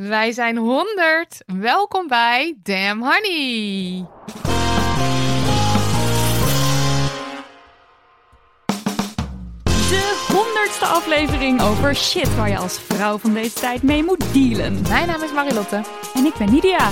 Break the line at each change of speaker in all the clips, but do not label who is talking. Wij zijn 100. Welkom bij Damn Honey.
De honderdste aflevering over shit waar je als vrouw van deze tijd mee moet dealen.
Mijn naam is Marilotte
En ik ben Nidia.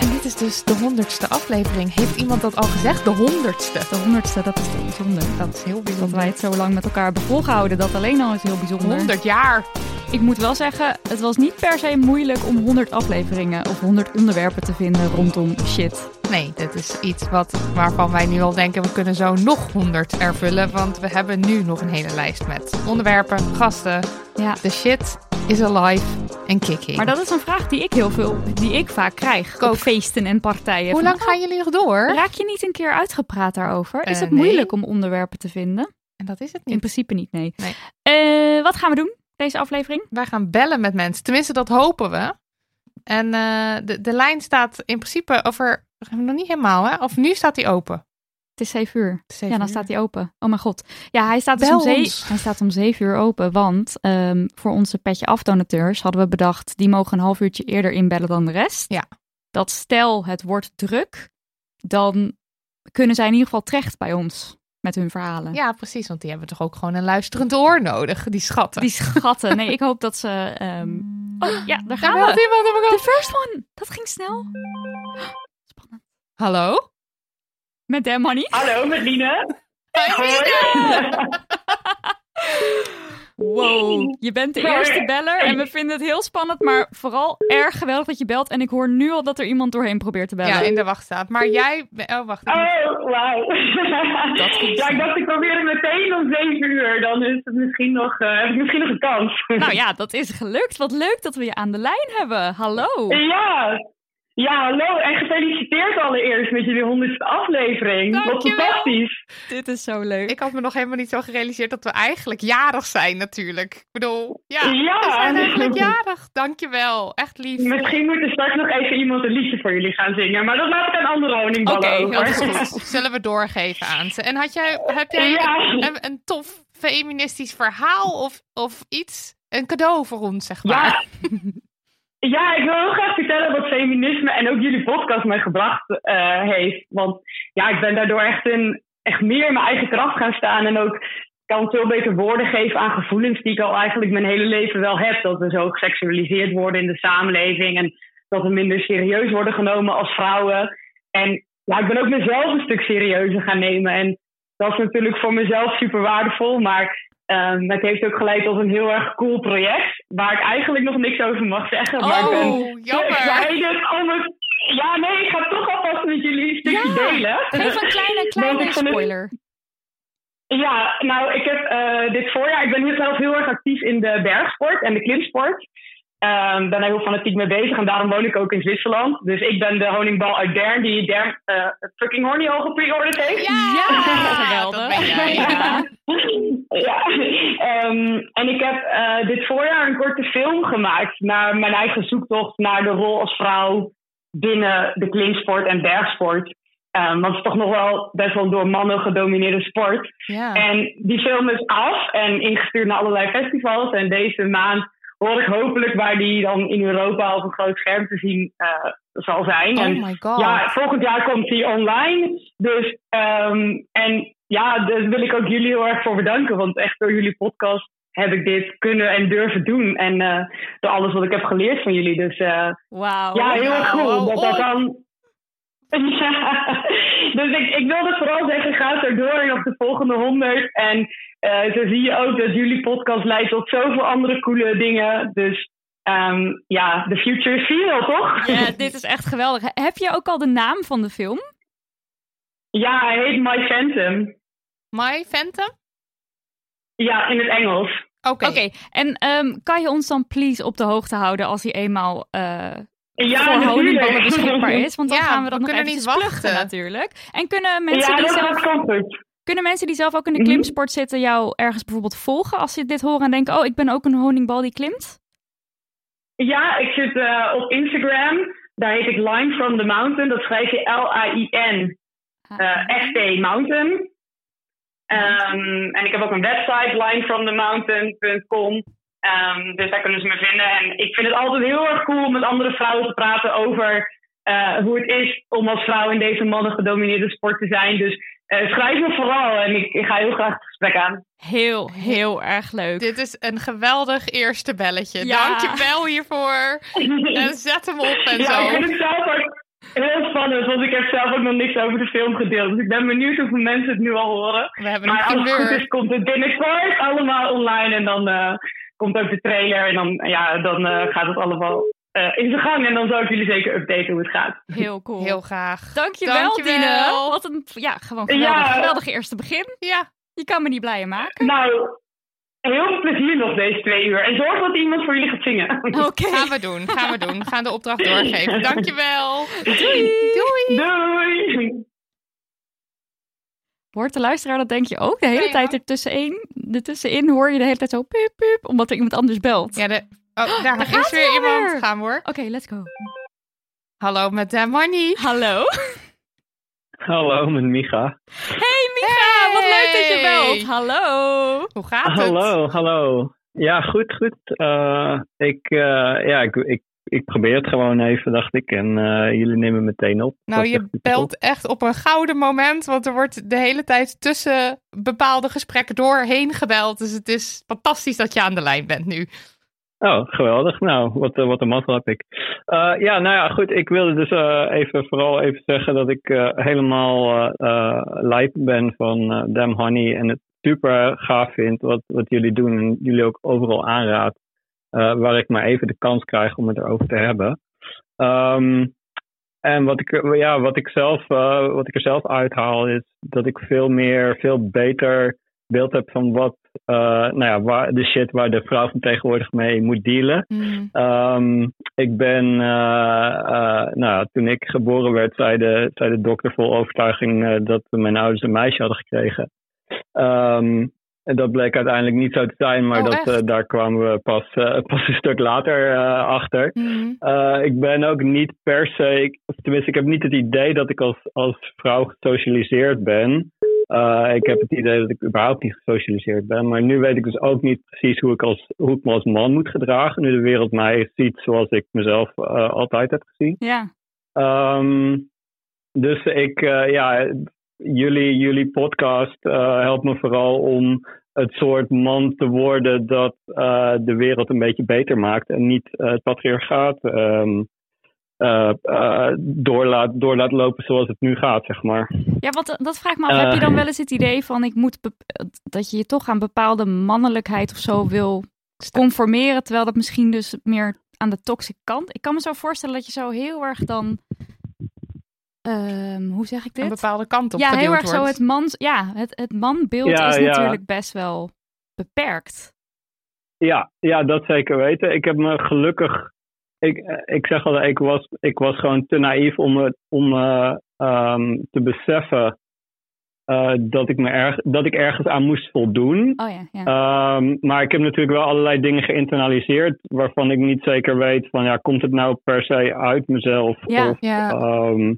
en dit is dus de 100ste aflevering. Heeft iemand dat al gezegd? De 100ste.
De honderdste, dat is heel bijzonder. Dat is heel bijzonder dat wij het zo lang met elkaar hebben volgehouden. Dat alleen al is heel bijzonder.
100 jaar.
Ik moet wel zeggen, het was niet per se moeilijk om 100 afleveringen of 100 onderwerpen te vinden rondom shit.
Nee, dit is iets wat, waarvan wij nu al denken we kunnen zo nog 100 ervullen. Want we hebben nu nog een hele lijst met onderwerpen, gasten.
Ja.
De shit is alive en kicking.
Maar dat is een vraag die ik heel veel, die ik vaak krijg.
Kook.
Op feesten en partijen.
Hoe
Van,
lang gaan jullie nog door?
"Ah, Raak je niet een keer uitgepraat daarover? Is
Eh,
het
nee.
moeilijk om onderwerpen te vinden?
En dat is het
In
niet.
principe niet, nee.
Nee.
Eh, wat gaan we doen deze aflevering?
Wij gaan bellen met mensen. Tenminste, dat hopen we. En eh, de, de lijn staat in principe over. Nog niet helemaal, hè? Of nu staat die open.
Het is 7 uur.
Het is zeven
Ja, dan
uur.
staat hij open. Oh mijn god. Ja, hij staat, dus om,
Bel
ze-
ons.
hij staat om 7 uur open. Want ehm, voor onze petje afdonateurs hadden we bedacht... die mogen een half uurtje eerder inbellen dan de rest.
Ja.
Dat stel het wordt druk... dan kunnen zij in ieder geval terecht bij ons met hun verhalen.
Ja, precies. Want die hebben toch ook gewoon een luisterend oor nodig, die schatten.
Die schatten. Nee, ik hoop dat ze... ehm, Oh, ja, daar
Mm. Daar
gaan
belt
we.
iemand op mijn
De
kant.
first one. Dat ging snel. Spannend.
Hallo?
Met Damn Money.
Hallo, met Line.
Wow, je bent de eerste beller en we vinden het heel spannend, maar vooral erg geweldig dat je belt. En ik hoor nu al dat er iemand doorheen probeert te bellen.
Ja, in de wacht staat. Maar jij. be- Oh, wacht.
Oh, wauw.
Dat ging
Ja, ik
snel.
dacht ik probeer het meteen om 7 uur. Dan is het misschien nog, eh, heb ik misschien nog een kans.
Nou ja, dat is gelukt. Wat leuk dat we je aan de lijn hebben. Hallo.
Ja. Ja, hallo en gefeliciteerd allereerst met jullie honderdste aflevering. Wat
Dankjewel.
fantastisch.
Dit is zo leuk.
Ik had me nog helemaal niet zo gerealiseerd dat we eigenlijk jarig zijn, natuurlijk. Ik bedoel, ja.
Ja.
We zijn eigenlijk jarig. Dankjewel. Echt lief.
Misschien moet er straks nog even iemand een liedje voor jullie gaan zingen. Maar dat laat ik aan andere honingballen over.
Dat is goed. Zullen we doorgeven aan ze. En had jij, heb jij
Ja.
een, een, een tof feministisch verhaal of, of iets? Een cadeau voor ons, zeg maar.
Ja. Ja, ik wil heel graag vertellen wat feminisme en ook jullie podcast mij gebracht eh, heeft. Want ja, ik ben daardoor echt, in, echt meer in mijn eigen kracht gaan staan. En ook kan veel beter woorden geven aan gevoelens die ik al eigenlijk mijn hele leven wel heb. Dat we zo geseksualiseerd worden in de samenleving. En dat we minder serieus worden genomen als vrouwen. En ja, ik ben ook mezelf een stuk serieuzer gaan nemen. En dat is natuurlijk voor mezelf super waardevol. Maar ehm, het heeft ook geleid tot een heel erg cool project. Waar ik eigenlijk nog niks over mag zeggen. Maar ik ben
Oh, jammer.
excited om het... Ja, nee, ik ga het toch alvast met jullie een stukje delen.
Geef een kleine,
Want
kleine
ik vond het-
spoiler.
Ja, nou, ik heb eh, dit voorjaar, ik ben heel- zelf heel erg actief in de bergsport en de klimsport. Ehm ben daar heel fanatiek mee bezig en daarom woon ik ook in Zwitserland. Dus ik ben de honingbal uit Dern die Dern eh, fucking horny al gepreorderd heeft.
Ja,
geweldig.
dat ben jij.
Ja.
Ja, ehm, en ik heb eh, dit voorjaar een korte film gemaakt naar mijn eigen zoektocht naar de rol als vrouw binnen de klimsport en bergsport. Ehm, want het is toch nog wel best wel door mannen gedomineerde sport.
Ja.
En die film is af en ingestuurd naar allerlei festivals. En deze maand hoor ik hopelijk waar die dan in Europa op een groot scherm te zien eh, zal zijn.
Oh
en
my god.
ja, volgend jaar komt die online. Dus, ehm, en ja, daar wil ik ook jullie heel erg voor bedanken. Want echt door jullie podcast heb ik dit kunnen en durven doen. En eh, door alles wat ik heb geleerd van jullie. Dus eh,
Wauw. oh.
ja, heel erg cool.
wauw,
dat dat dan... Ja, dus ik, ik wilde vooral zeggen, ga er door en op de volgende honderd. En eh, zo zie je ook dat jullie podcast leidt tot zoveel andere coole dingen. Dus ehm, ja, the future is female, toch?
Ja, dit is echt geweldig. He- Heb je ook al de naam van de film?
Ja, hij heet My Phantom.
My Phantom?
Ja, in het Engels.
Oké.
Oké, en ehm, kan je ons dan please op de hoogte houden als hij eenmaal eh
Ja,
voor honingballen
natuurlijk.
beschikbaar is? Want dan
Ja,
gaan we dat
we
nog
kunnen
eventjes
niet
wachten.
wachten.
natuurlijk. En kunnen mensen,
Ja,
die
dat
zelf, Nou,
gaat comfort.
kunnen mensen die zelf ook in de
Mhm.
klimsport zitten jou ergens bijvoorbeeld volgen als ze dit horen en denken, oh, ik ben ook een honingbal die klimt?
Ja, ik zit eh, op Instagram. Daar heet ik Line from the Mountain. Dat schrijf je L-A-I-N. eh, F-T Mountain. Ehm, en ik heb ook een website, linefromthemountain.com. Ehm, dus daar kunnen ze me vinden. En ik vind het altijd heel erg cool om met andere vrouwen te praten over eh, hoe het is om als vrouw in deze mannen gedomineerde sport te zijn. Dus eh, schrijf me vooral en ik, ik ga heel graag het gesprek aan.
Heel, heel erg leuk.
Dit is een geweldig eerste belletje.
Ja.
Dankjewel hiervoor. En zet hem op en
Ja,
zo.
ik vind het zelf ook heel spannend, want ik heb zelf ook nog niks over de film gedeeld. Dus ik ben benieuwd hoeveel mensen het nu al horen.
We hebben
Maar
hem
als het goed
gekleurd.
is, komt het binnenkort allemaal online en dan eh, komt ook de trailer en dan, ja, dan eh, gaat het allemaal eh, in zijn gang. En dan zal ik jullie zeker updaten hoe het gaat.
Heel cool.
Heel graag.
Dankjewel,
Dankjewel.
Dine. Wat een ja, gewoon geweldig,
Ja.
geweldig eerste begin.
Ja,
Je kan me niet blijer maken.
Nou, heel veel plezier nog deze twee uur. En zorg dat iemand voor jullie gaat zingen.
Oké.
gaan we doen. Gaan we doen. We gaan de opdracht doorgeven. Dankjewel. Doei. Doei.
Doei!
Hoort de luisteraar dat denk je ook? De hele
Ja, ja.
tijd ertussenin, ertussenin hoor je de hele tijd zo piep piep, omdat er iemand anders belt.
Ja, de, oh, daar,
gaat
is
ze
weer
alweer.
iemand. Gaan we hoor.
Oké, let's go. Ah,
Hallo met eh, Damani.
Hallo.
Hallo, met Micha.
Hey Micha, wat leuk dat je
Hey.
belt. Hallo.
Hoe gaat het?
Hallo, hallo. Ja, goed, goed. Eh, ik, eh, ja, ik, ik, ik probeer het gewoon even, dacht ik. En eh, jullie nemen meteen op.
Nou,
Dat is
je
echt super
belt echt op een gouden moment, want er wordt de hele tijd tussen bepaalde gesprekken doorheen gebeld. Dus het is fantastisch dat je aan de lijn bent nu.
Oh, geweldig. Nou, wat, eh, wat een mazzel heb ik. Eh, ja, nou ja, goed. Ik wilde dus eh, even, vooral even zeggen dat ik eh, helemaal eh eh, lijp ben van eh Damn Honey. En het super gaaf vind wat, wat jullie doen. En jullie ook overal aanraad. eh, waar ik maar even de kans krijg om het erover te hebben. Ehm, en wat ik, eh, ja, wat, ik zelf, eh, wat ik er zelf uithaal is dat ik veel meer, veel beter beeld heb van wat eh, nou ja, waar, de shit waar de vrouw van tegenwoordig mee moet dealen. Ehm, ik ben, eh, eh, nou, toen ik geboren werd, zei de, zei de dokter vol overtuiging eh, dat mijn ouders een meisje hadden gekregen. Ehm, en dat bleek uiteindelijk niet zo te zijn, maar
Oh,
dat,
echt?
eh, daar kwamen we pas, eh, pas een stuk later eh, achter.
Mhm.
Eh, ik ben ook niet per se, ik- of tenminste, ik heb niet het idee dat ik als, als vrouw gesocialiseerd ben. Eh, ik heb het idee dat ik überhaupt niet gesocialiseerd ben. Maar nu weet ik dus ook niet precies hoe ik, als, hoe ik me als man moet gedragen. Nu de wereld mij ziet zoals ik mezelf eh, altijd heb gezien.
Ja.
Ehm, dus ik, eh, ja, jullie, jullie podcast eh, helpt me vooral om het soort man te worden dat eh, de wereld een beetje beter maakt en niet eh, het patriarchaat ehm, eh, eh, door, laat, door laat lopen zoals het nu gaat, zeg maar.
Ja, want eh, dat vraag ik me af.
Eh.
Heb je dan wel eens het idee van ik moet bep- eh, dat je je toch aan bepaalde mannelijkheid of zo wil conformeren, terwijl dat misschien dus meer aan de toxic kant. Ik kan me zo voorstellen dat je zo heel erg dan ehm, hoe zeg ik dit?
Een bepaalde kant op
ja, heel
geduwd
erg zo
wordt.
het mans, ja, het, het manbeeld
Ja,
is
ja.
natuurlijk best wel beperkt.
Ja, ja, dat zeker weten. Ik heb me gelukkig. Ik, eh, ik zeg al, ik was, ik was gewoon te naïef om, het- om eh, ehm, te beseffen eh, dat, ik me erg, dat ik ergens aan moest voldoen.
Oh ja, ja.
Ehm, maar ik heb natuurlijk wel allerlei dingen geïnternaliseerd waarvan ik niet zeker weet van ja, komt het nou per se uit mezelf?
Ja.
Of,
Ja.
ehm,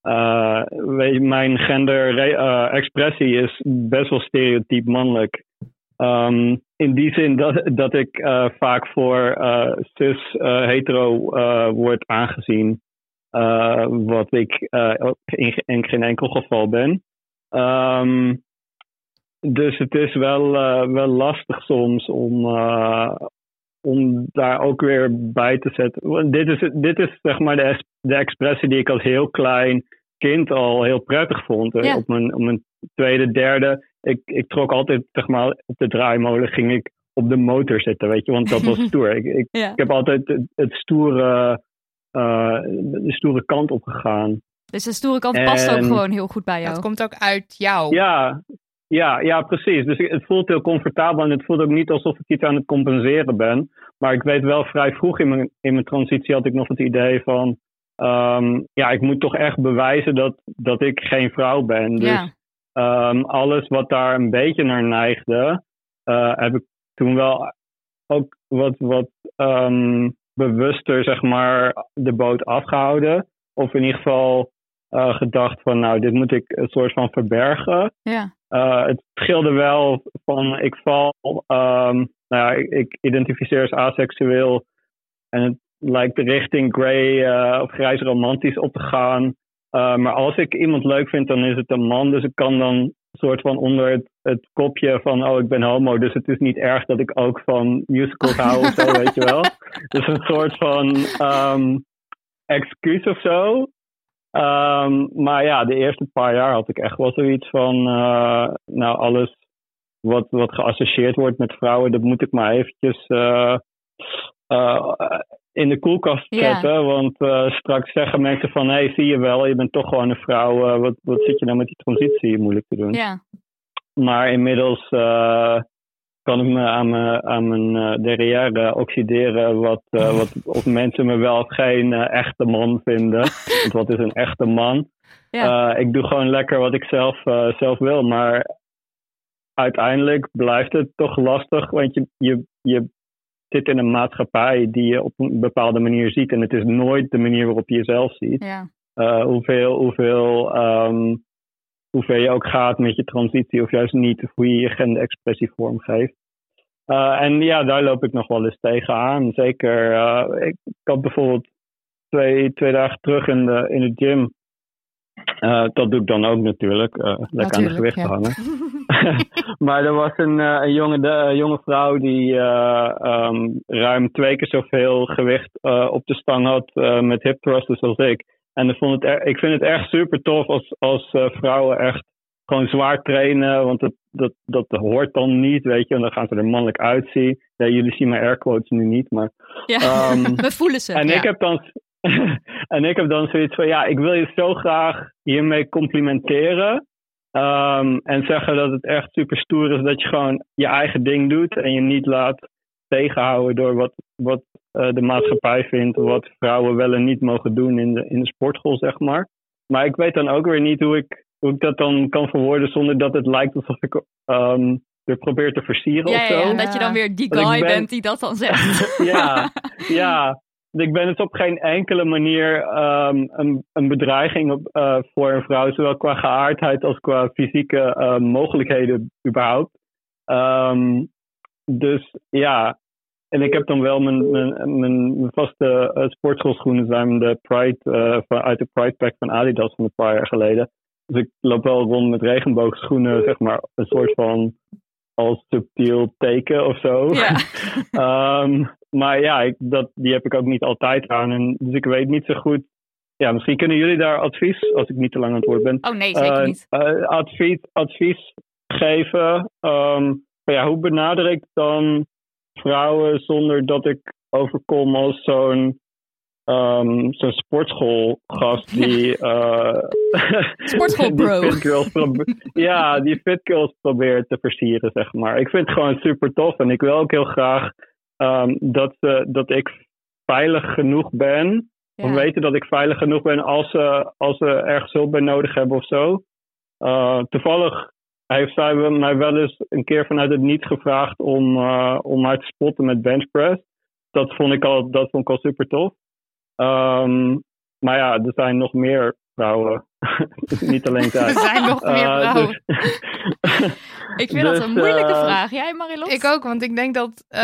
eh, weet je, mijn gender-expressie is best wel stereotyp mannelijk. Ehm, in die zin dat, dat ik eh, vaak voor eh, cis eh, hetero eh, word aangezien. eh, wat ik eh, ook in, in geen enkel geval ben. Ehm, Dus het is wel, eh, wel lastig soms om, eh, om daar ook weer bij te zetten. Want dit is, dit is zeg maar de, es- de expressie die ik als heel klein kind al heel prettig vond. Eh,
Ja.
Op, mijn, op mijn tweede, derde. Ik, ik trok altijd zeg maar, op de draaimolen ging ik op de motor zitten, weet je. Want dat was stoer. ik, ik,
Ja.
ik heb altijd het, het stoere, eh, de stoere kant opgegaan.
Dus de stoere kant past ook
En-
gewoon heel goed bij jou.
Dat komt ook uit jou.
Ja, ja, ja, precies. Dus ik- het voelt heel comfortabel en het voelt ook niet alsof ik iets aan het compenseren ben. Maar ik weet wel, vrij vroeg in mijn, in mijn transitie had ik nog het idee van... ehm, ja, ik moet toch echt bewijzen dat, dat ik geen vrouw ben. Dus
ja.
ehm, alles wat daar een beetje naar neigde, eh, heb ik toen wel ook wat, wat ehm, bewuster, zeg maar, de boot afgehouden. Of in ieder geval eh, gedacht van, nou, dit moet ik een soort van verbergen.
ja.
Eh, het scheelde wel van ik val, ehm, nou ja, ik, ik identificeer als aseksueel en het lijkt de richting grey eh, of grijs romantisch op te gaan. Eh, maar als ik iemand leuk vind, dan is het een man, dus ik kan dan een soort van onder het, het kopje van oh ik ben homo, dus het is niet erg dat ik ook van musicals hou of zo, weet je wel. Dus een soort van ehm, excuus of zo. Ehm, maar ja, de eerste paar jaar had ik echt wel zoiets van, eh, nou alles wat, wat geassocieerd wordt met vrouwen, dat moet ik maar eventjes eh, eh, in de koelkast
Ja.
zetten. Want eh, straks zeggen mensen van, hé, hey, zie je wel, je bent toch gewoon een vrouw. eh, wat, wat zit je nou met die transitie moeilijk te doen?
ja.
Maar inmiddels eh, kan ik me aan mijn, aan mijn eh, derrière oxideren. Wat, eh, wat, of mensen me wel of geen eh, echte man vinden. Want wat is een echte man?
Ja.
Eh, ik doe gewoon lekker wat ik zelf, eh, zelf wil. Maar uiteindelijk blijft het toch lastig. Want je, je, je zit in een maatschappij die je op een bepaalde manier ziet. En het is nooit de manier waarop je jezelf ziet.
ja.
Eh, hoeveel, hoeveel, ehm, hoeveel je ook gaat met je transitie, of juist niet, of hoe je je genderexpressie vormgeeft. Eh, en ja, daar loop ik nog wel eens tegenaan. Zeker, eh, ik, ik had bijvoorbeeld twee, twee dagen terug in de, in de gym. Eh, dat doe ik dan ook natuurlijk, eh, lekker aan de
Natuurlijk,
gewicht
ja.
hangen. maar er was een, eh, een jonge, de, een jonge vrouw die eh, ehm, ruim twee keer zoveel gewicht eh, op de stang had eh, met hip thrusters als ik. En ik, vond het er- ik vind het echt super tof als, als eh, vrouwen echt gewoon zwaar trainen. Want dat, dat, dat hoort dan niet, weet je. En dan gaan ze er mannelijk uitzien. Ja, jullie zien mijn airquotes nu niet, maar...
Ja.
ehm,
We voelen ze.
en,
ja.
ik heb dan, en ik heb dan zoiets van, ja, ik wil je zo graag hiermee complimenteren. ehm, en zeggen dat het echt super stoer is dat je gewoon je eigen ding doet. En je niet laat tegenhouden door wat, wat eh, de maatschappij vindt. Wat vrouwen wel en niet mogen doen in de, in de sportschool, zeg maar. Maar ik weet dan ook weer niet hoe ik, hoe ik dat dan kan verwoorden zonder dat het lijkt alsof ik ehm, er probeer te versieren
Ja,
of
ja,
zo
ja, dat je dan weer die
Want ik
guy
ben-
bent die dat dan zegt.
ja, ja. Ik ben het op geen enkele manier ehm, een, een bedreiging op, eh, voor een vrouw, zowel qua geaardheid als qua fysieke eh, mogelijkheden überhaupt. Ehm, dus ja, en ik heb dan wel mijn, mijn, mijn, mijn vaste eh, sportschoolschoenen zijn de Pride, eh, van, uit de Pride Pack van Adidas van een paar jaar geleden. Dus ik loop wel rond met regenboogschoenen, zeg maar, een soort van als subtiel teken of zo.
Ja.
Ehm, maar ja, ik, dat, die heb ik ook niet altijd aan. En, dus ik weet niet zo goed. Ja, misschien kunnen jullie daar advies, als ik niet te lang aan het woord ben.
Oh nee, zeker
eh,
niet.
eh, advies, advies geven. Ehm, maar ja, hoe benader ik dan vrouwen zonder dat ik overkom als zo'n ehm zo'n sportschoolgast die... eh
Sportschoolbro.
die fit girls probe- ja, die fit girls probeert te versieren, zeg maar. Ik vind het gewoon super tof en ik wil ook heel graag ehm, dat, ze, dat ik veilig genoeg ben of
Ja.
weten dat ik veilig genoeg ben als ze, als ze ergens hulp bij nodig hebben of zo. Eh, toevallig heeft zij mij wel eens een keer vanuit het niet gevraagd om, eh, om haar te spotten met benchpress. Dat vond ik al, dat vond ik al super tof. Ehm, maar ja, er zijn nog meer vrouwen Niet alleen
Er
thuis.
zijn nog meer
Eh,
vrouwen.
dus-
Ik vind dat
Dus,
een moeilijke
eh,
vraag. Jij, Marilot?
Ik ook, want ik denk dat eh,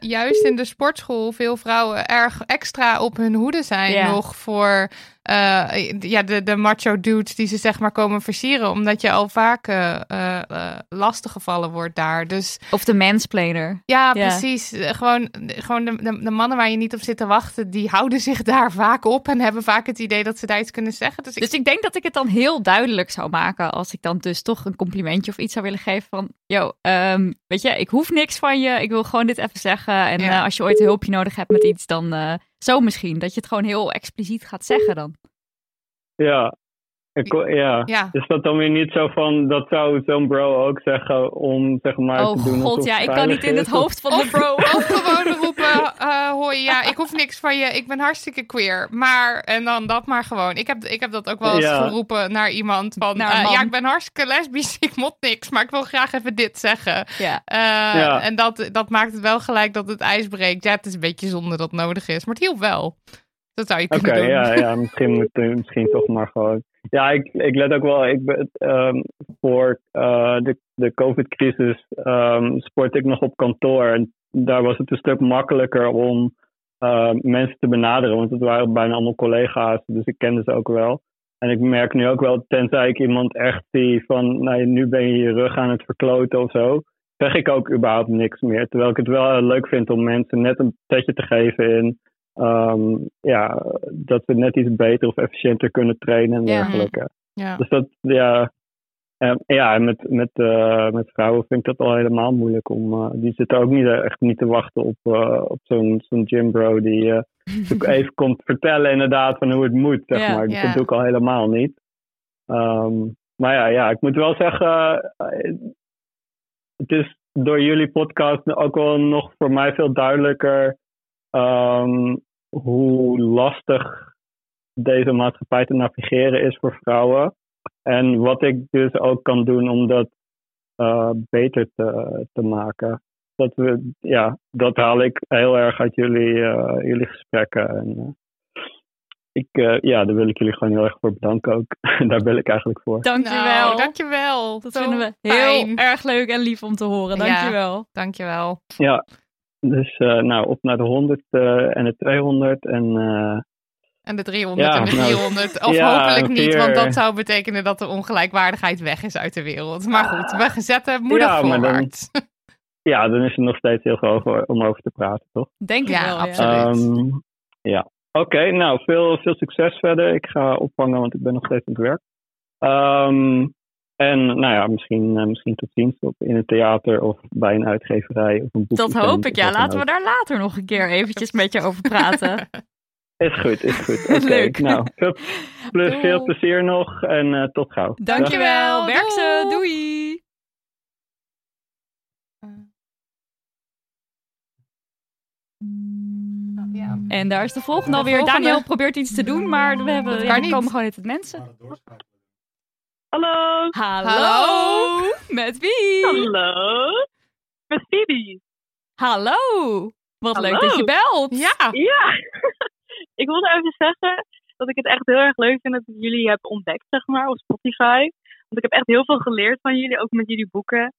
juist in de sportschool veel vrouwen erg extra op hun hoede zijn
Ja.
nog voor eh, ja, de, de macho dudes die ze zeg maar komen versieren. Omdat je al vaak eh eh, eh, lastiggevallen wordt daar. Dus
Of de mansplainer.
ja,
Ja.
precies. Eh, Gewoon, gewoon de, de, de mannen waar je niet op zit te wachten, die houden zich daar vaak op en hebben vaak het idee dat ze daar iets kunnen zeggen. Dus ik
Dus ik denk dat ik het dan heel duidelijk zou maken als ik dan dus toch een complimentje of iets zou willen geven van, yo, ehm, weet je, ik hoef niks van je, ik wil gewoon dit even zeggen. En
Ja.
eh, als je ooit hulpje nodig hebt met iets, dan eh, zo misschien. Dat je het gewoon heel expliciet gaat zeggen dan.
ja. Ik, ja.
ja,
Is dat dan weer niet zo van, dat zou zo'n bro ook zeggen om zeg maar te
oh
doen alsof
god,
het
ja, ik kan
veilig
niet in
is?
het hoofd van de bro.
Of gewoon roepen, eh hoi, ja, ik hoef niks van je, ik ben hartstikke queer. Maar, en dan dat maar gewoon. Ik heb, ik heb dat ook wel eens
Ja.
geroepen naar iemand van,
Naar een
eh,
man.
ja, ik ben hartstikke lesbisch, ik mot niks, maar ik wil graag even dit zeggen.
Ja.
Eh,
Ja.
En dat, dat maakt het wel gelijk dat het ijs breekt. Ja, het is een beetje zonde dat het nodig is, maar het hielp wel. Dat zou je
Oké,
kunnen doen.
ja, ja, misschien moet eh, misschien toch maar gewoon. Ja, ik, ik let ook wel. Ik ben, ehm, voor eh, de, de COVID-crisis ehm, sport ik nog op kantoor. En daar was het een stuk makkelijker om eh, mensen te benaderen, want het waren bijna allemaal collega's, dus ik kende ze ook wel. En ik merk nu ook wel, tenzij ik iemand echt zie van, nou, nu ben je je rug aan het verkloten of zo, zeg ik ook überhaupt niks meer. Terwijl ik het wel eh, leuk vind om mensen net een petje te geven in ehm, ja, dat we net iets beter of efficiënter kunnen trainen en
Ja.
dergelijke.
Ja.
Dus dat, ja. En, ja, en met, met, eh, met vrouwen vind ik dat al helemaal moeilijk om. eh, die zitten ook niet eh, echt niet te wachten op, eh, op zo'n zo'n gymbro die eh, even komt vertellen inderdaad van hoe het moet, zeg
Ja,
maar. Dus
ja.
dat doe ik al helemaal niet. Ehm, maar ja, ja, ik moet wel zeggen, eh, het is door jullie podcast ook wel nog voor mij veel duidelijker ehm, hoe lastig deze maatschappij te navigeren is voor vrouwen. En wat ik dus ook kan doen om dat eh, beter te, te maken. Dat, we, ja, dat haal ik heel erg uit jullie, eh, jullie gesprekken. En, eh, ik, eh, ja, daar wil ik jullie gewoon heel erg voor bedanken ook. daar ben ik eigenlijk voor.
Dankjewel.
Nou, dankjewel.
dat
Zo
vinden we heel
fijn.
erg leuk en lief om te horen.
Ja.
Dankjewel.
Dankjewel.
Ja, dus eh, nou, op naar de 100 eh, en de 200 en... eh,
En de 300
Ja,
en de
nou,
400. Of
ja,
hopelijk niet,
vier.
want dat zou betekenen dat de ongelijkwaardigheid weg is uit de wereld. Maar goed, we zetten moedig
Ja, maar dan-
voorwaarts.
ja, dan is het nog steeds heel veel over- om over te praten, toch?
Denk ik
Ja,
wel.
absoluut. Absoluut.
Ehm, ja. Oké, nou, veel, veel succes verder. Ik ga opvangen, want ik ben nog steeds aan het werk. Ehm, en nou ja, misschien, eh, misschien tot ziens op, in een theater of bij een uitgeverij. Of een
Dat hoop ik, ja. Laten we
dat.
daar later nog een keer eventjes met je over praten.
Is goed, is goed. Oké,
Leuk.
Nou, veel, plus,
Doei.
veel plezier nog en eh, tot gauw. Dag.
Dankjewel.
Dag.
Werk ze.
Doeg.
Doei.
Oh, Ja.
En daar is de volgende alweer.
volgende.
Daniel probeert iets te doen, maar we hebben, ja,
kan
er
niet.
komen gewoon niet het mensen.
Hallo.
Hallo.
Hallo.
Met wie?
Hallo. Met Phoebe.
Hallo. Wat leuk dat je belt.
Ja,
Ja. ik wilde even zeggen dat ik het echt heel erg leuk vind dat ik jullie heb ontdekt, zeg maar, op Spotify. Want ik heb echt heel veel geleerd van jullie, ook met jullie boeken.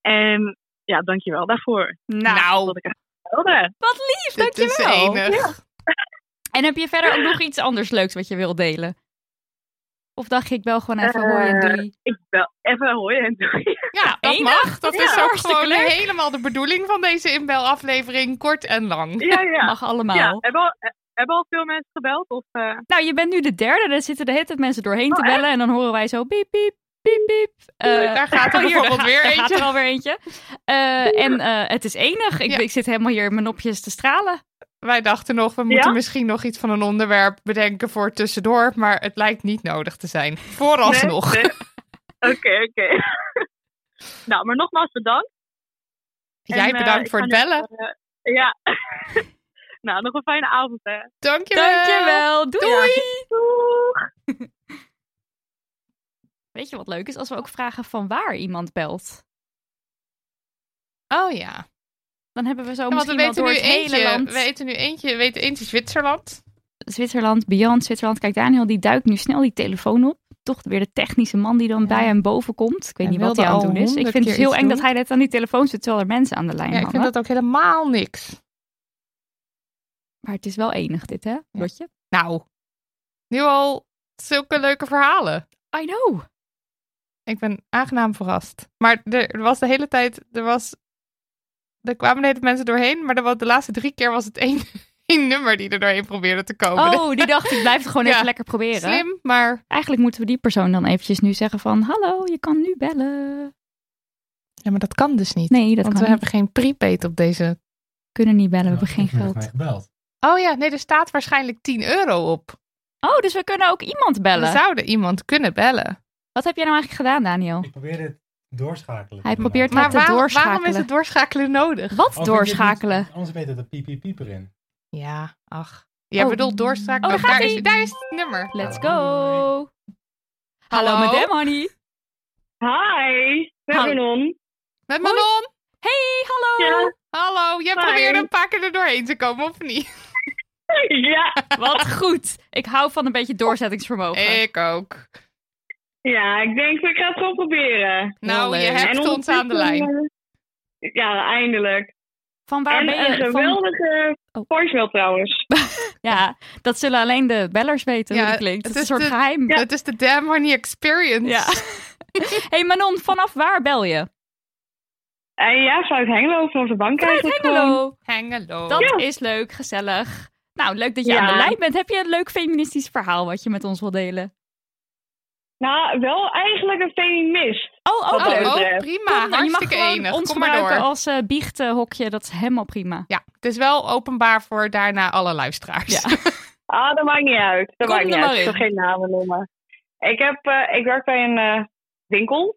En ja, dankjewel daarvoor.
Nou,
Dat ik echt wilde.
wat lief.
dit is
Dankjewel.
enig.
En heb je verder ook nog iets anders leuks wat je wil delen? Of dacht je, ik bel gewoon even hoor
Eh,
en doei.
Eh, Ik bel even hoi en doei.
Ja, dat
Enig.
mag. Dat
Ja,
is ook
hartstikke
gewoon
leuk.
helemaal de bedoeling van deze inbelaflevering. Kort en lang.
Ja, ja.
Mag allemaal.
ja. Hebben, al, eh, hebben al veel mensen gebeld? Of, eh,
Nou, je bent nu de derde. Er zitten de hele tijd mensen doorheen
Oh,
te bellen. En dan horen wij zo piep, piep, piep, piep. Eh,
Daar gaat er
Oh, hier,
bijvoorbeeld
daar
weer
gaat, Daar gaat
eentje.
er alweer eentje. Eh, en eh, het is enig. Ik,
Ja.
ik zit helemaal hier in mijn nopjes te stralen.
Wij dachten nog, we moeten misschien nog iets van een onderwerp bedenken voor tussendoor. Maar het lijkt niet nodig te zijn. Vooralsnog.
nee, nee. Oké, oké. nou, maar nogmaals bedankt.
Jij
En, eh,
bedankt
ik
voor
ga
het
nu,
bellen.
eh, ja. nou, nog een fijne avond, hè.
Dankjewel.
Dankjewel. Doei.
Doei.
Doeg!
Weet je wat leuk is? Als we ook vragen van waar iemand belt.
Oh ja.
Dan hebben we zo
Ja, want we
misschien wel
weten,
door
nu
het hele
eentje,
land.
we weten nu eentje, we weten eentje Zwitserland.
Zwitserland, Beyond Zwitserland. Kijk, Daniel die duikt nu snel die telefoon op. toch weer de technische man die dan bij hem boven komt. Ik weet
Hij
niet wat
wilde
hij aan het
al
doen is. Ik
honderd
vind het
keer
heel
iets
eng dat
doen.
hij net aan die telefoon zit terwijl er mensen aan de lijn
Ja, ik
hangen.
vind dat ook helemaal niks.
Maar het is wel enig dit, hè? Lotje?
Nou, nu al zulke leuke verhalen.
I know.
Ik ben aangenaam verrast. Maar er was de hele tijd, er was, er kwamen de hele tijd mensen doorheen, maar er was, de laatste drie keer was het één, één nummer die er doorheen probeerde te komen.
Oh, die dacht ik blijf het gewoon
Ja.
even lekker proberen.
Slim, maar...
Eigenlijk moeten we die persoon dan eventjes nu zeggen van... Hallo, je kan nu bellen.
Ja, maar dat kan dus niet.
Nee, dat
want we
kan niet.
hebben geen prepaid op deze.
kunnen niet bellen, we hebben geen geld.
gebeld.
Oh ja, nee, er staat waarschijnlijk 10 euro op.
Oh, dus we kunnen ook iemand
We
bellen.
zouden iemand kunnen bellen.
Wat heb jij nou eigenlijk gedaan, Daniel?
Ik probeer het doorschakelen.
Hij probeert
maar
Maar
Maar
te
waarom, waarom
doorschakelen.
is het doorschakelen nodig?
Wat doorschakelen?
Anders weet het een piep piep piep erin.
Ja, ach. Jij
Oh.
bedoelt doorschakelen.
Oh, daar gaat
is,
ie.
daar is het nummer.
Let's go. Hallo,
Hallo.
madame, honey.
Hi, Vernon.
Met Manon.
Hey, hallo.
Ja.
Hallo, jij
Hi.
probeerde een paar keer er doorheen te komen, of niet?
Ja,
Wat goed. Ik hou van een beetje doorzettingsvermogen.
Ik ook.
ja, ik denk ik ga het gewoon proberen.
Nou, je
leuk.
hebt ons aan de
ondertussen,
lijn.
eh, Ja, eindelijk.
Van waar
en
ben je?
een
Van...
geweldige
Oh.
voicemail trouwens.
Ja, dat zullen alleen de bellers weten
Ja,
hoe dat klinkt. Het
het
is een
is
soort
de-
geheim. Ja.
Het is de Damn Honey Experience.
hey Manon, vanaf waar bel je?
En Eh, ja, vanuit Hengelo, vanaf de bank
Vanuit
eigenlijk gewoon.
Hengelo.
Hengelo.
Dat is leuk, gezellig. Nou, leuk dat je
Ja.
aan de lijn bent. Heb je een leuk feministisch verhaal wat je met ons wil delen?
Nou, wel eigenlijk een feminist.
Oh, ook
Wat
Oh,
leuk.
betreft.
oh,
Kom,
prima.
nou, je mag
Hartstikke
gewoon
enig.
ons
Kom maar
gebruiken
door.
als eh biechtenhokje. Dat is helemaal prima.
Ja, het is wel openbaar voor daarna alle luisteraars.
Ja.
Ah, dat maakt niet uit. Dat
Kom
maakt niet
er maar
uit. Ik zal
in.
geen namen noemen. Ik, heb, eh, ik werk bij een eh, winkel.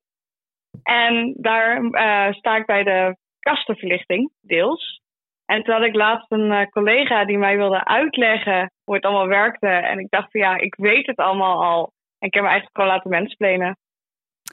En daar eh, sta ik bij de kastenverlichting, deels. En toen had ik laatst een eh, collega die mij wilde uitleggen hoe het allemaal werkte. En ik dacht van ja, ik weet het allemaal al. En ik heb me eigenlijk gewoon laten mensplenen.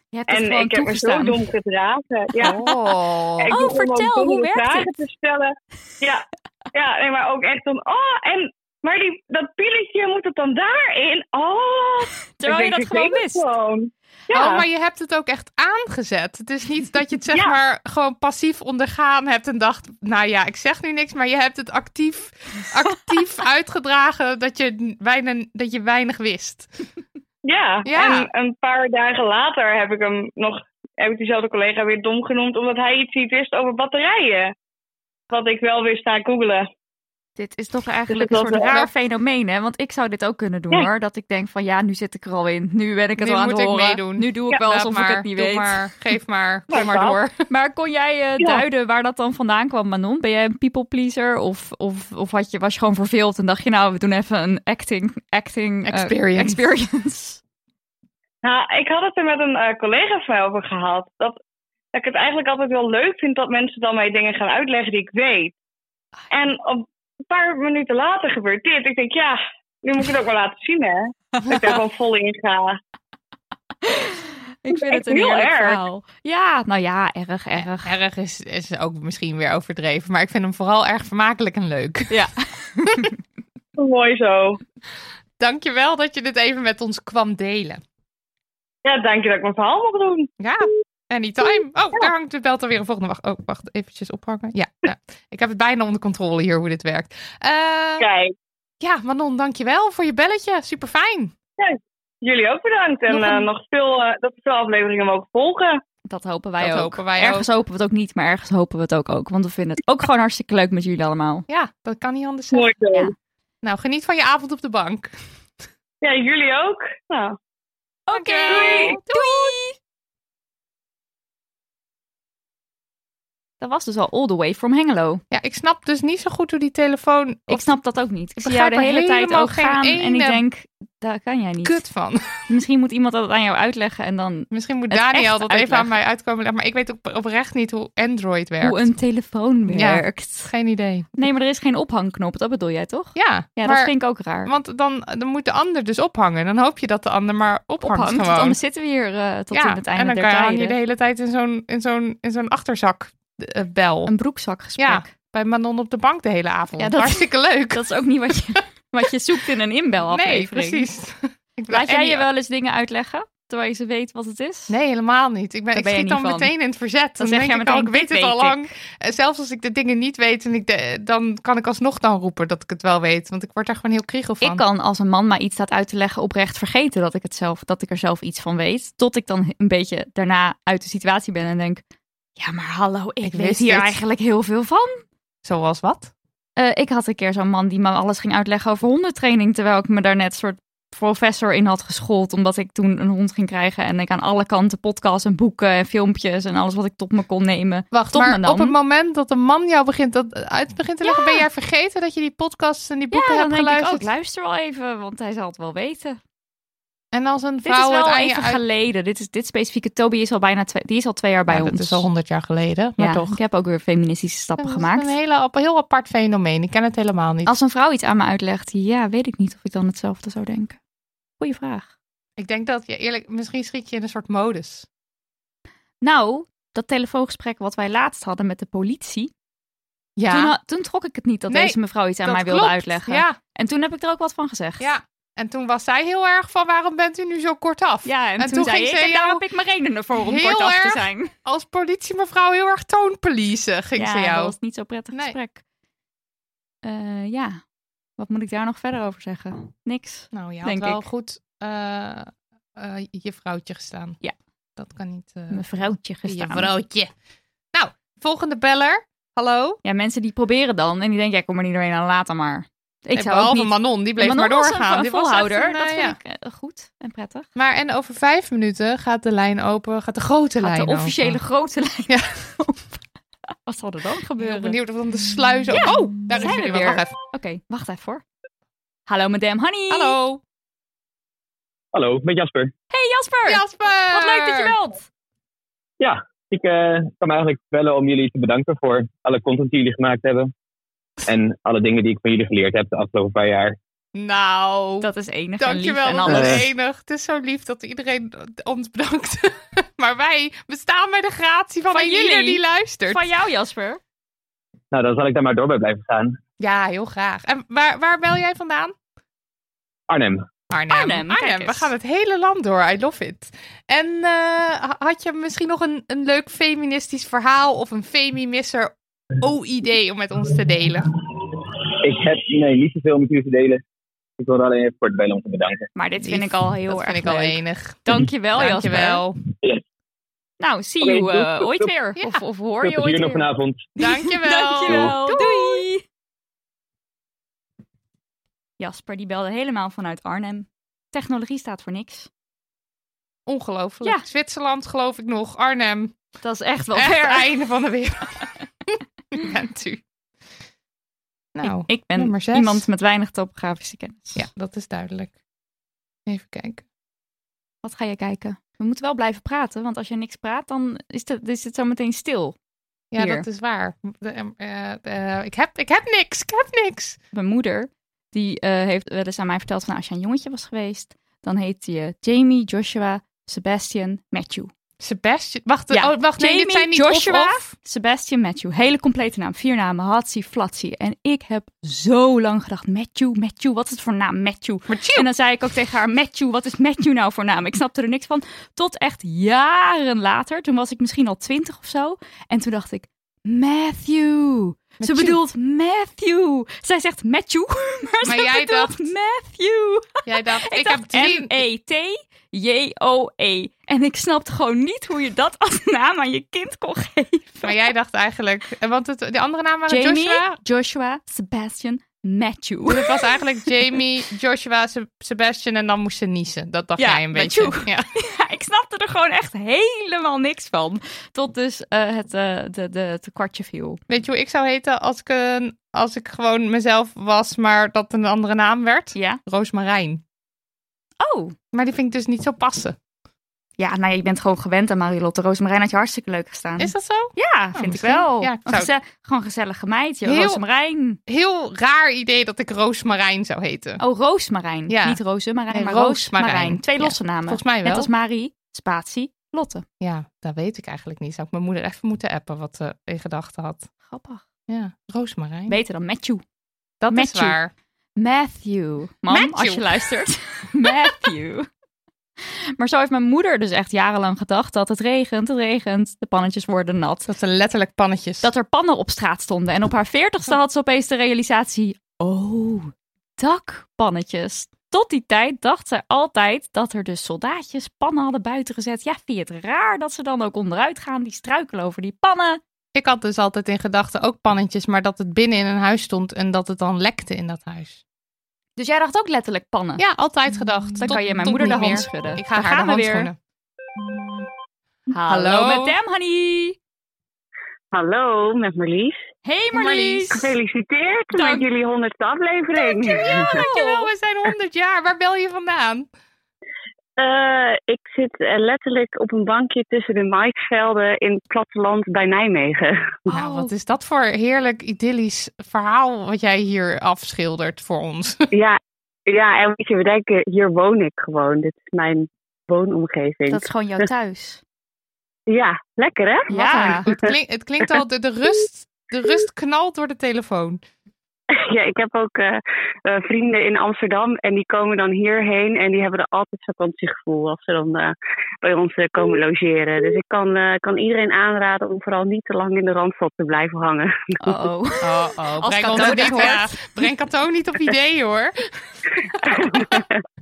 Je hebt het
En
gewoon
ik heb me zo
toegestaan.
dom gedragen. Ja.
Oh.
Ik begon
Oh,
gewoon
vertel, hoe
domme
werkt
vragen
het?
te stellen. Ja, ja nee, maar ook echt van, oh, en, maar die, dat pilletje moet het dan daarin? Oh,
Terwijl je
Ik
dat
denk,
gewoon
ik weet het
wist.
gewoon. Ja.
Oh, maar je hebt het ook echt aangezet. Het is niet dat je het zeg
Ja.
maar gewoon passief ondergaan hebt en dacht, nou ja, ik zeg nu niks, maar je hebt het actief, actief uitgedragen dat je, weinig, dat je weinig wist.
ja.
Ja.
en een paar dagen later heb ik hem nog, heb ik diezelfde collega weer dom genoemd, omdat hij iets niet wist over batterijen. Wat ik wel wist na googelen.
Dit is toch eigenlijk
Dus
een
het
soort
was
raar
wel-
fenomeen, hè? Want ik zou dit ook kunnen doen,
Ja.
hoor. Dat ik denk van, ja, nu zit ik er al in. Nu ben ik het
Nu
al aan
moet
het
ik
horen.
meedoen.
Nu doe ik wel
Laat
alsof
maar,
ik het niet
doe
weet.
Maar, geef maar, kom maar
dat.
door.
Maar kon jij eh,
Ja.
duiden waar dat dan vandaan kwam, Manon? Ben jij een people pleaser? Of, of, of had je, was je gewoon verveeld en dacht je, nou, we doen even een acting, acting eh,
Experience.
experience.
Nou, ik had het er met een eh, collega van mij over gehad. Dat, dat ik het eigenlijk altijd wel leuk vind dat mensen dan mij dingen gaan uitleggen die ik weet. En op een paar minuten later gebeurt dit. Ik denk, ja, nu moet ik het ook wel laten zien, hè? Dat ik daar gewoon vol in ga.
Ik vind het
echt
een
heel
heerlijk
erg.
verhaal. Ja, nou ja, erg, erg.
Erg is, is ook misschien weer overdreven, maar ik vind hem vooral erg vermakelijk en leuk.
Ja.
Mooi zo.
Dankjewel dat je dit even met ons kwam delen.
Ja, dank je dat ik mijn verhaal mag doen.
Ja, anytime. Oh, daar hangt de belt alweer een volgende. Wacht, oh, wacht eventjes ophangen. Ja, nou, ik heb het bijna onder controle hier hoe dit werkt. Eh,
Kijk,
Ja, Manon, dankjewel voor je belletje. Super fijn.
jullie ook bedankt. En
Nog
nog,
een-
nog veel, eh, dat we veel afleveringen mogen volgen.
Dat hopen wij
Dat
ook.
hopen wij
ergens hopen we het ook niet, maar ergens hopen we het ook ook. Want we vinden het ook gewoon hartstikke leuk met jullie allemaal.
Ja, dat kan niet anders zijn.
Mooi zo.
Ja.
Nou, geniet van je avond op de bank.
Ja, jullie ook. Nou,
Oké,
Dankjewel.
doei! Dat was dus al all the way from Hengelo.
Ja, ik snap dus niet zo goed hoe die telefoon...
Ik snap dat ook niet. Ik zie jou
begrijp
de
er
hele tijd
helemaal
ook
geen
gaan en ik
ene-
denk, daar kan jij niet.
Kut van.
Misschien moet iemand dat aan jou uitleggen en dan
Misschien moet
Het
Daniel
echt
dat even
uitleggen.
aan mij uitkomen. leggen, Maar ik weet op, oprecht niet hoe Android werkt.
hoe een telefoon
Ja.
werkt.
Geen idee.
Nee, maar er is geen ophangknop, dat bedoel jij toch?
Ja,
Ja,
maar,
dat vind ik ook raar.
want dan, dan moet de ander dus ophangen. Dan hoop je dat de ander maar ophangt,
Ophangt, want
gewoon.
anders zitten we hier eh, tot
ja,
in het einde
en dan
der
kan hang je
tijden.
de hele tijd in zo'n, in zo'n, in zo'n achterzak eh, bel.
Een broekzakgesprek.
Ja. Bij Manon op de bank de hele avond.
Ja, dat-
Hartstikke leuk.
Dat is ook niet wat je, wat je zoekt in een
nee,
inbelaflevering.
precies. Ik Ik ben
Laat jij je
Annie-
wel eens dingen uitleggen, terwijl je ze weet wat het is?
Nee, helemaal niet. Ik, ben,
Daar
ik
ben jij
schiet dan
niet van.
meteen in het verzet. Dan,
Dan zeg
denk
jij
ik al,
meteen,
ik weet
dit
het al
weet ik.
lang. En zelfs als ik de dingen niet weet, en ik de- dan kan ik alsnog dan roepen dat ik het wel weet. Want ik word daar gewoon heel kriegel van.
Ik kan als een man maar iets staat uit te leggen oprecht vergeten dat ik, het zelf, dat ik er zelf iets van weet. Tot ik dan een beetje daarna uit de situatie ben en denk... Ja, maar hallo, ik, weet
wist
hier
het.
eigenlijk heel veel van.
Zoals wat?
Eh, ik had een keer zo'n man die me alles ging uitleggen over hondentraining. Terwijl ik me daar net soort professor in had geschoold. Omdat ik toen een hond ging krijgen. En ik aan alle kanten podcasts en boeken en filmpjes en alles wat ik tot me kon nemen.
Wacht,
tot me
maar
nam.
op het moment dat een man jou begint dat uit begint te leggen, ben jij vergeten dat je die podcasts en die boeken
ja, dan
hebt
denk ik
geluisterd?
ook, luister wel even, want hij zal het wel weten.
en als een
Dit is
vrouw het
wel
aan je
even
uit-
geleden. Dit, is, dit specifieke, Toby is al bijna twee, die is al twee jaar bij
Ja,
ons.
dat is al honderd jaar geleden, maar
Ja,
toch.
Ik heb ook weer feministische stappen
Dat is
gemaakt.
Een hele, ap- heel apart fenomeen. Ik ken het helemaal niet.
Als een vrouw iets aan me uitlegt, ja, weet ik niet of ik dan hetzelfde zou denken. Goeie vraag.
Ik denk dat je eerlijk, misschien schiet je in een soort modus.
Nou, dat telefoongesprek wat wij laatst hadden met de politie.
Ja.
Toen, ha- toen trok ik het niet dat
Nee,
deze mevrouw iets aan
dat
mij wilde
klopt.
uitleggen.
Ja,
En toen heb ik er ook wat van gezegd.
ja. En toen was zij heel erg van waarom bent u nu zo kortaf?
Ja, en,
En
toen,
toen
zei
ging
ik,
ze
en daar
jou
heb ik mijn redenen voor om
heel
kortaf te
erg
zijn.
Als politiemevrouw heel erg toonpoliezen ging
ja,
ze
dat
jou.
was niet zo prettig
Nee.
gesprek. Eh, ja, wat moet ik daar nog verder over zeggen? Niks.
Nou, je had
denk
wel
ik.
goed eh, eh, je vrouwtje gestaan.
Ja.
Dat kan niet. eh,
Mijn vrouwtje
je
gestaan.
vrouwtje. Nou, volgende beller. Hallo.
Ja, mensen die proberen dan en die denken, ja, kom er niet doorheen, dan later maar. Ik
Eh,
zou ook
Behalve
niet...
Manon, die bleef
Manon
maar
was een
doorgaan.
v-
Die was echt
volhouder,
een, eh,
dat
ja.
vind ik eh, goed en prettig.
Maar en over vijf minuten gaat de lijn open, gaat de grote
Gaat
lijn
de
open.
officiële grote lijn
Ja.
op. Wat zal er dan
Ik ben
gebeuren?
heel benieuwd of dan de sluis...
Ja,
Oh, daar is
zijn we
jullie wel.
weer.
Wacht even.
Oké, wacht even hoor. Hallo, madame Honey.
Hallo.
Hallo, met Jasper.
Hey Jasper.
Jasper!
Wat leuk dat je belt.
Ik eh kwam eigenlijk bellen om jullie te bedanken voor alle content die jullie gemaakt hebben. En alle dingen die ik van jullie geleerd heb de afgelopen paar jaar.
Nou,
Dat is enig en lief
dankjewel.
en
Dat
alles.
alles.
is enig. Het is zo lief dat iedereen ons bedankt. maar wij bestaan bij de gratie van,
Van
een ieder
jullie.
die luistert.
Van jou Jasper.
Nou, dan zal ik daar maar door bij blijven gaan.
Ja, heel graag. En waar, waar bel jij vandaan?
Arnhem.
Arnhem.
Arnhem, kijk
we
eens.
gaan het hele land door. I love it. En eh, ha- had je misschien nog een, een leuk feministisch verhaal of een femimisser idee om met ons te delen?
Ik heb nee, niet zoveel met jullie te delen. Ik wilde alleen even kort bellen om te bedanken.
Maar dit vind
Lief.
ik al heel
dat
erg
vind ik al
leuk.
enig.
Dankjewel, Jasper.
Dankjewel.
Nou, see
Oké,
you
doei,
eh,
doei,
ooit
doei.
weer.
Ja.
Of, of hoor
Veel
je ooit
plezier nog
weer.
vanavond.
Dankjewel.
Dankjewel. Doei. Jasper die belde helemaal vanuit Arnhem. Technologie staat voor niks.
Ongelooflijk.
Ja.
Zwitserland geloof ik nog. Arnhem.
Dat is echt wel
Echt
ver.
einde van de wereld. Bent u. Nou,
Ik, ik ben
nummer zes.
iemand met weinig topografische kennis.
ja, dat is duidelijk. Even kijken.
Wat ga je kijken? We moeten wel blijven praten, want als je niks praat, dan is, het is het zo meteen stil.
Ja,
Hier.
dat is waar. De- em, eh, eh, ik, heb, ik heb niks. Ik heb niks.
Mijn moeder, die eh, heeft wel eens aan mij verteld van nou, als je een jongetje was geweest, dan heet je Jamie, Joshua, Sebastian, Matthew.
Sebastian. Wacht,
Ja.
oh, wacht nee,
Jamie,
dit zijn niet
Joshua,
of, of.
Sebastian Matthew. Hele complete naam. Vier namen. Hatsi, Flatsi. En ik heb zo lang gedacht, Matthew, Matthew, wat is het voor naam? Matthew.
Maar chill.
En dan zei ik ook tegen haar, Matthew, wat is Matthew nou voor naam? Ik snapte er niks van. Tot echt jaren later, toen was ik misschien al twintig of zo. En toen dacht ik, Matthew. Ze
Matthew.
bedoelt Matthew. Zij zegt Matthew, maar,
Maar
ze
jij
bedoelt
dacht-
Matthew.
Jij dacht, ik,
Ik,
heb
dacht E
drie.
M-E-T-J-O-E. E. En ik snapte gewoon niet hoe je dat als naam aan je kind kon geven.
Maar jij dacht eigenlijk. eh, Want het, de andere naam waren
Jamie,
Joshua.
Joshua, Sebastian, Matthew.
Dus het was eigenlijk Jamie, Joshua, Se- Sebastian en dan moest ze niezen. Dat dacht
Ja,
jij een
met
beetje.
Joe.
Ja.
Ja, ik snapte er gewoon echt helemaal niks van. Tot dus eh, het, eh, de, de, het kwartje viel.
Weet je hoe ik zou heten als ik, een, als ik gewoon mezelf was, maar dat een andere naam werd?
Ja.
Roosmarijn.
Oh.
Maar die vind ik dus niet zo passen.
Ja, nou ja, je bent gewoon gewend aan Marilotte. Roosmarijn had je hartstikke leuk gestaan.
Is dat zo?
Oh, Ja, vind
Oh, misschien.
ik wel.
Ja, ik
Een
zou-
geze- gewoon gezellige meid, joh.
Heel-
Roosmarijn.
Heel raar idee dat ik Roosmarijn zou heten.
Oh, Roosmarijn.
Ja.
Niet Rozemarijn,
Nee,
maar
Roosmarijn.
Roosmarijn. Twee
Ja,
losse namen.
Volgens mij wel.
Net als Marie, Spatie, Lotte.
Ja, dat weet ik eigenlijk niet. Zou ik mijn moeder even moeten appen wat ze in gedachten had.
Grappig.
Ja, Roosmarijn.
Beter dan Matthew.
dat
Matthew.
is waar.
Matthew. Mam,
Matthew.
als je luistert. Matthew. Maar zo heeft mijn moeder dus echt jarenlang gedacht dat het regent, het regent, de pannetjes worden nat.
Dat zijn letterlijk pannetjes.
Dat er pannen op straat stonden. En op haar veertigste had ze opeens de realisatie, oh, dakpannetjes. Tot die tijd dacht ze altijd dat er dus soldaatjes pannen hadden buiten gezet. Ja, vind je het raar dat ze dan ook onderuit gaan, die struikelen over die pannen?
Ik had dus altijd in gedachten ook pannetjes, maar dat het binnen in een huis stond en dat het dan lekte in dat huis.
Dus jij dacht ook letterlijk pannen?
Ja, altijd gedacht.
Dan
Tot-
kan je mijn
tot
moeder
niet
de hand
meer.
schudden.
Ik ga
Daar
haar
gaan
de
we
hand
weer.
schudden.
Hallo,
Hallo.
met Dem, honey.
Hallo, met Marlies.
Hey Marlies.
Gefeliciteerd
Dank-
met jullie honderdste aflevering.
Dankjewel, we zijn 100 jaar. Waar bel je vandaan?
Eh, ik zit eh, letterlijk op een bankje tussen de maisvelden in het platteland bij Nijmegen.
Oh.
Nou, wat is dat voor heerlijk idyllisch verhaal wat jij hier afschildert voor ons?
ja, ja, en weet je, we denken, hier woon ik gewoon. Dit is mijn woonomgeving.
Dat is gewoon jouw
Dus-
thuis.
Ja, lekker hè?
Wat een- Het, klink- het klinkt al, de, de, rust, de rust knalt door de telefoon.
Ja, ik heb ook eh, eh, vrienden in Amsterdam en die komen dan hierheen en die hebben er altijd vakantiegevoel als ze dan eh, bij ons eh, komen logeren. Dus ik kan, eh, kan iedereen aanraden om vooral niet te lang in de randstad te blijven hangen.
Oh,
Oh, oh
Als
breng
Cato
ons
dit
niet,
hoort.
ja, breng Cato niet op idee hoor.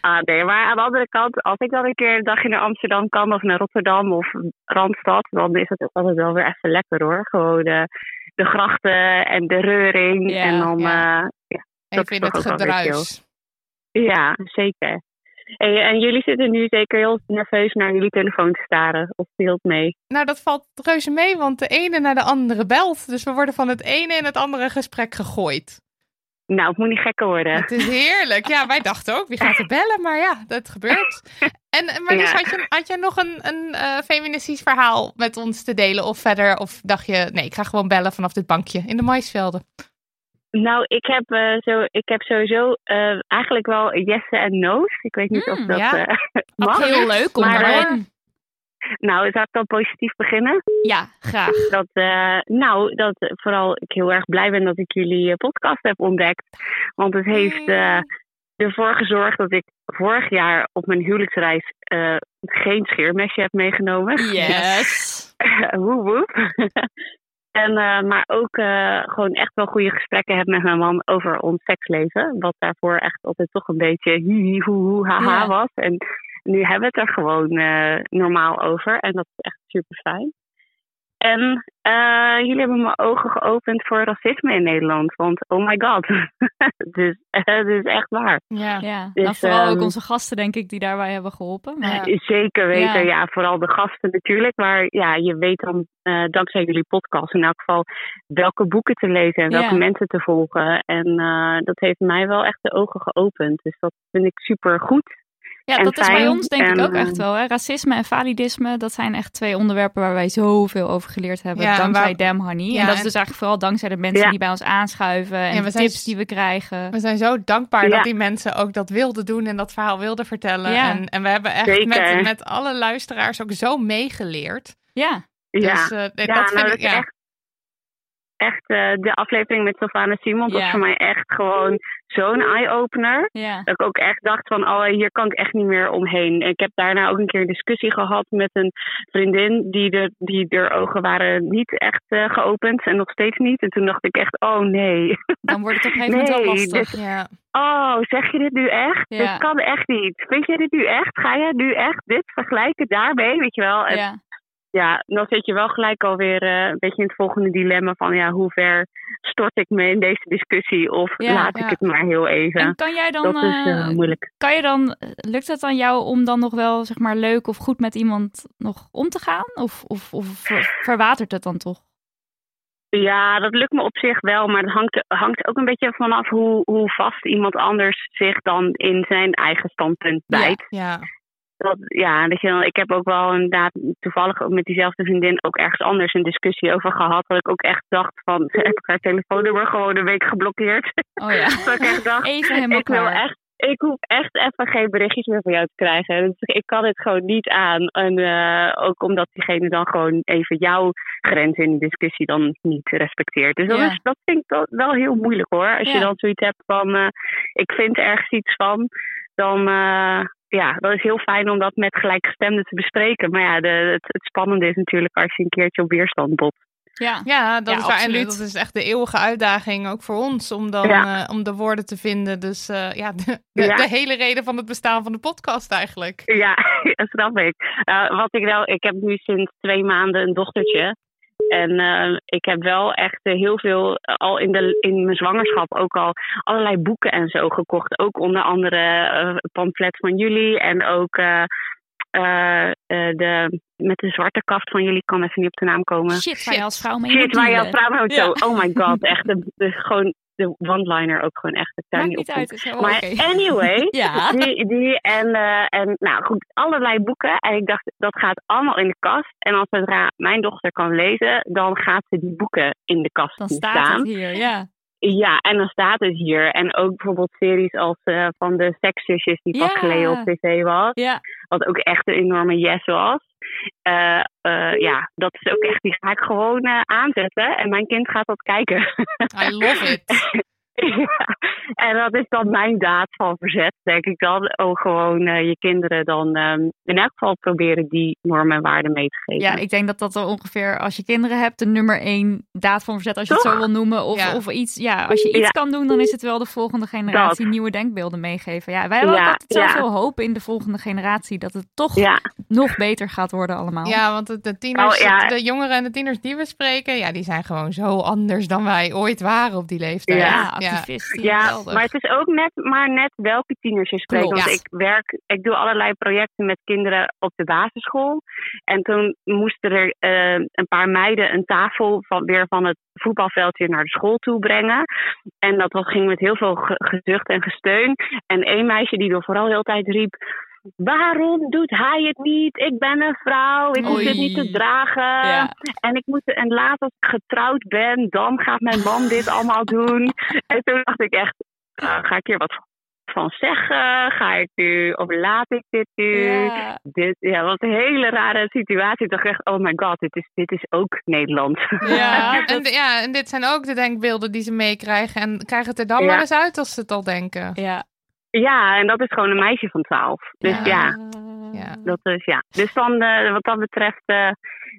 Ah, nee, maar aan de andere kant, als ik dan een keer een dagje naar Amsterdam kan of naar Rotterdam of Randstad, dan is het ook altijd wel weer even lekker hoor. Gewoon eh, de grachten en de reuring
Ja,
en dan
ja.
eh, ja, dat
Even in
is
het
toch ook wel weer chill.
gedruis.
Ja, zeker. En, en jullie zitten nu zeker heel nerveus naar jullie telefoon te staren. Of speelt mee?
Nou, dat valt reuze mee, want de ene naar de andere belt. Dus we worden van het ene in het andere gesprek gegooid.
Nou, het moet niet gekker worden.
Het is heerlijk. Ja, wij dachten ook, wie gaat er bellen? Maar ja, dat gebeurt. En eh, maar dus
Ja.
had, je, had jij nog een, een eh, feministisch verhaal met ons te delen of verder? Of dacht je, nee, ik ga gewoon bellen vanaf dit bankje in de maisvelden.
Nou, ik heb, eh, zo, ik heb sowieso eh, eigenlijk wel Jesse en No's. Ik weet niet of
Mm,
dat
ja.
eh, mag.
heel leuk om
Maar, eh,
daarheen.
Nou, zou ik dan positief beginnen?
Ja, graag.
Dat, eh, nou, dat eh, vooral ik heel erg blij ben dat ik jullie eh, podcast heb ontdekt. Want het heeft
Hmm.
eh, ervoor gezorgd dat ik vorig jaar op mijn huwelijksreis eh, geen scheermesje heb meegenomen.
Yes.
woep woep. en, eh, maar ook eh, gewoon echt wel goede gesprekken heb met mijn man over ons seksleven. Wat daarvoor echt altijd toch een beetje hi hi hoe hoe haha
Ja.
was. En nu hebben we het er gewoon eh, normaal over. En dat is echt super fijn. En eh, jullie hebben mijn ogen geopend voor racisme in Nederland. Want oh my god. dus eh, het is echt waar.
Ja.
Ja,
Dus,
nou, vooral ook
ehm,
onze gasten, denk ik, die daarbij hebben geholpen. Maar
Eh, Zeker weten,
Ja.
ja. Vooral de gasten natuurlijk. Maar ja, je weet dan eh, dankzij jullie podcast in elk geval welke boeken te lezen en welke
Ja.
mensen te volgen. En eh, dat heeft mij wel echt de ogen geopend. Dus dat vind ik super goed.
ja,
en
dat is bij
fijn
ons denk ik
en,
ook echt
ehm,
wel. Hè. Racisme en validisme, dat zijn echt twee onderwerpen waar wij zoveel over geleerd hebben.
Ja, en
dankzij
waar-
Dem Honey.
Ja,
en dat is
en-
dus eigenlijk vooral dankzij de mensen
Ja.
die bij ons aanschuiven. En
Ja, we
de
zijn
tips
s-
die we krijgen.
We zijn zo dankbaar
Ja.
dat die mensen ook dat wilden doen en dat verhaal wilden vertellen.
Ja.
En, en we hebben echt
Zeker.
met, met alle luisteraars ook zo meegeleerd.
Ja,
Ja,
Dus eh, nee,
ja
dat vind
nou,
ik
is
ja.
echt. Echt, eh, de aflevering met Sylvana Simon
Ja.
was voor mij echt gewoon zo'n eye-opener.
ja.
Dat ik ook echt dacht van, oh, hier kan ik echt niet meer omheen. En Ik heb daarna ook een keer een discussie gehad met een vriendin die, de, die haar ogen waren niet echt eh, geopend en nog steeds niet. En toen dacht ik echt, oh nee.
Dan wordt het op een gegeven moment wel
Nee,
lastig.
dus-
Ja.
Oh, zeg je dit nu echt?
Ja.
Dit kan echt niet. Vind je dit nu echt? Ga jij nu echt dit vergelijken daarmee, weet je wel? En ja.
Ja,
dan zit je wel gelijk alweer eh, een beetje in het volgende dilemma van, ja, hoe ver stort ik me in deze discussie? Of
Ja,
laat
ja.
ik het maar heel even?
En kan jij dan,
dat is
eh,
eh, moeilijk.
kan je dan, lukt het aan jou om dan nog wel zeg maar leuk of goed met iemand nog om te gaan? Of, of, of ver- verwatert het dan toch?
Ja, dat lukt me op zich wel, maar het hangt, hangt ook een beetje vanaf hoe, hoe vast iemand anders zich dan in zijn eigen standpunt
Ja.
bijt.
Ja.
Dat, ja, dat je, dan- ik heb ook wel inderdaad toevallig ook met diezelfde vriendin ook ergens anders een discussie over gehad. Dat ik ook echt dacht van, heb ik haar telefoonnummer gewoon een week geblokkeerd.
Oh ja.
dat ik echt dacht,
Even helemaal
ik wil
klaar.
echt, ik hoef echt even geen berichtjes meer van jou te krijgen. Dus ik kan het gewoon niet aan. En eh, ook omdat diegene dan gewoon even jouw grenzen in de discussie dan niet respecteert. Dus dat,
Ja.
is, dat vind ik wel, wel heel moeilijk hoor. Als
Ja.
je dan zoiets hebt van, eh, ik vind ergens iets van, dan... eh, ja, dat is heel fijn om dat met gelijkgestemden te bespreken. Maar ja, de, het, het spannende is natuurlijk als je een keertje op weerstand botst.
Ja,
ja dat
Ja,
is waar. En
absoluut.
dat is echt de eeuwige uitdaging ook voor ons om dan
Ja.
eh, om de woorden te vinden. Dus eh, ja, de, de,
Ja.
de hele reden van het bestaan van de podcast eigenlijk.
Ja, dat snap ik. Eh, wat ik wel, ik heb nu sinds twee maanden een dochtertje. En eh, ik heb wel echt eh, heel veel, eh, al in, de, in mijn zwangerschap ook al allerlei boeken en zo gekocht. Ook onder andere eh, een pamflet van jullie en ook eh, eh, eh, de, met de zwarte kaft van jullie, ik kan even niet op de naam komen.
Shit, waar je als vrouw mee
Shit,
moet
waar je
dealen.
als vrouw mee moet
Ja.
doen. Oh my god, echt. De, de- gewoon de one-liner ook gewoon echt. Het
Maakt
zijn
niet uit, is helemaal
Maar
oké.
anyway,
Ja.
die, die en, eh, en nou goed, allerlei boeken. En ik dacht, dat gaat allemaal in de kast. En als zodra mijn dochter kan lezen, dan gaat ze die boeken in de kast
Dan
zien
staat
staan.
het hier, ja.
Ja, en dan staat het hier. En ook bijvoorbeeld series als eh, van de sekszusjes die
Ja.
van Cleo op tv was.
Ja.
Wat ook echt een enorme yes was. Eh, eh, ja, dat is ook echt, die ga ik gewoon eh, aanzetten. En mijn kind gaat dat kijken.
I love it.
Ja, en dat is dan mijn daad van verzet, denk ik dan. Ook gewoon eh, je kinderen dan ehm, in elk geval proberen die normen en waarden mee te geven.
Ja, ik denk dat dat wel ongeveer als je kinderen hebt, de nummer één daad van verzet, als je het
Toch?
zo wil noemen. Of,
Ja.
of iets, ja, als je iets
Ah! Ja.
kan doen, dan is het wel de volgende generatie
Dat.
nieuwe denkbeelden meegeven. Ja, wij hebben ook
Ja,
altijd
ja.
zoveel hoop in de volgende generatie dat het toch
Ja,
nog beter gaat worden allemaal.
Ja, want de, de tieners,
Oh, ja.
de jongeren en de tieners die we spreken, ja, die zijn gewoon zo anders dan wij ooit waren op die leeftijd.
Ja.
Ja, activisten,
ja
geweldig.
maar het is ook net, maar net welke tieners je spreekt.
Klopt.
Want
Ja.
ik werk, ik doe allerlei projecten met kinderen op de basisschool. En toen moesten er eh, een paar meiden een tafel van, weer van het voetbalveld weer naar de school toe brengen. En dat was, ging met heel veel ge- gezucht en gesteun. En één meisje die er vooral heel de tijd riep. Waarom doet hij het niet? Ik ben een vrouw, ik hoef dit niet te
Oei.
dragen.
Ja.
En ik moet, en later als ik getrouwd ben, dan gaat mijn man dit allemaal doen. En toen dacht ik echt, eh, ga ik hier wat van zeggen? Ga ik nu, of laat ik dit nu?
Ja.
Dit, ja, wat een hele rare situatie. Ik dacht echt, oh my god, dit is, dit is ook Nederland.
Ja, en, de- ja, en dit zijn ook de denkbeelden die ze meekrijgen. En krijg het er dan
Ja.
maar eens uit als ze het al denken.
Ja.
ja, en dat is gewoon een meisje van twaalf. Dus ja.
Ja.
Dat is, ja. Dus dan, eh, wat dat betreft, eh,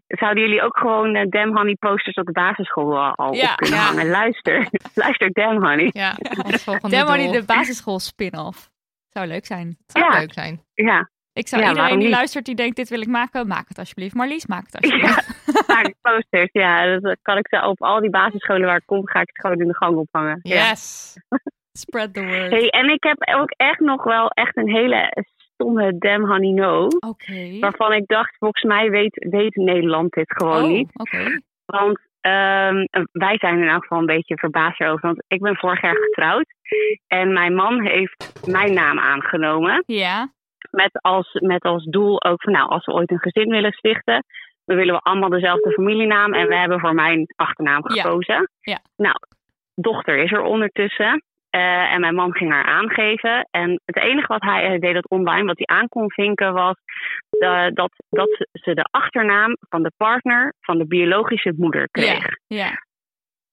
zouden jullie ook gewoon eh, Damn Honey posters op de basisschool al- al
Ja,
op kunnen
ja.
hangen. Luister, luister Damn Honey.
Ja, ons volgende
Demo die
doel.
de basisschool spin-off. Zou leuk zijn.
zou
Ja.
leuk zijn.
Ja,
Ik zou
Ja,
iedereen
waarom
die
niet?
luistert die denkt dit wil ik maken, maak het alsjeblieft. Marlies, maak het alsjeblieft.
ja. Vaak posters, ja. Dat kan ik ze op al die basisscholen waar ik kom, ga ik het gewoon in de gang ophangen. Ja.
Yes.
Spread the word.
Hey, en ik heb ook echt nog wel echt een hele stomme Damn Honey No.
Oké.
Waarvan ik dacht, volgens mij weet, weet Nederland dit gewoon
Oh,
niet.
oké.
Want ehm, wij zijn in elk geval een beetje verbaasd erover. Want ik ben vorig jaar getrouwd. En mijn man heeft mijn naam aangenomen.
Ja.
Met als, met als doel ook van, nou, als we ooit een gezin willen stichten. Dan willen we allemaal dezelfde familienaam. En we hebben voor mijn achternaam
Ja.
gekozen.
Ja.
Nou, dochter is er ondertussen. Eh, en mijn man ging haar aangeven. En het enige wat hij hij deed dat online, wat hij aan kon vinken, was eh, dat, dat ze- ze de achternaam van de partner van de biologische moeder kreeg.
Ja.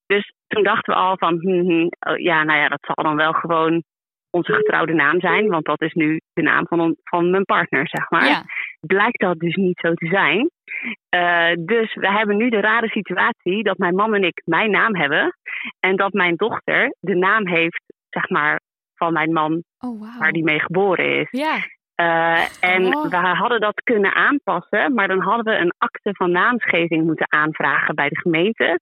Dus toen dachten we al van, hm, hm, oh, ja, nou ja, dat zal dan wel gewoon onze getrouwde naam zijn, want dat is nu de naam van, on- van mijn partner, zeg maar.
Ja.
Blijkt dat dus niet zo te zijn. Eh, dus we hebben nu de rare situatie dat mijn man en ik mijn naam hebben en dat mijn dochter de naam heeft, zeg maar, van mijn man
Oh, wauw.
waar die mee geboren is.
Ja.
Eh, en
Oh.
we hadden dat kunnen aanpassen, maar dan hadden we een akte van naamsgeving moeten aanvragen bij de gemeente.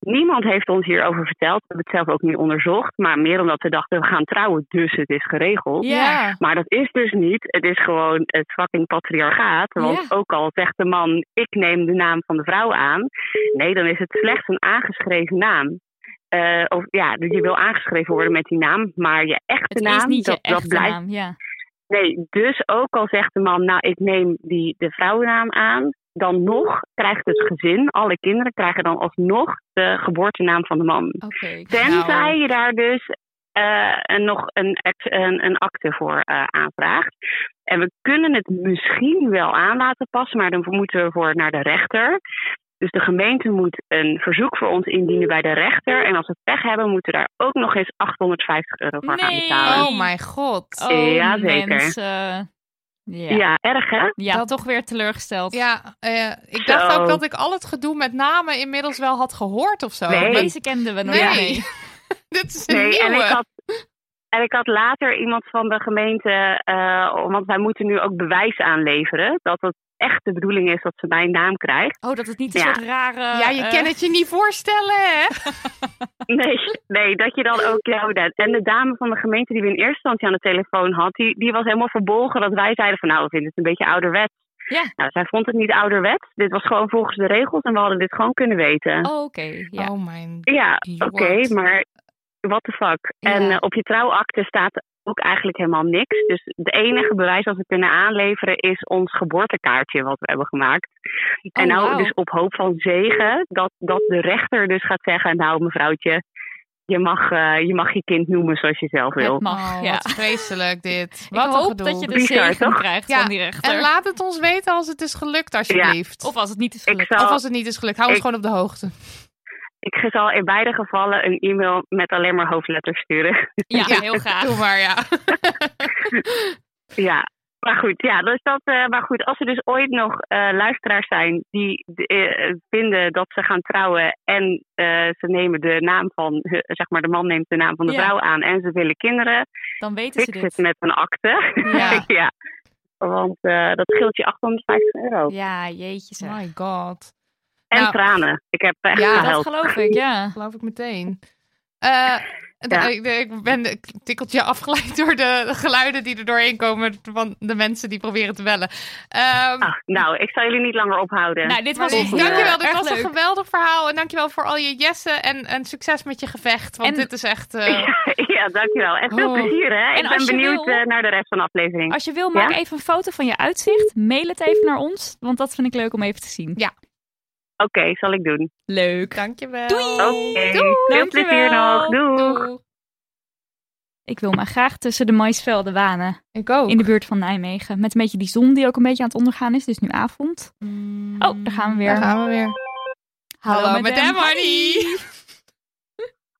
Niemand heeft ons hierover verteld. We hebben het zelf ook niet onderzocht. Maar meer omdat we dachten, we gaan trouwen, dus het is geregeld.
Ja.
Maar dat is dus niet. Het is gewoon het fucking patriarchaat. Want
Ja.
ook al zegt de man, ik neem de naam van de vrouw aan. Nee, dan is het slechts een aangeschreven naam. Eh, of ja, je wil aangeschreven worden met die naam. Maar je echte
Het
naam,
is niet
dat,
je
dat
echte
blijft
naam. Ja.
Nee, dus ook al zegt de man, nou ik neem die, de vrouwennaam aan, dan nog krijgt het gezin, alle kinderen krijgen dan alsnog de geboortenaam van de man.
Oké.
Tenzij
Nou.
je daar dus eh, en nog een, ex- een, een akte voor eh, aanvraagt. En we kunnen het misschien wel aan laten passen, maar dan moeten we voor naar de rechter. Dus de gemeente moet een verzoek voor ons indienen bij de rechter. En als we pech hebben, moeten we daar ook nog eens 850 euro voor gaan betalen.
Oh mijn god.
Oh.
Eh, Ah. ja, zeker.
mensen. eh, Ja.
Ja, erg hè?
Ja, toch weer teleurgesteld.
Ja, eh, ik dacht
Zo.
ook dat ik al het gedoe met namen inmiddels wel had gehoord of zo.
Nee.
Maar-
Deze kenden we nog
Nee.
niet.
Dit is een
Nee, en
nieuwe.
ik had, en ik had later iemand van de gemeente, eh, want wij moeten nu ook bewijs aanleveren dat het echt de bedoeling is dat ze mijn naam krijgt.
Oh, dat het niet een
Ja.
soort rare...
Ja, je
eh,
kan het je niet voorstellen, hè?
Nee, nee, dat je dan ook jou dat. En de dame van de gemeente die we in eerste instantie aan de telefoon had, die, die was helemaal verbolgen dat wij zeiden van nou, we vinden het een beetje ouderwets.
Ja.
Nou, zij vond het niet ouderwets. Dit was gewoon volgens de regels en we hadden dit gewoon kunnen weten.
Oh, oké. Ja.
Oh mijn...
Ja, oké,
Lord.
maar what the fuck. En
Ja.
eh, op je trouwakte staat ook eigenlijk helemaal niks. Dus het enige bewijs dat we kunnen aanleveren is ons geboortekaartje wat we hebben gemaakt. en
Oh,
nou
wauw.
dus op hoop van zegen dat, dat de rechter dus gaat zeggen... nou mevrouwtje, je mag, eh, je mag je kind noemen zoals je zelf wil.
Het mag,
Oh,
ja.
Wat vreselijk dit.
Ik
Wat een
hoop
gedoe.
dat je de
Bizar,
zegen
toch?
krijgt
Ja,
van die rechter.
En laat het ons weten als het is gelukt, alsjeblieft.
Of als het niet is
Ik
gelukt.
zal,
Of als het niet is gelukt. Hou ons
Ik-
gewoon op de hoogte.
ik zal in beide gevallen een e-mail met alleen maar hoofdletters sturen.
Ja,
Ja.
heel graag.
Doe maar, ja.
Ja, maar goed, ja, dus dat, eh, maar goed, als er dus ooit nog eh, luisteraars zijn die eh, vinden dat ze gaan trouwen en eh, ze nemen de naam van, eh, zeg maar, de man neemt de naam van de
Ja.
vrouw aan en ze willen kinderen,
Dan weten ze
fix het
dit.
met een akte.
Ja.
Want eh, dat scheelt je 850 euro.
Ja, jeetje zeg.
My god.
En
Nou,
tranen. Ik heb echt
Ja, dat
dat
gehuild.
geloof ik, ja.
Geloof ik meteen. Eh,
Ja.
ik, ik ben een tikkeltje afgeleid door de geluiden die er doorheen komen van de mensen die proberen te bellen. Ehm
Ah, nou, ik zal jullie niet langer ophouden.
Nou, dit
maar
was ons
nee, dankjewel, dit eh,
erg
was
leuk.
een geweldig verhaal. En dankjewel voor al je jessen en, en succes met je gevecht. Want
En-
dit is echt... eh,
ja, dankjewel. En veel
Oh.
plezier, hè.
En
Ik
als
ben
je
benieuwd
wil-
eh, naar de rest van de aflevering.
Als je wil, maak
Ja?
even een foto van je uitzicht. Mail het even naar ons, want dat vind ik leuk om even te zien.
Oké, zal ik doen.
Leuk.
dankjewel.
Doei!
Oké, veel
Dankjewel.
plezier nog. Doeg.
Doei.
Ik wil me graag tussen de maisvelden wanen.
Ik ook.
In de buurt van Nijmegen. Met een beetje die zon die ook een beetje aan het ondergaan is. Dus nu avond. Oh, daar gaan we weer.
Daar gaan we weer.
Hallo,
Hallo,
met
madame
hem,
Honey.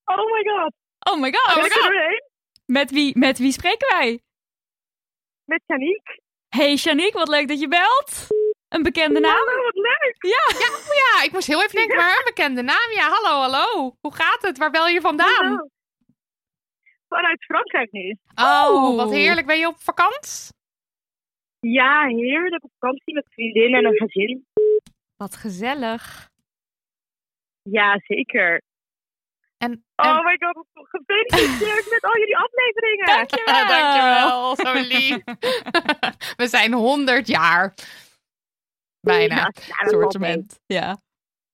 Oh my god.
Oh my god.
Kom ik er doorheen?
Met wie, met wie spreken wij?
Met Janiek.
Hey Shanique, wat leuk dat je belt. Een bekende naam.
Hallo, wat leuk.
Ja.
Ja, ik moest heel even denken, maar een bekende naam. Ja, hallo, hallo. Hoe gaat het? Waar bel je vandaan?
Hallo. Vanuit Frankrijk nu.
Oh,
Oh.
wat heerlijk. Ben je op vakantie?
Ja, heerlijk op vakantie met vriendinnen en een gezin.
Wat gezellig.
Ja, zeker.
En-
eh,
Oh
en-
my god, wat gefeliciteerd met al jullie afleveringen.
Dankjewel.
Dankjewel, zo lief. We zijn 100 jaar. Bijna.
Ja, ja, dat valt mee.
Assortiment. Ja.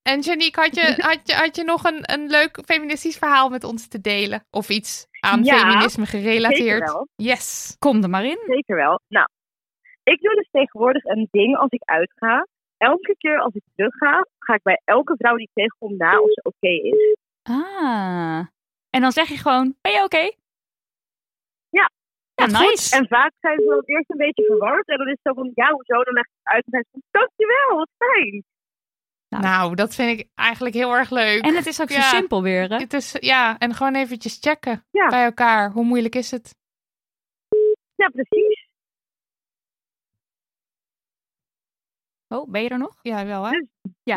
En Janique, had je, had je, had je nog een, een leuk feministisch verhaal met ons te delen? Of iets aan
Ja,
feminisme
Zeker
gerelateerd?
wel,
Yes.
Kom er maar in.
zeker wel. Nou, ik doe dus tegenwoordig een ding als ik uitga. Elke keer als ik terug ga, ga ik bij elke vrouw die ik tegenkom na of ze oké is.
Ah. En dan zeg je gewoon, ben je oké?
Ja.
Ja,
Wat goed.
nice.
En vaak zijn ze dan eerst een beetje verward. En dan is het zo van, ja, hoezo? Dan leg ik het uit en dan zijn ze van, dankjewel, wat fijn.
Nou.
Nou, dat vind ik eigenlijk heel erg leuk.
En het is ook zo
Ja.
simpel weer, hè?
Het is, ja, en gewoon eventjes checken
Ja.
bij elkaar. Hoe moeilijk is het?
Ja, precies.
Oh, ben je er nog?
Ja, wel hè?
Ja,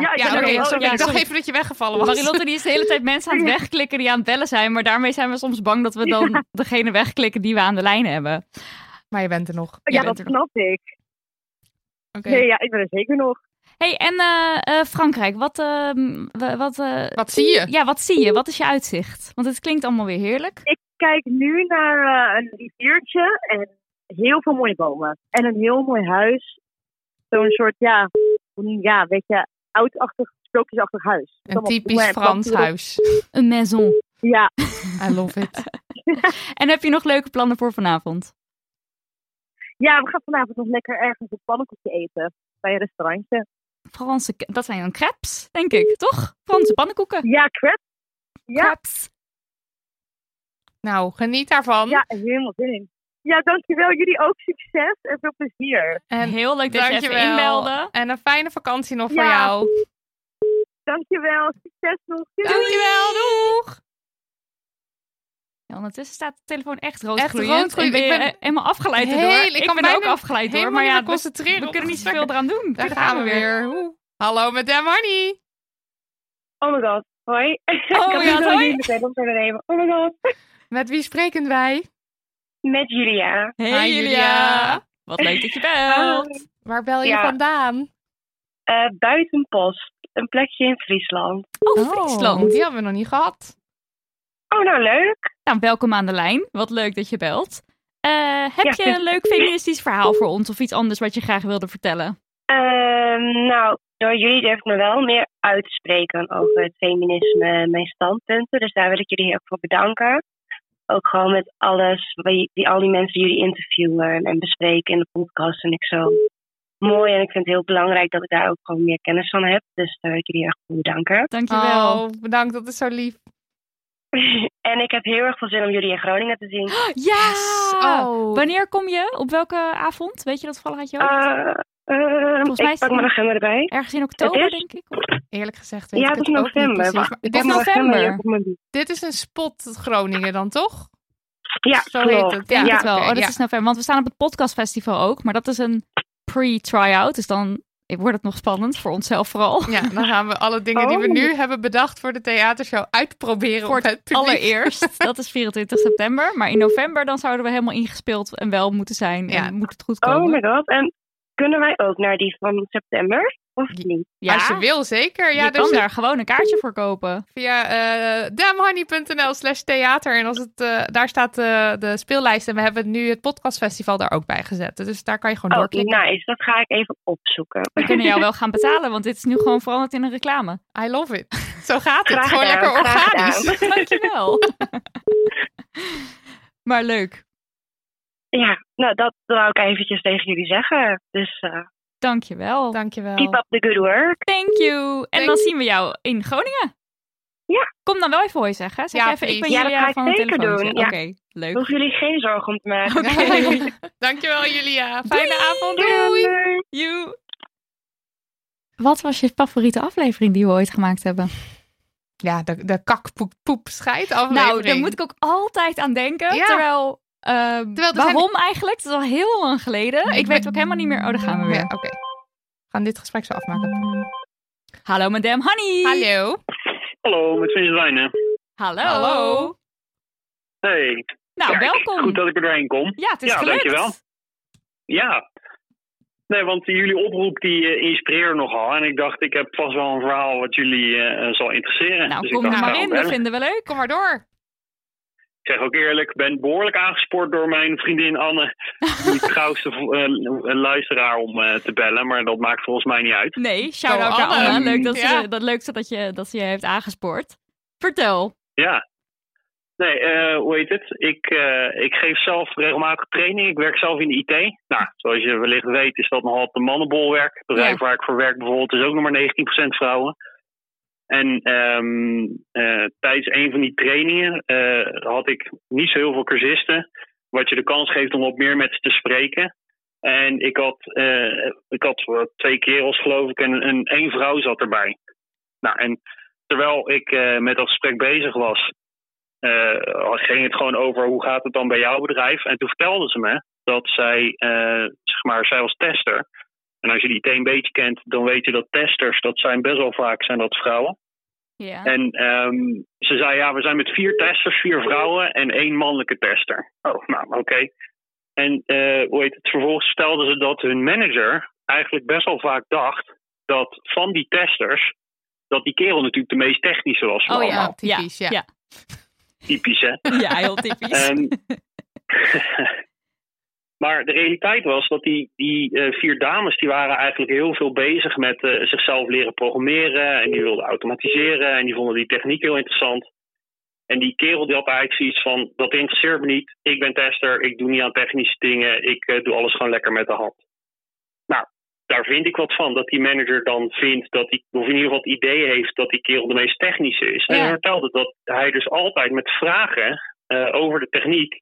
Ja.
Dus, Ja, ik
Ja,
ben
oké.
er wel.
sorry.
Ja,
ik dacht
sorry.
even dat je weggevallen was.
Marilotte die is de hele tijd mensen aan het wegklikken die aan het bellen zijn. Maar daarmee zijn we soms bang dat we dan degene wegklikken die we aan de lijn hebben.
Maar je bent er nog.
Jij
Ja,
bent
dat
er
snap ik.
Oké.
Nee, ja, ik ben er zeker nog.
hey, en eh, eh, Frankrijk, wat, ehm, wa- wat, eh,
Wat zie je?
ja, wat zie je? Wat is je uitzicht? Want het klinkt allemaal weer heerlijk.
kijk nu naar eh, een riviertje en heel veel mooie bomen. En een heel mooi huis. Zo'n soort, ja, ja weet je, oudachtig, sprookjesachtig huis. Met
Een
allemaal
typisch
bloemen en
Frans
planten erop.
huis.
Een maison.
Ja,
I love it.
En heb je nog leuke plannen voor vanavond?
ja, we gaan vanavond nog lekker ergens een pannenkoekje eten. Bij een restaurantje.
Franse, k- dat zijn dan crepes, denk ik, toch? Franse pannenkoeken.
Ja, crap. Ja,
Crepes.
Nou, geniet daarvan.
Ja, helemaal zin in. Ja, dankjewel. Jullie ook succes en veel plezier.
En
Heel leuk dat je even
dankjewel.
inbelde.
En een fijne vakantie nog voor
Ja.
jou.
Dankjewel. Succes nog. Doei.
Dankjewel. Doeg.
Ja, ondertussen staat de telefoon echt rood
Echt
gloeiend.
roodgloeiend.
en
Ik
ben je
ben
helemaal afgeleid
heel-
door.
ik
Ik,
kan
ben
bijna
ook afgeleid door.
helemaal niet
Maar ja, dus
meer concentreren
we, we
op
kunnen
de
niet zoveel eraan doen.
Daar gaan we weer. Oeh. Hallo met Dem Honey.
Oh my god. Hoi.
Oh my god, hoi.
nemen. Oh my god.
Met wie spreken wij?
Met Julia.
Hey
Hi,
Julia. Wat leuk dat je belt.
Hi.
Waar bel je
Ja.
vandaan?
Eh, Buitenpost. Een plekje in Friesland.
Oh, Friesland.
die hebben we nog niet gehad.
Oh, nou leuk.
Nou, welkom aan de lijn. Wat leuk dat je belt. Eh, heb
Ja,
je
dus-
een leuk feministisch verhaal voor ons of iets anders wat je graag wilde vertellen?
Ehm, nou, door jullie durf ik me wel meer uit te spreken over het feminisme en Dus mijn standpunten. Dus daar wil ik jullie heel erg voor bedanken. Ook gewoon met alles, wie, die, al die mensen die jullie interviewen en bespreken in de podcast vind ik zo mooi. En ik vind het heel belangrijk dat ik daar ook gewoon meer kennis van heb. Dus daar wil ik jullie heel erg voor bedanken.
Dankjewel.
Oh, bedankt. Dat is zo lief.
en ik heb heel erg veel zin om jullie in Groningen te zien.
Yes!
Oh.
Wanneer kom je? Op welke avond? Weet je dat toevallig uit je hoofd?
Eh, eh,
Volgens mij
ik
is
pak
het
mijn
nog-
agenda erbij.
Ergens in oktober,
is-
denk ik.
Eerlijk gezegd weet
Ja,
ik
het
het
is
ook niet
november.
precies,
maar
maar
ik
dit,
heb
is
mijn
nog-
agenda
november.
hier op mijn bies.
dit is een spot Groningen dan, toch?
Ja,
Zo heet
klopt.
het.
Ik denk
Ja,
het wel.
oké,
oh, dat
ja.
is november. Want we staan op het podcastfestival ook. Maar dat is een pre-tryout. Dus dan wordt het nog spannend. Voor onszelf vooral.
Ja, dan gaan we alle dingen die we
Oh.
nu hebben bedacht voor de theatershow uitproberen
Voor
op het publiek.
Allereerst. Dat is 24 september. Maar in november dan zouden we helemaal ingespeeld en wel moeten zijn.
Ja.
En moet het goed
Oh my
komen.
god. En kunnen wij ook naar die van september? Of niet?
ja,
Als je wil, zeker. Ja,
je
dus
kan daar gewoon een kaartje voor kopen.
via eh damhoney.nl slash theater. En als het, eh, daar staat eh, de speellijst. En we hebben nu het podcastfestival daar ook bij gezet. Dus daar kan je gewoon
Oh,
doorklikken.
nice. Dat ga ik even opzoeken.
We kunnen jou wel gaan betalen. Want dit is nu gewoon veranderd in een reclame.
I love it. Zo gaat het.
Graag
gewoon
gedaan,
lekker
graag
organisch.
gedaan.
Dankjewel. maar leuk.
Ja, nou dat wou ik eventjes tegen jullie zeggen. Dus eh,
Dankjewel.
Dankjewel.
keep up the good work.
Thank you. En
Thank-
dan zien we jou in Groningen.
Ja.
Kom dan wel even hoi zeggen. hè? Zeg
Ja,
even, ik ben
please.
Ja, dat
Julia
ga ik
van het
zeker
telefoontje.
doen, ja.
Oké, leuk.
Hoef jullie geen zorgen om te maken.
Dankjewel Julia. Fijne
Doei.
avond.
Doei.
Doei.
You. Wat was je favoriete aflevering die we ooit gemaakt hebben?
Ja, de, de kakpoep scheidt aflevering.
Nou, daar moet ik ook altijd aan denken.
Ja.
Terwijl, ehm,
er zijn-
waarom eigenlijk? Het is al heel lang geleden. Ik weet ook helemaal niet meer. Oh, daar gaan we weer.
Ja, oké. We gaan dit gesprek zo afmaken.
Hallo, madame Honey.
Hallo.
Hallo, met Vince Wijnen.
Hallo.
Hallo.
Hey.
Nou,
Kijk,
welkom.
Goed dat ik er doorheen kom.
Ja, het is
Ja,
gelukt.
dankjewel. Ja. Nee, want jullie oproep die eh, inspireerde nogal. En ik dacht, ik heb vast wel een verhaal wat jullie eh, eh, zal interesseren.
Nou,
Dus ik
kom
dacht,
er maar
nou,
in.
bellen.
Dat vinden we leuk.
Kom maar door.
Ik zeg ook eerlijk, ik ben behoorlijk aangespoord door mijn vriendin Anne. Die trouwste eh, luisteraar om eh, te bellen. Maar dat maakt volgens mij niet uit.
Nee, shout-out naar
Go Anne.
Anne. Leuk dat,
Ja.
ze, dat, leuk dat, je, dat ze je heeft aangespoord. Vertel.
Ja. Nee, eh, hoe heet het? Ik, eh, ik geef zelf regelmatig training. Ik werk zelf in de IT. Nou, zoals je wellicht weet is dat nogal op de mannenbolwerk. Het bedrijf waar ik voor werk bijvoorbeeld is ook nog maar 19% vrouwen. En ehm, eh, tijdens een van die trainingen eh, had ik niet zo heel veel cursisten. Wat je de kans geeft om wat meer met ze te spreken. En ik had, eh, ik had eh, twee kerels geloof ik en een, één vrouw zat erbij. Nou, en terwijl ik eh, met dat gesprek bezig was, eh, ging het gewoon over hoe gaat het dan bij jouw bedrijf. En toen vertelde ze me dat zij, eh, zeg maar, zij was tester. En als je die IT een beetje kent, dan weet je dat testers, dat zijn best wel vaak zijn dat vrouwen.
Ja.
En ehm, ze zei, ja, we zijn met vier testers, vier vrouwen en één mannelijke tester. Oh, nou, oké. En eh, hoe heet het? Vervolgens stelden ze dat hun manager eigenlijk best wel vaak dacht dat van die testers, dat die kerel natuurlijk de meest technische was. van
Oh
allemaal.
ja,
typisch, ja.
Ja,
Typisch, hè?
ja. Ja, heel typisch.
Ehm, maar de realiteit was dat die, die eh, vier dames, die waren eigenlijk heel veel bezig met eh, zichzelf leren programmeren. En die wilden automatiseren en die vonden die techniek heel interessant. En die kerel die had eigenlijk zoiets van, dat interesseert me niet. Ik ben tester, ik doe niet aan technische dingen. Ik eh, doe alles gewoon lekker met de hand. Nou, daar vind ik wat van. Dat die manager dan vindt dat hij, of in ieder geval het idee heeft dat die kerel de meest technische is. En
Ja.
hij vertelde dat hij dus altijd met vragen eh, eh, over de techniek,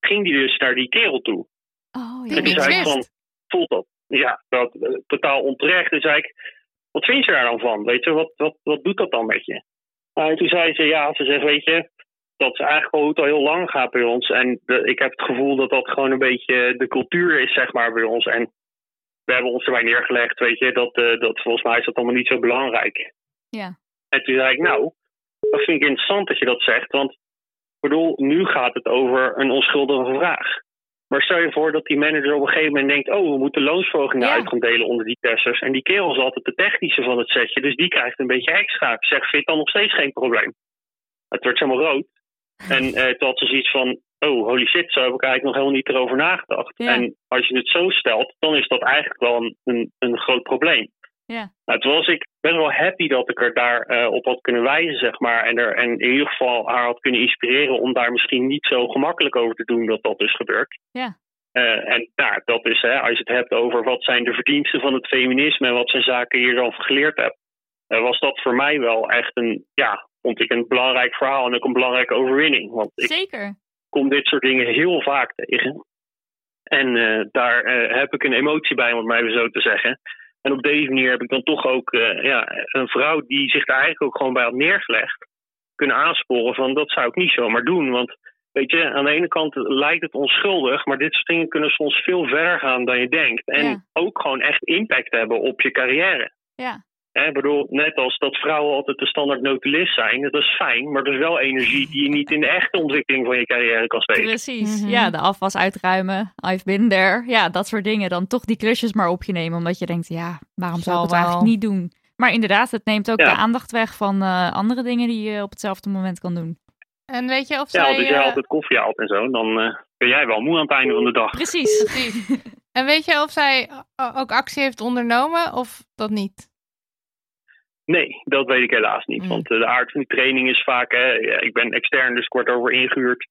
ging die dus naar die kerel toe.
Oh,
en toen zei ik van, voelt dat? Ja, dat, eh, totaal onterecht. Toen zei ik, wat vind je daar dan van? Weet je, wat, wat, wat doet dat dan met je? Nou, en toen zei ze, ja, ze zegt, weet je, dat is eigenlijk wel hoe het al heel lang gaat bij ons. En de- ik heb het gevoel dat dat gewoon een beetje de cultuur is, zeg maar, bij ons. En we hebben ons erbij neergelegd, weet je, dat, eh, dat volgens mij is dat allemaal niet zo belangrijk.
Ja.
En toen zei ik, nou, dat vind ik interessant dat je dat zegt. Want ik bedoel, nu gaat het over een onschuldige vraag. Maar stel je voor dat die manager op een gegeven moment denkt... oh, we moeten loonsverhogingen uit gaan delen onder die testers. En die kerel is altijd de technische van het setje, dus die krijgt een beetje extra. Ik Zeg, vind je het dan nog steeds geen probleem? Het wordt helemaal rood. En eh toen had ze zoiets van... oh, holy shit, zo heb ik eigenlijk nog helemaal niet erover nagedacht.
Ja.
En als je het zo stelt, dan is dat eigenlijk wel een, een, een groot probleem.
Ja.
Nou, toen was ik best wel happy dat ik er daar eh, op had kunnen wijzen, zeg maar. En, er, en in ieder geval haar had kunnen inspireren om daar misschien niet zo gemakkelijk over te doen dat dat is gebeurd.
Ja.
Eh, en nou, dat is, hè, als je het hebt over wat zijn de verdiensten van het feminisme en wat zijn zaken die je dan geleerd hebt, eh, was dat voor mij wel echt een, ja, vond ik een belangrijk verhaal en ook een belangrijke overwinning. Want ik
Zeker.
kom dit soort dingen heel vaak tegen. En eh, daar eh, heb ik een emotie bij, om het maar even zo te zeggen. En op deze manier heb ik dan toch ook eh, ja, een vrouw die zich daar eigenlijk ook gewoon bij had neergelegd, kunnen aansporen van dat zou ik niet zomaar doen. Want weet je, aan de ene kant lijkt het onschuldig, maar dit soort dingen kunnen soms veel verder gaan dan je denkt. En ook gewoon echt impact hebben op je carrière.
Ja.
Hè, Ik bedoel, net als dat vrouwen altijd de standaard notulist zijn, dat is fijn, maar dat is wel energie die je niet in de echte ontwikkeling van je carrière kan steken.
Precies.
Mhm.
Ja, de afwas uitruimen. I've been there. Ja, dat soort dingen. Dan toch die klusjes maar op je nemen. Omdat je denkt, ja, waarom
Zal
zou ik het
wel.
eigenlijk niet doen? Maar inderdaad, het neemt ook
Ja.
de aandacht weg van eh, andere dingen die je op hetzelfde moment kan doen.
En weet je of zij...
Ja, want als jij
eh,
altijd koffie haalt en zo, dan eh, ben jij wel moe aan het einde van de dag.
Precies.
En weet je of zij eh, ook actie heeft ondernomen of dat niet?
Nee, dat weet ik helaas niet. Want eh, de aard van die training is vaak, hè, ja, ik ben extern, dus ik word over ingehuurd.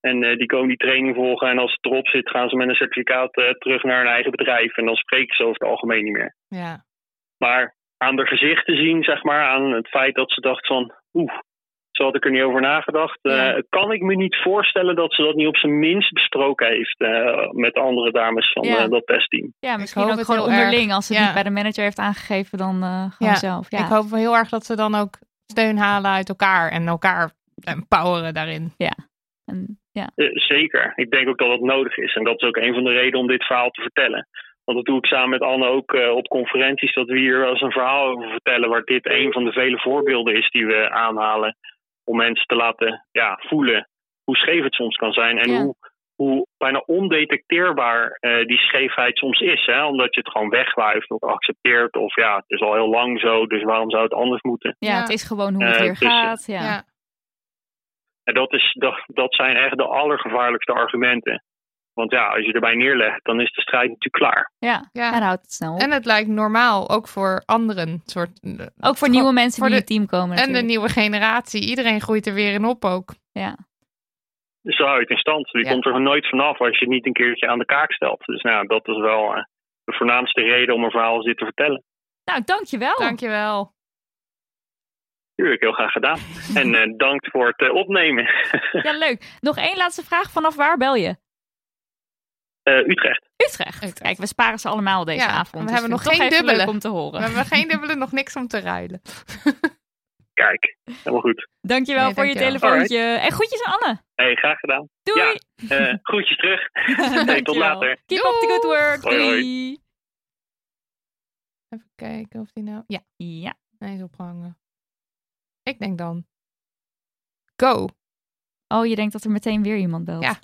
En eh, die komen die training volgen en als het erop zit, gaan ze met een certificaat eh, terug naar hun eigen bedrijf. En dan spreken ze over het algemeen niet meer.
Ja.
Maar aan haar gezicht te zien, zeg maar, aan het feit dat ze dacht van, oeh, zo had ik er niet over nagedacht. eh, kan ik me niet voorstellen dat ze dat niet op zijn minst besproken heeft eh, met andere dames van
Ja.
eh, dat testteam.
Ja, misschien
hoop
ook
het
gewoon
heel erg.
onderling. Als ze het
Ja.
niet bij de manager heeft aangegeven, dan eh, gewoon zelf. Ja.
Ik hoop wel heel erg dat ze dan ook steun halen uit elkaar en elkaar eh, empoweren daarin.
Ja. ja.
Eh, zeker. Ik denk ook dat dat nodig is. En dat is ook een van de redenen om dit verhaal te vertellen. Want dat doe ik samen met Anne ook eh, op conferenties, dat we hier wel eens een verhaal over vertellen, waar dit een van de vele voorbeelden is die we aanhalen. Om mensen te laten ja, voelen hoe scheef het soms kan zijn en hoe, hoe bijna ondetecteerbaar eh, die scheefheid soms is. Hè? Omdat je het gewoon wegwuift of accepteert. Of ja, het is al heel lang zo, dus waarom zou het anders moeten?
Ja, het is gewoon hoe het
Eh,
weer
dus, eh,
gaat. Ja. Ja.
En dat, is, dat, dat zijn echt de allergevaarlijkste argumenten. Want ja, als je erbij neerlegt, dan is de strijd natuurlijk klaar.
Ja. en houdt het snel op.
En het lijkt normaal, ook voor anderen. Soort,
ook voor nieuwe mensen die in het team komen
En de
natuurlijk.
nieuwe generatie. Iedereen groeit er weer in op ook.
Ja.
Dus zo uit in stand. Die komt er nooit vanaf als je het niet een keertje aan de kaak stelt. Dus nou, dat is wel eh, de voornaamste reden om een verhaal als dit te vertellen.
Nou, dankjewel.
Dankjewel.
Tuurlijk, heel graag gedaan. En eh, dank voor het eh, opnemen.
Ja, leuk. Nog één laatste vraag. Vanaf waar bel je?
Eh, Utrecht.
Utrecht. Kijk, we sparen ze allemaal deze
Ja,
avond.
we
dus
hebben
vind
nog
ik toch
geen
even
dubbele.
leuk om te horen.
We hebben geen dubbele, nog niks om te ruilen.
Kijk, helemaal goed.
Dankjewel
Nee,
voor je
dankjewel.
telefoontje. En groetjes aan Anne.
Hey, graag gedaan.
Doei.
Ja, eh, groetjes terug. hey, tot later.
Keep up the good work.
Hoi, hoi.
Doei.
Even kijken of die nou... Ja.
Ja.
Hij is opgehangen. Ik denk dan... Go.
Oh, je denkt dat er meteen weer iemand belt.
Ja.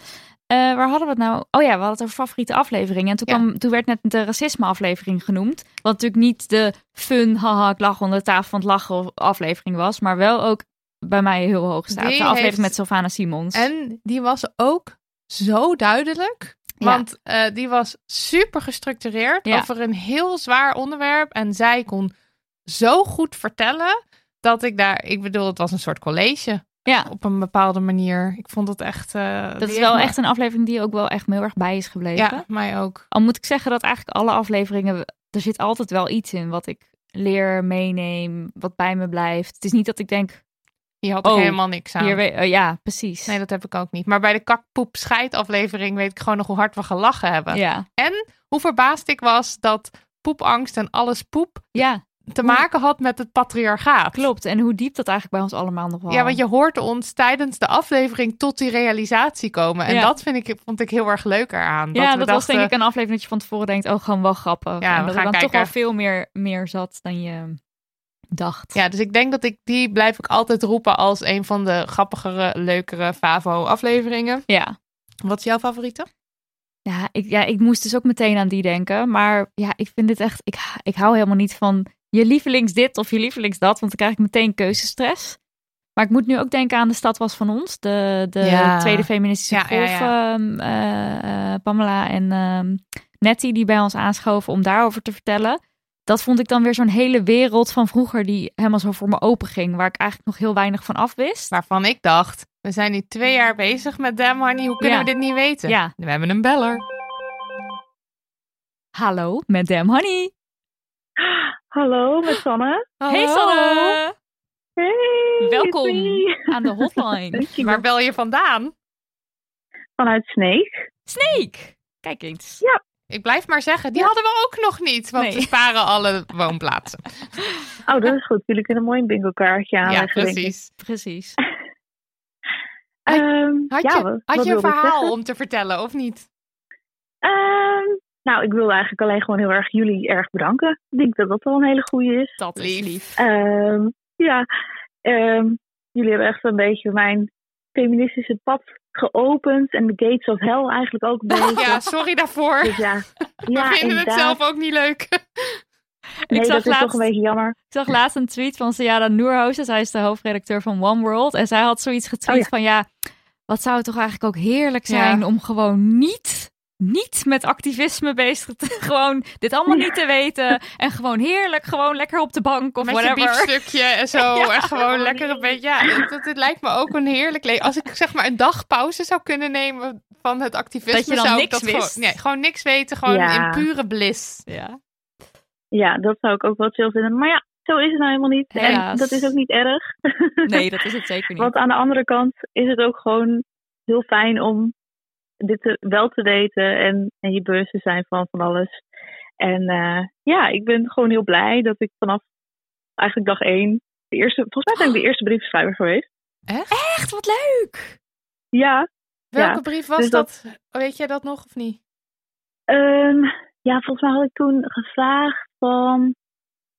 Eh, waar hadden we het nou? Oh ja, we hadden het over favoriete afleveringen. En toen, kwam, toen werd net de racisme-aflevering genoemd. Wat natuurlijk niet de fun, haha, ik lach onder de tafel van het lachen aflevering was. Maar wel ook bij mij heel hoog staat.
Die
de aflevering
heeft-
met Sylvana Simons.
En die was ook zo duidelijk.
Ja.
Want eh, die was super gestructureerd
Ja.
over een heel zwaar onderwerp. En zij kon zo goed vertellen dat ik daar... Ik bedoel, het was een soort college.
Ja.
Op een bepaalde manier. Ik vond het echt... eh, die
Dat is
heeft
wel
me-
echt een aflevering die ook wel echt me heel erg bij is gebleven.
Ja, mij ook.
Al moet ik zeggen dat eigenlijk alle afleveringen, er zit altijd wel iets in wat ik leer, meeneem, wat bij me blijft. Het is niet dat ik denk,
Hier had ik
Oh,
helemaal niks aan.
hier we- eh, ja, precies.
Nee, dat heb ik ook niet. Maar bij de kakpoep scheidaflevering weet ik gewoon nog hoe hard we gelachen hebben.
Ja.
En hoe verbaasd ik was dat poepangst en alles poep
ja.
te maken had met het patriarchaat.
Klopt. En hoe diep dat eigenlijk bij ons allemaal nog was.
Ja, want je hoort ons tijdens de aflevering tot die realisatie komen. En
Ja.
dat vind ik, vond ik heel erg leuk eraan.
Ja,
we
dat was
dachten,
denk ik een aflevering dat je van tevoren denkt, oh, gewoon wel grappig.
Ja,
en
we
dat
gaan
er dan toch
kijken.
wel veel meer, meer zat dan je dacht.
Ja, dus ik denk dat ik die blijf ik altijd roepen als een van de grappigere, leukere Favo-afleveringen.
Ja.
Wat is jouw favoriete?
Ja ik, ja, ik moest dus ook meteen aan die denken. Maar ja, ik vind dit echt. Ik, ik hou helemaal niet van je lievelings dit of je lievelings dat. Want dan krijg ik meteen keuzestress. Maar ik moet nu ook denken aan De Stad Was Van Ons. De, de
Ja.
tweede feministische
Ja, ja,
golf.
ja.
ehm, eh, eh, Pamela en ehm Nettie die bij ons aanschoven om daarover te vertellen. Dat vond ik dan weer zo'n hele wereld van vroeger die helemaal zo voor me open ging. Waar ik eigenlijk nog heel weinig van af wist.
Waarvan ik dacht, we zijn nu twee jaar bezig met Damn Honey. Hoe kunnen
Ja.
we dit niet weten?
Ja.
We hebben een beller.
Hallo, met Dem Honey.
Hallo, met Sanne.
Hey Sanne!
Hey,
Welkom
Sophie.
aan de hotline.
Waar bel je vandaan?
Vanuit Sneek.
Snake! Kijk eens.
Ja.
Ik blijf maar zeggen, die hadden we ook nog niet. Want
Nee.
we sparen alle woonplaatsen.
Oh, dat is goed. Jullie kunnen mooi een bingo kaartje
ja,
aanleggen. denk ik.
precies.
Precies.
Ehm,
Had je,
ja, wat-
had
wat
je een
wilde ik
verhaal
zeggen?
om te vertellen, of niet?
Ehm, nou, ik wil eigenlijk alleen gewoon heel erg jullie erg bedanken. Ik denk dat dat wel een hele goede is.
Dat
is
lief.
Ehm, ja, ehm, jullie hebben echt een beetje mijn feministische pad geopend. En de gates of hell eigenlijk ook een beetje.
Ja, sorry daarvoor.
Dus ja, ja,
we vinden
inderdaad.
het zelf ook niet leuk.
Nee,
ik zag
dat is
laatst,
toch een beetje jammer.
Ik zag laatst een tweet van Sayada Noerhozen. Zij is de hoofdredacteur van One World. En zij had zoiets getweet
Oh ja.
van ja, wat zou het toch eigenlijk ook heerlijk zijn
Ja.
om gewoon niet, niet met activisme bezig te Gewoon dit allemaal niet te weten. En gewoon heerlijk, gewoon lekker op de bank of
Met je
whatever.
biefstukje en zo.
Ja.
En gewoon lekker een beetje. Ja, dat, het lijkt me ook een heerlijk leven. Als ik zeg maar een dag pauze zou kunnen nemen van het activisme,
Dat je dan
zou ik
niks
dat
wist.
Gewoon, nee, gewoon niks weten. Gewoon
Ja.
in pure bliss.
Ja.
Ja, dat zou ik ook wel chill vinden. Maar ja, zo is het nou helemaal niet. En
Helaas.
dat is ook niet erg.
Nee, dat is het zeker niet.
Want aan de andere kant is het ook gewoon heel fijn om dit te- wel te weten en, en je bewust te zijn van van alles. En eh, ja, ik ben gewoon heel blij dat ik vanaf eigenlijk dag één, de eerste, volgens mij ben ik de eerste briefschrijver geweest.
Oh. Echt?
Echt, wat leuk!
Ja.
Welke
ja.
brief was
Dus
dat? Weet jij dat nog of niet?
Ehm, ja, volgens mij had ik toen gevraagd van.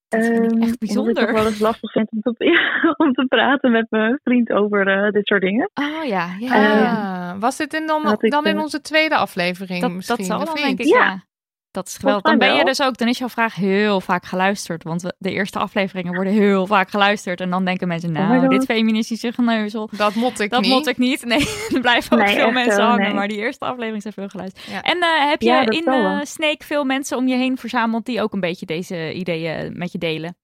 Dat vind ik echt
bijzonder.
Omdat ik het wel eens lastig vind om te, ja, om te praten met mijn vriend over eh, dit soort dingen.
Oh ja, ja.
Ah, was dit in dan,
Ehm, had ik,
dan in
eh,
onze tweede aflevering
Dat,
misschien?
dat zal
of
dan
niet?
denk ik, ja. Dat is geweldig. Dan
mij
ben je
wel.
dus ook, dan is jouw vraag heel vaak geluisterd. Want we- de eerste afleveringen worden heel vaak geluisterd. En dan denken mensen,
my
nou,
God.
dit feministische geneuzel.
Dat mot ik
dat
niet.
mot ik niet. Nee, er blijven ook
Nee,
veel
echt
mensen
wel,
hangen.
nee.
Maar die eerste aflevering zijn veel geluisterd.
Ja.
En eh, heb je
Ja, dat
in
wel,
eh
hoor.
Snake veel mensen om je heen verzameld die ook een beetje deze ideeën met je delen?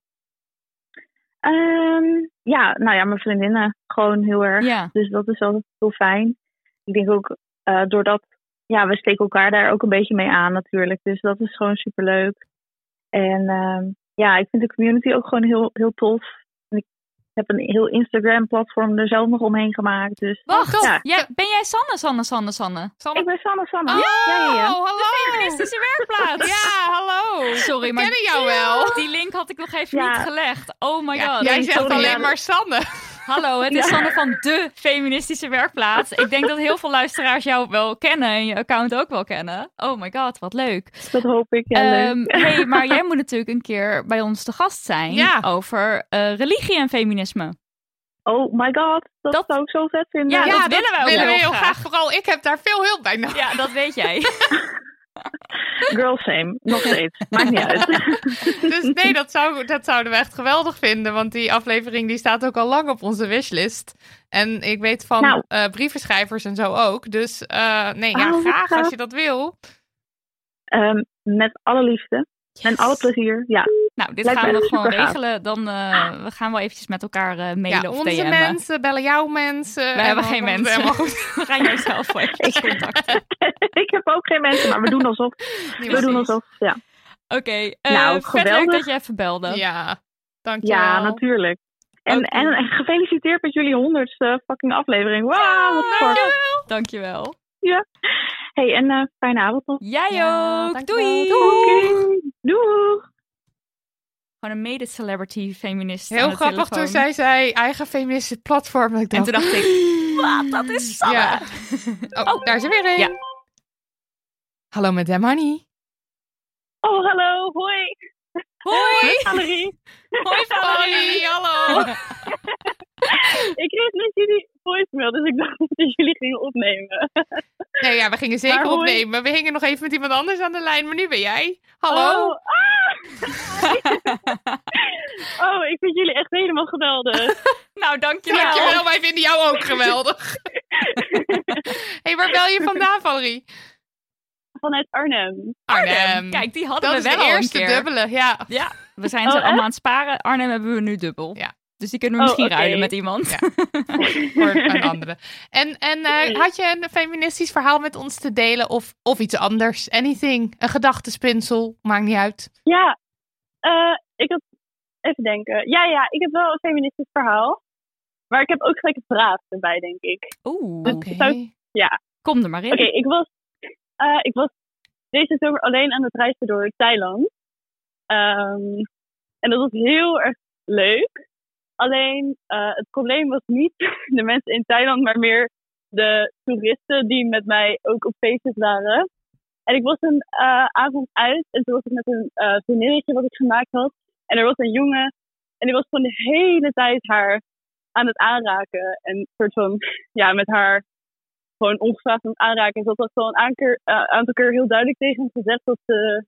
Ehm, ja, nou ja, mijn vriendinnen gewoon heel erg.
Ja.
Dus dat is wel heel fijn. Ik denk ook eh, doordat, ja, we steken elkaar daar ook een beetje mee aan natuurlijk. Dus dat is gewoon superleuk. En ehm, ja, ik vind de community ook gewoon heel, heel tof. En ik heb een heel Instagram-platform er zelf nog omheen gemaakt. Dus
Wacht,
ja.
jij, ben jij Sanne, Sanne, Sanne, Sanne?
Sanne?
Ik ben Sanne Sanne.
Oh,
Ja, ja, ja.
hallo!
De feministische werkplaats!
Ja, hallo!
Sorry,
We
maar
kennen jou wel.
die link had ik nog even
Ja.
niet gelegd. Oh my
Ja,
god.
jij
Nee,
zegt
sorry.
alleen maar Sanne.
Hallo, het is Sanne van de feministische werkplaats. Ik denk dat heel veel luisteraars jou wel kennen en je account ook wel kennen. Oh my god, wat leuk.
Dat hoop ik. Ja, leuk.
Ehm, hey, maar jij moet natuurlijk een keer bij ons te gast zijn
Ja.
over eh, religie en feminisme.
Oh my god, dat, zou ik zo vet vinden.
Ja, dat willen wij ook
willen
heel
we heel
graag.
graag. Vooral ik heb daar veel hulp bij nodig.
Ja, dat weet jij.
Girl same, nog steeds. Maakt niet uit.
Dus nee, dat, zou, dat zouden we echt geweldig vinden. Want die aflevering die staat ook al lang op onze wishlist. En ik weet van
Nou.
eh, brievenschrijvers en zo ook. Dus eh, nee, ja,
Oh, wat
graag als
gaaf.
je dat wil.
Ehm, met alle liefde en alle plezier. Ja,
Nou, dit
Lijkt
gaan
me
we
echt
gewoon
supergaaf.
regelen. Dan eh, we gaan wel eventjes met elkaar eh, mailen
Ja,
of
onze
DM'en.
mensen bellen jouw mensen.
We
en
hebben
dan
geen
komt het
mensen.
helemaal goed.
We gaan jouzelf voor eventjes contacten. Eh.
ik heb ook geen mensen, maar we doen alsof. we doen
precies.
alsof, ja.
Oké, eh,
Nou,
vet leuk
geweldig.
dat je even belde.
Ja, dankjewel.
Ja, natuurlijk. En, en, en gefeliciteerd met jullie honderdste fucking aflevering. Wauw, wat fuck.
Ah, Dankjewel.
Ja. hey, en eh, fijne avond nog.
Jij ook. Doei.
Doeg.
Gewoon een mede-celebrity feminist. aan
Heel
de
grappig
telefoon.
toen zij zei eigen feministische platform. dat Ik
En
dacht,
toen dacht ik, wat, dat is Sanne.
Ja. Oh, daar is er weer een. Hallo met Dem Honey.
Oh, hallo. Hoi.
Hoi.
Valerie.
Hoi,
Valerie.
hallo.
ik kreeg net jullie voicemail, dus ik dacht dat jullie gingen opnemen.
Nee, ja, we gingen zeker
Maar hoi.
opnemen. We hingen nog even met iemand anders aan de lijn, maar nu ben jij. Hallo.
Oh, ah. oh, ik vind jullie echt helemaal geweldig.
nou, dankjewel.
Dankjewel, wij vinden jou ook geweldig. Hé, hey, waar bel je vandaan, Valerie?
Vanuit Arnhem.
Arnhem.
Kijk, die hadden
Dat
we
is
wel
de
al een
eerste
keer.
dubbele, ja.
Ja, we zijn ze
Oh, echt?
allemaal aan het sparen. Arnhem hebben we nu dubbel.
Ja.
Dus die kunnen we
Oh,
misschien
oké.
ruilen met iemand.
Voor een andere. En, en eh, had je een feministisch verhaal met ons te delen of, of iets anders? Anything. Een gedachtespinsel, maakt niet uit.
Ja, eh, ik had. Even denken. Ja, ja, ik heb wel een feministisch verhaal. Maar ik heb ook gelijk een vraag erbij, denk ik.
Oeh,
oké. Ja.
Kom er maar in.
Oké, ik, was, eh, ik was deze zomer alleen aan het reizen door Thailand. Ehm, en dat was heel erg leuk. Alleen eh, het probleem was niet de mensen in Thailand, maar meer de toeristen die met mij ook op feestjes waren. En ik was een eh, avond uit en toen was ik met een eh vriendinnetje wat ik gemaakt had. En er was een jongen en die was van de hele tijd haar aan het aanraken. En soort van, ja, met haar gewoon ongevraagd aan het aanraken. Ze had dat wel een aanker- eh, aantal keer heel duidelijk tegen hem gezegd dat ze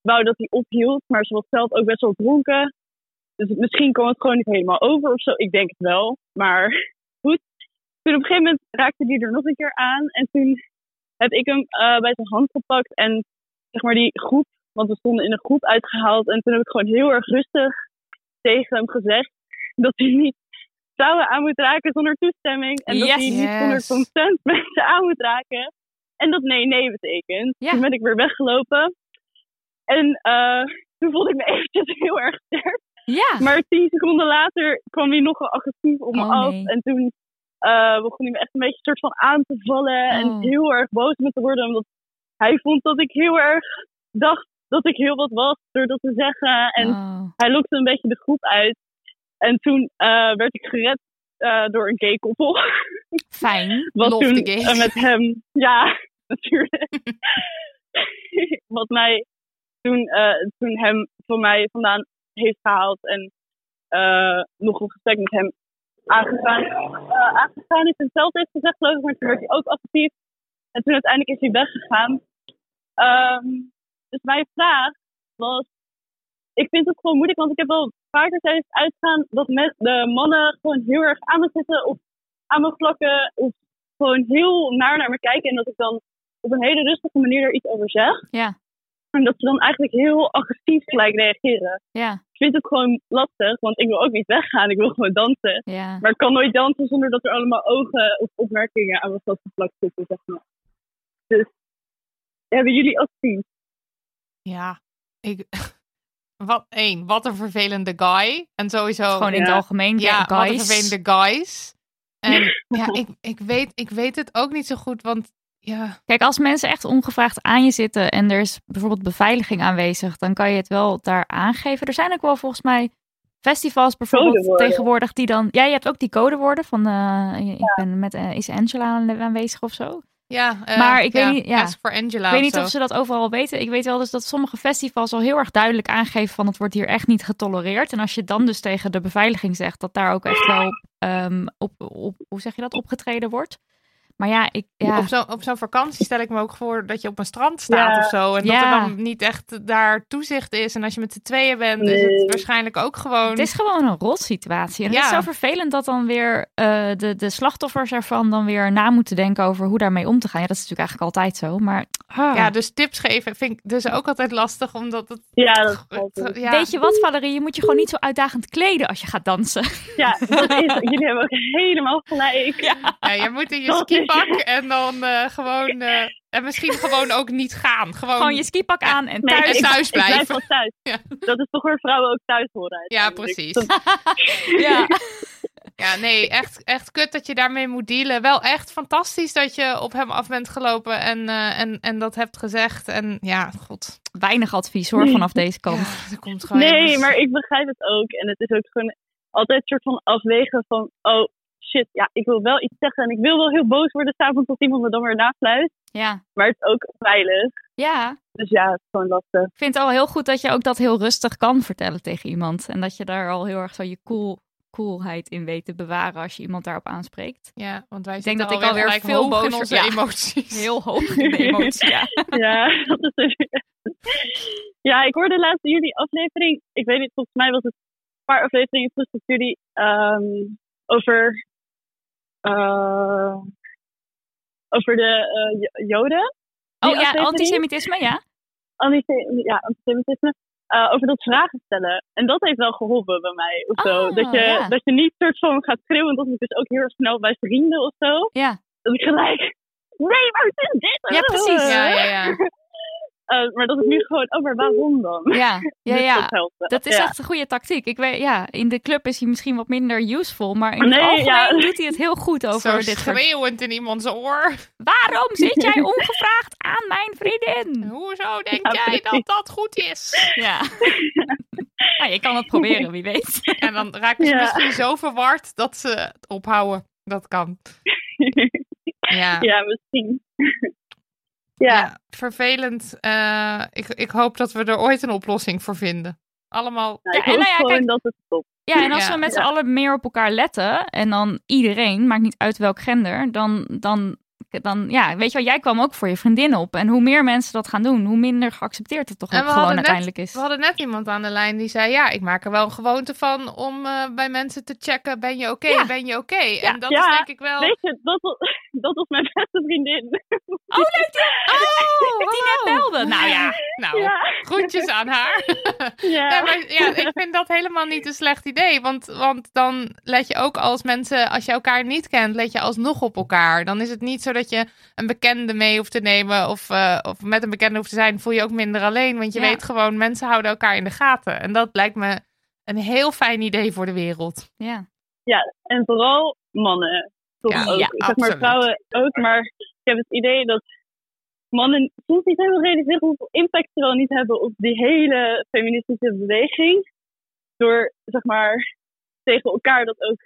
wou dat hij ophield. Maar ze was zelf ook best wel dronken. Dus misschien kwam het gewoon niet helemaal over of zo. Ik denk het wel. Maar goed. Toen op een gegeven moment raakte hij er nog een keer aan. En toen heb ik hem eh, bij zijn hand gepakt en zeg maar die groep, want we stonden in een groep uitgehaald. En toen heb ik gewoon heel erg rustig tegen hem gezegd dat hij niet vrouwen aan moet raken zonder toestemming. En dat
Yes.
hij niet zonder
Yes.
consent mensen aan moet raken. En dat nee, nee betekent. Toen ben ik weer weggelopen. En eh, toen voelde ik me eventjes heel erg sterk.
Ja.
Maar tien seconden later kwam hij nogal agressief op me
Oh,
af.
nee.
En toen eh, begon hij me echt een beetje soort van aan te vallen. En heel erg boos met te worden. Omdat hij vond dat ik heel erg dacht dat ik heel wat was door dat te zeggen. En hij lokte een beetje de groep uit. En toen eh, werd ik gered eh, door een gay koppel.
Fijn.
Wat
Love
toen
the gays.
eh, met hem, ja, natuurlijk. Wat mij toen, eh, toen hem voor mij vandaan heeft gehaald en eh, nog een gesprek met hem aangegaan, eh, aangegaan is. En zelf heeft gezegd, geloof ik, maar toen werd hij ook actief. En toen uiteindelijk is hij weggegaan. Ehm, dus mijn vraag was, ik vind het gewoon moeilijk, want ik heb wel vaker tijdens het uitgaan dat met de mannen gewoon heel erg aan me zitten of aan me plakken of gewoon heel naar naar me kijken en dat ik dan op een hele rustige manier er iets over zeg.
Ja.
En dat ze dan eigenlijk heel agressief gelijk reageren.
Ja.
Ik vind het gewoon lastig, want ik wil ook niet weggaan, ik wil gewoon dansen.
Ja.
Maar ik kan nooit dansen zonder dat er allemaal ogen of opmerkingen aan me vastgeplakt zitten, zeg maar. Dus, hebben jullie advies?
Ja, ik... Wat, één, wat een vervelende guy. En sowieso...
Gewoon in het Ja. algemeen, ja,
Ja, wat een
guys.
vervelende guys. En ja, ik, ik, weet, ik weet het ook niet zo goed, want ja...
Kijk, als mensen echt ongevraagd aan je zitten en er is bijvoorbeeld beveiliging aanwezig, dan kan je het wel daar aangeven. Er zijn ook wel volgens mij festivals bijvoorbeeld
Codewoorden.
tegenwoordig die dan. Ja, je hebt ook die codewoorden van. eh, ik ben met. eh, is Angela aan- aanwezig of zo?
Ja, eh,
maar ik
ja,
weet niet. Ja.
Ask for Angela
ik weet
of
niet
zo.
of ze dat overal weten. Ik weet wel dus dat sommige festivals al heel erg duidelijk aangeven van het wordt hier echt niet getolereerd. En als je het dan dus tegen de beveiliging zegt, dat daar ook echt wel ehm, op, op, hoe zeg je dat, opgetreden wordt. Maar ja, ik. Ja.
Op zo'n op zo'n vakantie stel ik me ook voor dat je op een strand staat
Ja.
of zo. En dat
Ja.
er dan niet echt daar toezicht is. En als je met z'n tweeën bent, is
Nee.
het waarschijnlijk ook gewoon...
Het is gewoon een rotsituatie. En
Ja.
het is zo vervelend dat dan weer eh, de, de slachtoffers ervan dan weer na moeten denken over hoe daarmee om te gaan. Ja, dat is natuurlijk eigenlijk altijd zo. Maar ah.
Ja, dus tips geven vind ik dus ook altijd lastig, omdat het...
Ja, dat
ja.
weet je wat, Valerie? Je moet je gewoon niet zo uitdagend kleden als je gaat dansen.
Ja, dat is, jullie hebben ook helemaal gelijk.
Ja, je moet in je skipak en dan eh, gewoon eh, En misschien gewoon ook niet gaan. Gewoon,
Gewoon je skipak aan en
Nee,
thuis,
en thuis
Ik blijf
blijven.
wel thuis. Dat is toch waar vrouwen ook thuis horen.
Ja, precies.
ja.
Ja, nee, echt, echt kut dat je daarmee moet dealen. Wel echt fantastisch dat je op hem af bent gelopen en, eh, en, en dat hebt gezegd. En ja, god.
Weinig advies hoor vanaf deze kant.
Er komt gewoon
Nee,
helemaal-
maar ik begrijp het ook. En het is ook gewoon altijd een soort van afwegen van... Oh, shit, ja, ik wil wel iets zeggen. En ik wil wel heel boos worden s'avonds als iemand me dan weer nafluit.
Ja.
Maar het is ook veilig.
Ja.
Dus ja, het is gewoon lastig.
Ik vind het al heel goed dat je ook dat heel rustig kan vertellen tegen iemand. En dat je daar al heel erg zo je cool, coolheid in weet te bewaren als je iemand daarop aanspreekt.
Ja, want wij
Ik denk
zitten
dat
alweer
ik alweer
gelijk
veel
hoog
boos
in onze
ja.
emoties.
Heel hoog in de emotie, ja.
ja, dat is dus... ja, ik hoorde laatst in jullie aflevering... Ik weet niet, volgens mij was het een paar afleveringen terug dat jullie ehm, over... eh, over de eh, Jo- Joden. Die
Oh ja,
aflevering.
antisemitisme, ja.
antisemitisme, ja, antisemitisme eh, over dat vragen stellen. En dat heeft wel geholpen bij mij. Of zo.
Ah,
dat, je,
ja.
dat je niet soort van gaat schreeuwen. Dat ik dus ook heel erg snel bij vrienden of zo.
Ja.
Dat ik gelijk. Nee, maar het is dit.
Ja, precies. Ja, ja, ja.
Oh. Eh, maar dat ik nu gewoon, oh, maar waarom dan?
Ja, ja,
Dus
ja.
Dat, helpt wel.
Dat is
Ja.
echt een goede tactiek. Ik weet, ja, in de club is hij misschien wat minder useful, maar in het
Nee,
algemeen
ja.
doet hij het heel goed over
Zo
dit soort...
schreeuwend in iemands oor.
Waarom zit jij ongevraagd aan mijn vriendin?
Hoezo denk
Ja,
jij dat
precies.
dat goed is?
Ja. ja, je kan het proberen, wie weet.
En dan raken ze
Ja.
misschien zo verward dat ze het
eh,
ophouden. Dat kan. Ja.
Ja, misschien. ja.
Vervelend. Eh, ik, ik hoop dat we er ooit een oplossing voor vinden. Allemaal.
Nou, ik hoop gewoon dat het stopt.
Ja, en als we met z'n allen meer op elkaar letten en dan iedereen, maakt niet uit welk gender, dan, dan, dan ja, weet je wel, jij kwam ook voor je vriendin op. En hoe meer mensen dat gaan doen, hoe minder geaccepteerd het toch ook gewoon
hadden
uiteindelijk
net,
is.
We hadden net iemand aan de lijn die zei: Ja, ik maak er wel een gewoonte van om eh, bij mensen te checken: ben je oké? Ben je oké? En dat is denk ik wel.
Weet je, dat was, dat was mijn beste vriendin.
Oh, leuk! Oh, die net belde. Nou ja.
Nou,
Ja.
groetjes aan haar.
Ja.
Nee, maar ja, Nou, ik vind dat helemaal niet een slecht idee. Want, want dan let je ook als mensen, als je elkaar niet kent, let je alsnog op elkaar. Dan is het niet zo dat je een bekende mee hoeft te nemen of, eh, of met een bekende hoeft te zijn, voel je ook minder alleen. Want je
Ja.
weet gewoon, mensen houden elkaar in de gaten. En dat lijkt me een heel fijn idee voor de wereld.
Ja.
Ja, en vooral mannen. Toch
Ja,
ook.
ja,
ik zeg maar
absoluut.
vrouwen ook, maar ik heb het idee dat mannen soms niet helemaal realiseren hoeveel impact ze wel niet hebben op die hele feministische beweging. Door zeg maar tegen elkaar dat ook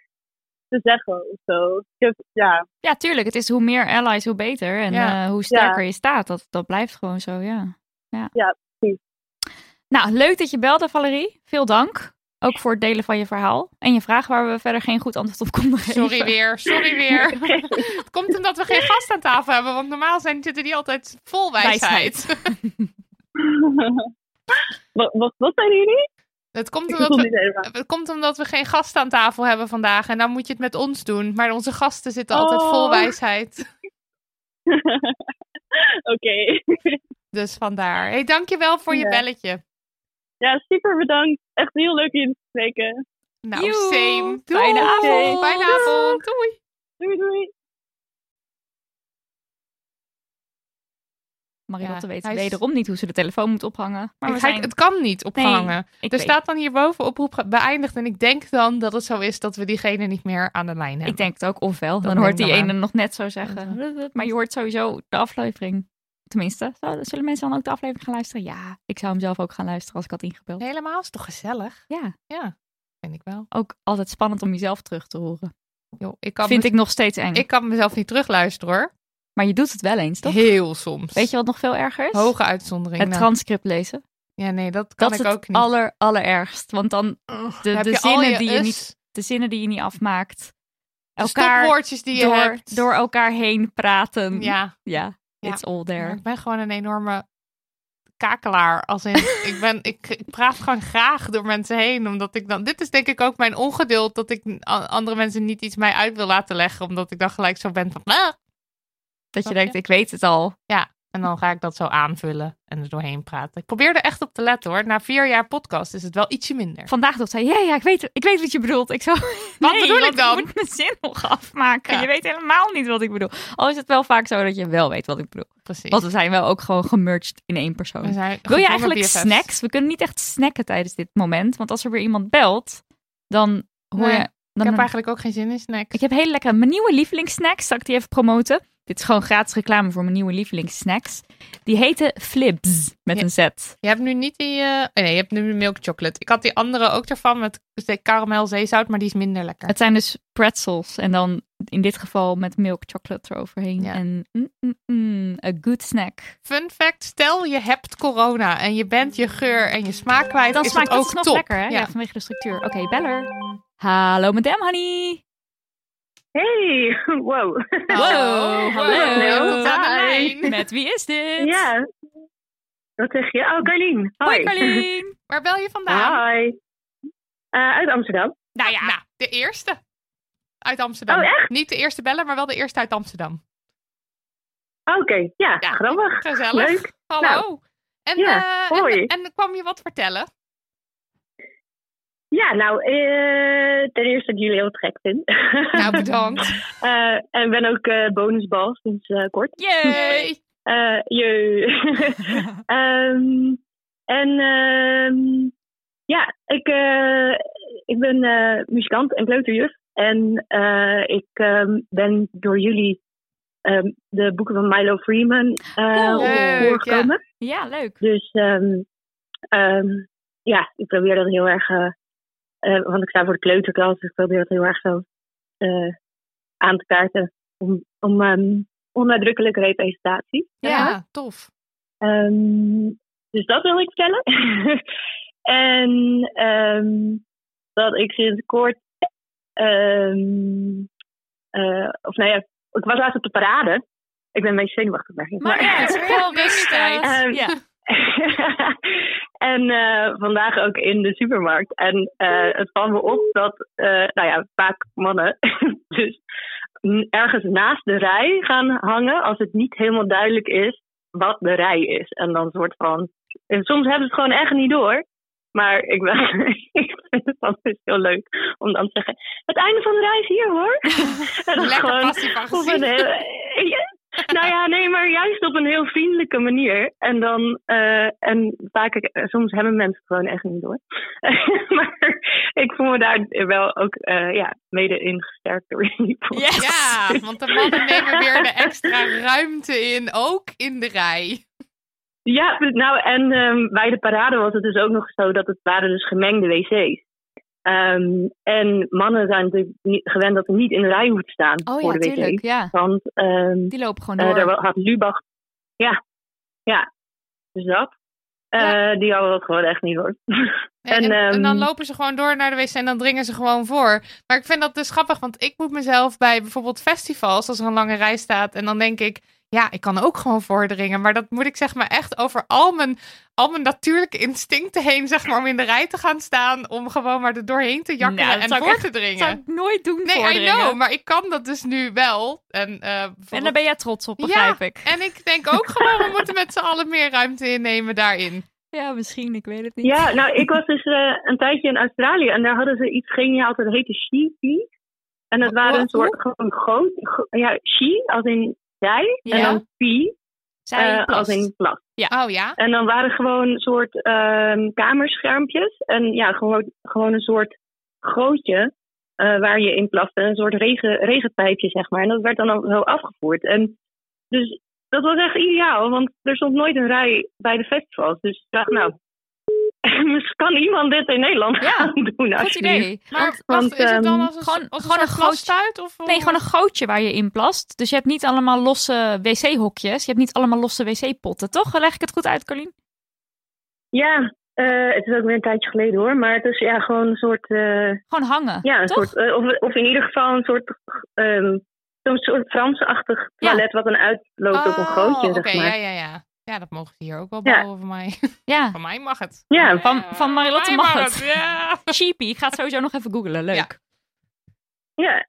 te zeggen of zo. Ik heb, ja,
Ja, tuurlijk. Het is hoe meer allies, hoe beter. En
Ja.
eh, hoe sterker
Ja.
je staat. Dat, dat blijft gewoon zo, ja. ja.
Ja, precies.
Nou, leuk dat je belde, Valerie. Veel dank. Ook voor het delen van je verhaal. En je vraag waar we verder geen goed antwoord op konden geven.
Sorry weer, sorry weer. Het komt omdat we geen gast aan tafel hebben, want normaal zijn, zitten die altijd vol wijsheid.
wat, wat, wat zeiden jullie?
Het komt,
Ik
omdat
bedoel niet
we,
helemaal.
het komt omdat we geen gasten aan tafel hebben vandaag. En dan moet je het met ons doen. Maar onze gasten zitten altijd
Oh.
vol wijsheid.
Oké.
Dus vandaar. hey, dankjewel voor je
Ja.
belletje.
Ja, super bedankt. Echt heel leuk jullie te spreken.
Nou,
Joe,
same. Doei.
fijne avond.
Fijne avond. Doei.
Doei, doei.
Marilotte
Ja,
weet
hij is-
wederom niet hoe ze de telefoon moet ophangen. Maar
Ik
we
ga-
zijn...
Het kan niet opgehangen.
ik
er
weet-
staat dan hierboven oproep ge- beëindigd. En ik denk dan dat het zo is dat we diegene niet meer aan de lijn hebben.
Ik denk het ook, of wel.
Dat
Dan hoort
denk ik
die
dan
ene
maar.
nog net zo zeggen. Maar je hoort sowieso de aflevering. Tenminste, zou- zullen mensen dan ook de aflevering gaan luisteren? Ja, ik zou hem zelf ook gaan luisteren als ik had ingebeld.
Helemaal, is toch gezellig?
Ja.
Ja, vind ik wel.
Ook altijd spannend om jezelf terug te horen.
Joh, ik kan
Vind
mez-
ik nog steeds eng.
Ik kan mezelf niet terugluisteren hoor.
Maar je doet het wel eens, toch?
Heel soms.
Weet je wat nog veel erger is?
Hoge uitzondering.
Het
nou.
transcript lezen.
Ja, nee, dat kan
Dat is
ik
het
ook niet.
aller, allerergst. Want dan
dan
de,
heb
de,
je al
zinnen
je
die je
us.
niet, de zinnen die je niet afmaakt.
De
Elkaar
stopwoordjes die je
door,
hebt.
door elkaar heen praten.
Ja.
Ja, it's all
Maar
there.
Ik ben gewoon een enorme kakelaar. Als in, ik, ben, ik, ik praat gewoon graag door mensen heen. Omdat ik dan. Dit is denk ik ook mijn ongeduld. Dat ik a- andere mensen niet iets mij uit wil laten leggen. Omdat ik dan gelijk zo ben van. "Ah."
Dat je
Snap je?
denkt, ik weet het al.
Ja. En dan ga ik dat zo aanvullen en er doorheen praten. Ik probeer er echt op te letten hoor. Na vier jaar podcast is het wel ietsje minder.
Vandaag dacht zij, ja, ja, ik weet, ik weet wat je bedoelt. Ik zo,
Wat
nee,
bedoel
want
ik dan?
Ik moet mijn zin nog afmaken. Je weet helemaal niet wat ik bedoel. Al Oh, is het wel vaak zo dat je wel weet wat ik bedoel.
Precies.
Want we zijn wel ook gewoon gemerged in één
We
persoon.
zijn
Wil je
gedwongen
eigenlijk
BFF's.
snacks? We kunnen niet echt snacken tijdens dit moment. Want als er weer iemand belt, dan hoor
Nee,
je... Dan
ik heb eigenlijk ook geen zin in snacks.
Ik heb hele lekkere, mijn nieuwe lievelingssnacks. Zal ik die even promoten? Dit is gewoon gratis reclame voor mijn nieuwe lievelingssnacks. Die heten Flips met
Ja.
een Z.
Je hebt nu niet die... eh, oh nee, je hebt nu milk chocolate. Ik had die andere ook ervan met de karamel zeezout, maar die is minder lekker.
Het zijn dus pretzels en dan in dit geval met milk chocolate eroverheen. En mm, mm, mm, a good snack.
Fun fact, stel je hebt corona en je bent je geur en je smaak kwijt,
dan
is
smaakt
dat
het
ook
dus nog
top.
lekker, hè? Ja.
Ja.
vanwege de structuur. Oké, beller. Hallo, madame honey.
Hey, wow.
Wow, hallo.
Hallo.
Tot aan de
Hi.
lijn. Met wie is dit?
Ja. Wat zeg je? Oh, Carlien. Hoi.
Hoi, Carlien.
Waar bel je vandaan?
Hoi. Eh, uit Amsterdam.
Nou ja.
Nou, de eerste uit Amsterdam.
Oh, echt?
Niet de eerste beller, maar wel de eerste uit Amsterdam.
Ah, Oké, ja, grappig.
Gezellig.
Leuk.
Hallo.
Nou,
en,
ja,
eh, en-
hoi.
en, kwam je wat vertellen?
Ja, nou, eh, ten eerste dat ik jullie heel te gek vind.
Nou, bedankt.
Eh, en ben ook eh bonusbal sinds eh, kort.
Yay!
Eh, jee. Ehm, en ehm, ja, ik, eh, ik ben eh, muzikant en kleuterjuf. En eh, ik ehm, ben door jullie ehm, de boeken van Milo Freeman eh
Cool. Leuk,
voorgekomen.
Ja, leuk.
Dus ehm, ehm, ja, ik probeer dat heel erg. eh, eh, want ik sta voor de kleuterklas, dus ik probeer dat heel erg zo eh, aan te kaarten. Om, om ehm, onnadrukkelijke representatie.
Ja, tof.
Ehm, dus dat wil ik vertellen. en ehm, dat ik sinds kort. ehm, eh, of nou ja, ik was laatst op de parade. Ik ben een beetje zenuwachtig, merk ik.
Maar ja, het is wel wedstrijd.
Ehm,
Ja.
en eh, vandaag ook in de supermarkt. En eh, het valt me op dat, eh, nou ja, vaak mannen dus n- ergens naast de rij gaan hangen als het niet helemaal duidelijk is wat de rij is. En dan soort van. En soms hebben ze het gewoon echt niet door. Maar ik, ben, ik vind het altijd heel leuk om dan te zeggen: Het einde van de rij is hier hoor. En dan
Lekker
gewoon
passief-agressief.
op een hele- Ja, nou ja, nee, maar juist op een heel vriendelijke manier. En dan, eh, en vaak, eh, soms hebben mensen het gewoon echt niet door. maar ik voel me daar wel ook eh, ja, mede in gesterkt door jullie podcast.
Ja, want de mannen nemen weer de extra ruimte in, ook in de rij.
Ja, nou en ehm, bij de parade was het dus ook nog zo dat het waren dus gemengde wc's. Ehm, en mannen zijn natuurlijk niet, gewend dat ze niet in de rij hoeven te staan
Oh
voor
ja,
de wc.
tuurlijk, ja.
Want ehm
Die lopen gewoon
eh,
door.
daar wa- had Lubach, ja, ja, dus dat. Eh, Die hadden dat gewoon echt niet door.
En, en, en dan
ehm,
lopen ze gewoon door naar de wc en dan dringen ze gewoon voor. Maar ik vind dat dus grappig, want ik moet mezelf bij bijvoorbeeld festivals, als er een lange rij staat, en dan denk ik, ja, ik kan ook gewoon voordringen. Maar dat moet ik zeg maar echt over al mijn, al mijn natuurlijke instincten heen, zeg maar, om in de rij te gaan staan, om gewoon maar er doorheen te jakkeren
Nou, dat
en
zou ik
voor
echt-
te dringen.
zou ik nooit doen
Nee, I
voordringen.
know, maar ik kan dat dus nu wel. En, eh,
En
bijvoorbeeld-
daar ben jij trots op, begrijp ik.
en ik denk ook gewoon, we moeten met z'n allen meer ruimte innemen daarin.
Ja, misschien. Ik weet het niet.
Ja, nou, ik was dus eh, een tijdje in Australië en daar hadden ze iets geniaals dat heette she En dat waren een soort gewoon groot, gro- ja, she als in zij en
Ja.
dan pee
Zij
eh, als
plast.
in plas.
Oh ja?
En dan waren gewoon soort ehm, kamerschermpjes en ja, gewoon, gewoon een soort grootje eh, waar je in plaste, een soort regen, regenpijpje zeg maar. En dat werd dan ook zo afgevoerd. En dus dat was echt ideaal, want er stond nooit een rij bij de festivals. Dus ik dacht, nou, misschien kan iemand dit in Nederland gaan doen?
Goed
alsjeblieft.
idee.
Maar wacht, is
ehm,
het dan als een,
gewoon,
als een
gewoon
soort
een gootje.
plastuit? Of hoe-
Nee, gewoon een gootje waar je in plast. Dus je hebt niet allemaal losse wc-hokjes. Je hebt niet allemaal losse wc-potten, toch? Leg ik het goed uit, Carlien?
Ja, eh, het is ook weer een tijdje geleden hoor, maar het is ja, gewoon een soort... eh,
Gewoon hangen.
ja, een
toch?
soort, eh, of, of in ieder geval een soort, ehm zo'n soort Frans-achtig toilet wat dan uitloopt op een grootje,
Oh, oké,
zeg maar.
ja, ja, ja. Ja, dat mogen ze hier ook wel
Ja.
bouwen voor mij.
Ja.
Van mij mag het.
Ja.
Van, van Marilotte
Mij
mag
mag
het.
het, ja.
Cheapie. Ik ga het sowieso nog even googlen. Leuk.
Ja.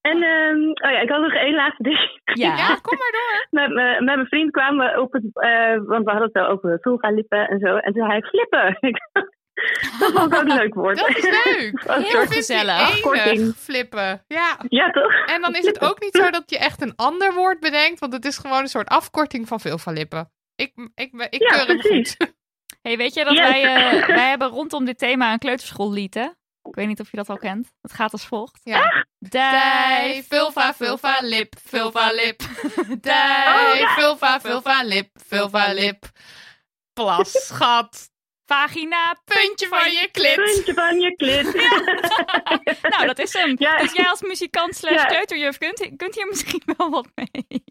En, ehm, oh ja, ik had nog één laatste ding.
Ja. Ja, kom maar door.
Met, me- met mijn vriend kwamen we op het, eh, want we hadden het wel over vulva-lippen en zo. En toen zei hij flippen. Ik dacht, dat vond ik ook een leuk woord.
Dat is leuk.
Een
Heel
soort
gezellig.
afkorting.
Flippen. Ja.
Ja, toch?
En dan is het ook niet zo dat je echt een ander woord bedenkt, want het is gewoon een soort afkorting van veel van lippen. Ik, ik, ik, ik keur hem goed.
Hey, weet je dat
Yes.
wij, eh, wij hebben rondom dit thema een kleuterschoollied, hè? Ik weet niet of je dat al kent. Het gaat als volgt.
Ja.
Dij,
vulva, vulva, lip, vulva, lip.
Oh,
Oh,
Dij, vulva,
vulva,
lip, vulva, lip. Plas, schat.
Vagina, puntje van je klit.
Puntje van je klit.
Nou, dat is hem.
Ja.
Dus jij als muzikant slash
Ja.
kleuterjuf kunt, kunt hier misschien wel wat mee.